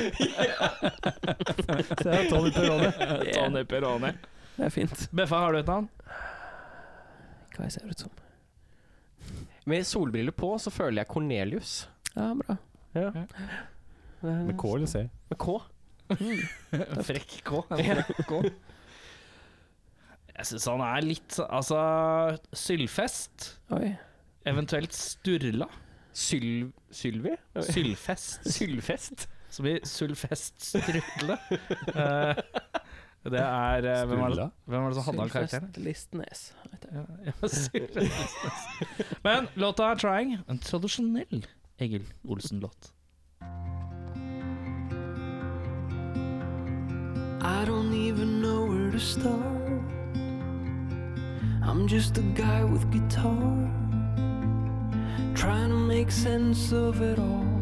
Så det er Tony Peroni.
Tony Peroni.
Det er fint.
Beffa, har du et navn?
Hva jeg ser ut som.
Med solbriller på så føler jeg Cornelius.
Ja, bra.
Med K eller C?
Med K.
Frekk <laughs> K. en Frekk K. Jeg syns han er litt Altså, Sylfest.
Oi.
Eventuelt Sturla.
Syl Sylvi?
Sylfest.
Sylfest?
Så blir Sylfest Strutle. Eh, det er eh, hvem, er det,
Sturla?
hvem er det som hadde han karakteren?
Sylfest Listnes. heter jeg.
Ja, ja, Sylfest. Men låta er 'Trying'. En tradisjonell Egil Olsen-låt.
I don't even know where to start. I'm just a guy with guitar, trying to make sense of it all.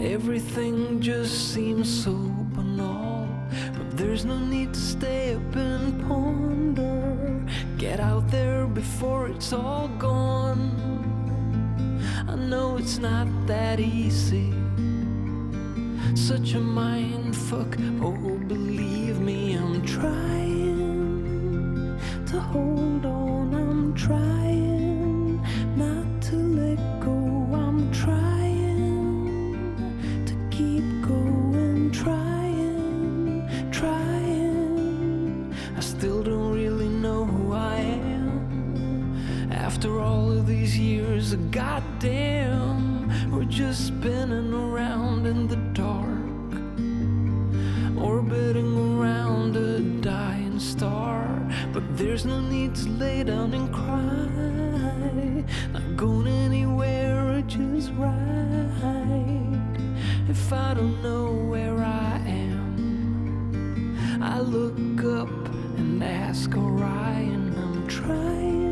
Everything just seems so banal, but there's no need to stay up and ponder. Get out there before it's all gone. I know it's not that easy such a mind fuck. Oh, believe me, I'm trying to hold on. I'm trying not to let go. I'm trying to keep going. Trying, trying. I still don't really know who I am. After all of these years, goddamn, we're just spinning around in the dark, orbiting around a dying star. But there's no need to lay down and cry. Not going anywhere, or just right. If I don't know where I am. I look up and ask Orion. I'm trying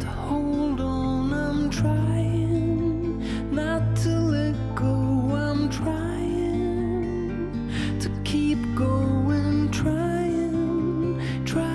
to hold on. I'm trying not to let go. I'm trying to keep going. Trying, trying.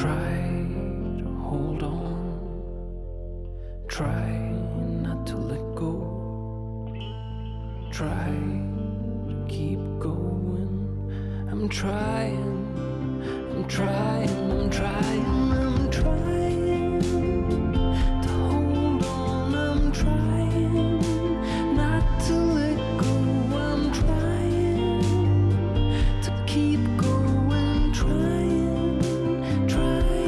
Try to hold on. Try not to let go. Try to keep going. I'm trying. I'm trying. I'm trying. I'm trying to hold on. I'm trying not to let go. I'm trying to keep going. Trying. Trying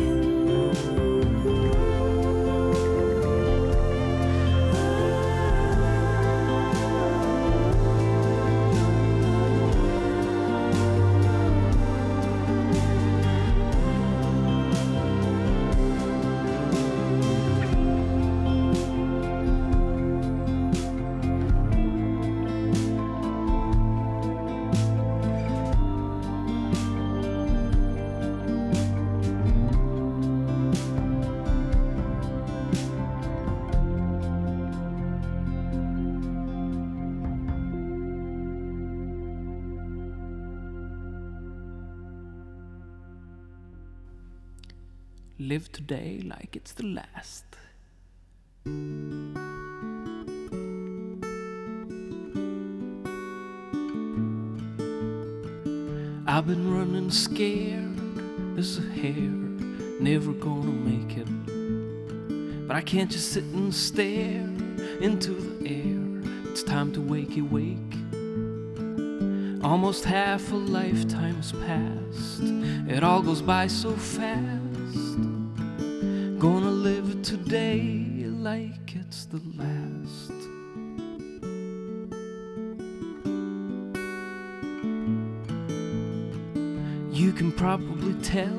Live today like it's the last.
I've been running scared as a hare, never gonna make it. But I can't just sit and stare into the air. It's time to wakey wake. Almost half a lifetime's passed. It all goes by so fast. Gonna live today like it's the last. You can probably tell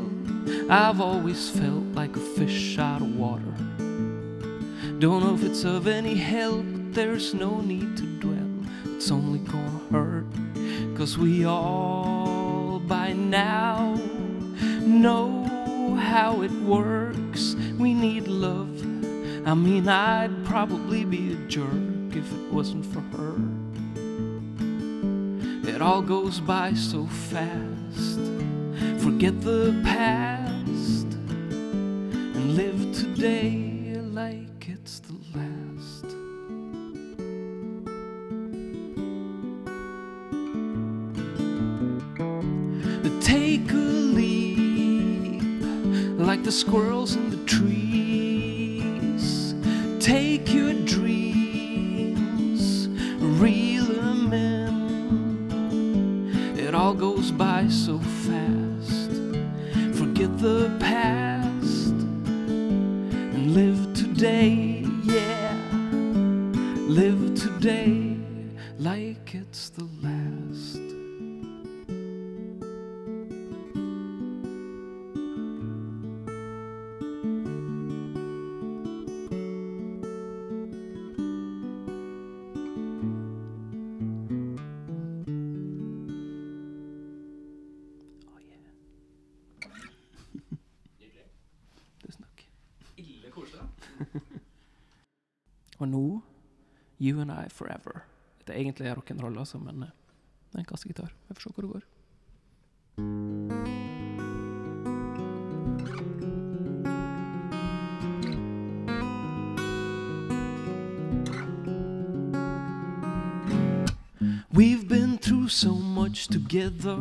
I've always felt like a fish out of water. Don't know if it's of any help, but there's no need to dwell. It's only gonna hurt, cause we all by now know how it works. We need love. I mean, I'd probably be a jerk if it wasn't for her. It all goes by so fast. Forget the past and live today like it's the last. Take a leap like the squirrels in the trees. Take your dreams, reel them in. It all goes by so fast. Forget the past and live today, yeah. Live today like it's the last. Tusen takk. Og nå You and I Forever. Det er egentlig rock'n'roll, altså, men eh, det er en kassegitar. Vi får se hvor det går. We've been through so much together.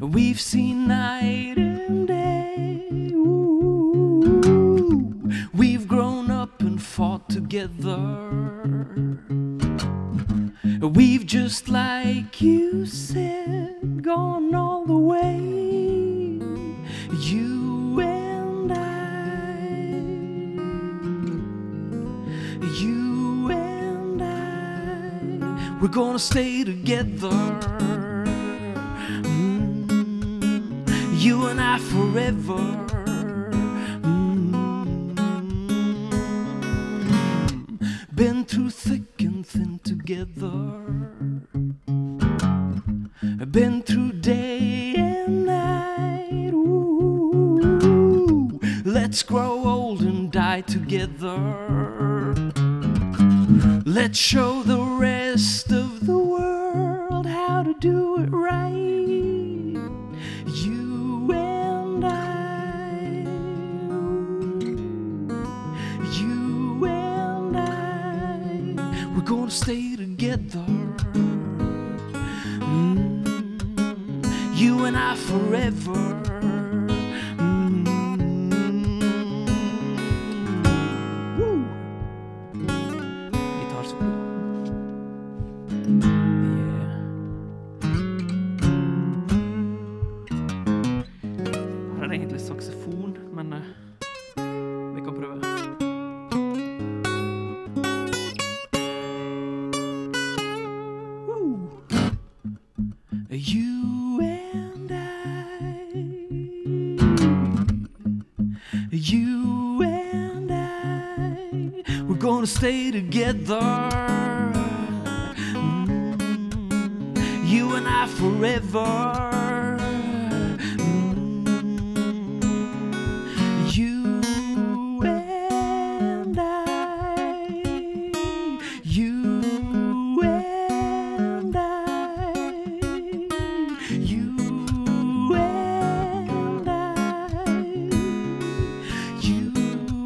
We've seen night and day. Ooh. We've grown up and fought together. We've just, like you said, gone all the way. You and I. You and I. We're gonna stay together. Mm, you and I forever. Mm, been through thick and thin together. Been through day and night. Ooh, let's grow old and die together. Let's show the rest of the world how to do it right. You and I. You and I. We're gonna stay together. Mm. You and I forever. Mm. Woo! guitar solo. Yeah. Her er det egentlig saksofon, men eh, vi kan prøve. Woo! You and I. You and I. We're gonna stay together. Mm. You and I forever. Mm. You and I. You and I. You and I. You and I.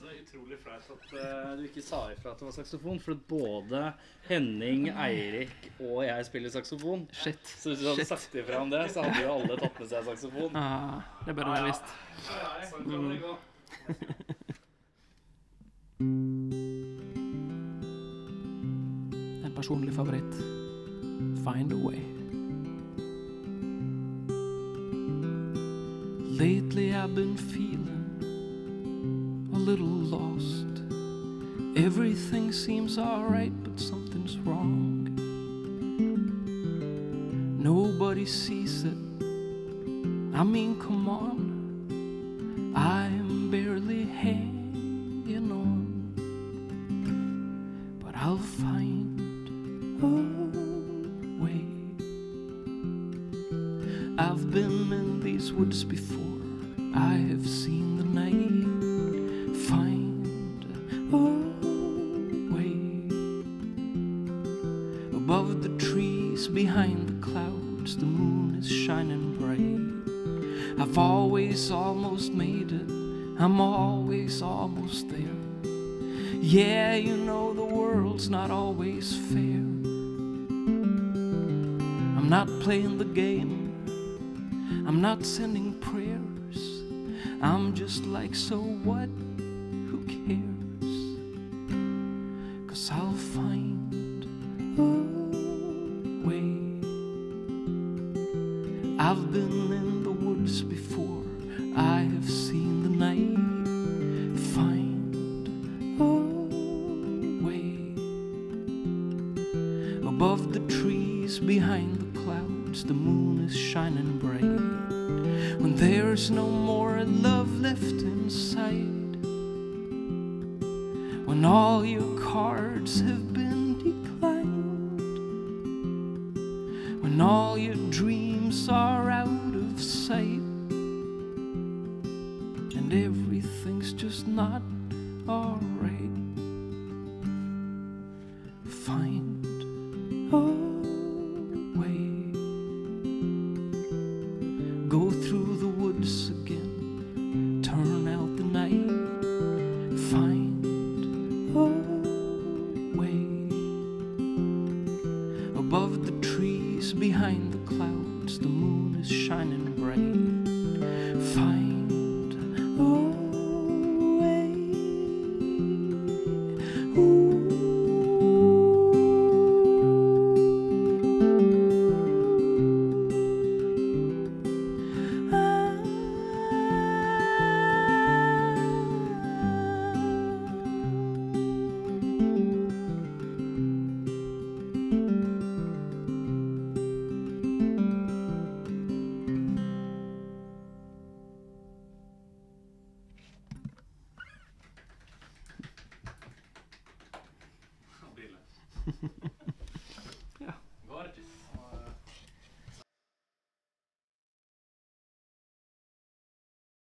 at eh, du ikke sa ifra at det var saksofon, for at både Henning, Eirik og jeg spiller saksofon.
Shit.
Så hvis du hadde
Shit.
sagt ifra om det, så hadde jo alle tatt med seg saksofon.
Ah, det burde jeg visst. En personlig favoritt. Find a way. Lately I've been feeling a little lost. Everything seems alright, but something's wrong. Nobody sees it. I mean, come on. I'm barely hanging on. But I'll find a way. I've been in these woods before. I have seen the night. Find a way. Above the trees, behind the clouds, the moon is shining bright. I've always almost made it. I'm always almost there. Yeah, you know the world's not always fair. I'm not playing the game. I'm not sending prayers. I'm just like, so what? Who cares? Cause I'll find a way. I've been in the woods before. I have seen the night. Find a way. Above the trees, behind the clouds, the moon is shining bright. When there's no more love left inside. When all your cards have been declined when all your dreams are out of sight and everything's just not alright. Find a way. Go through the woods again, turn out the night. Find a way. Above the trees, behind the clouds, the moon is shining bright. Find a way. Ooh.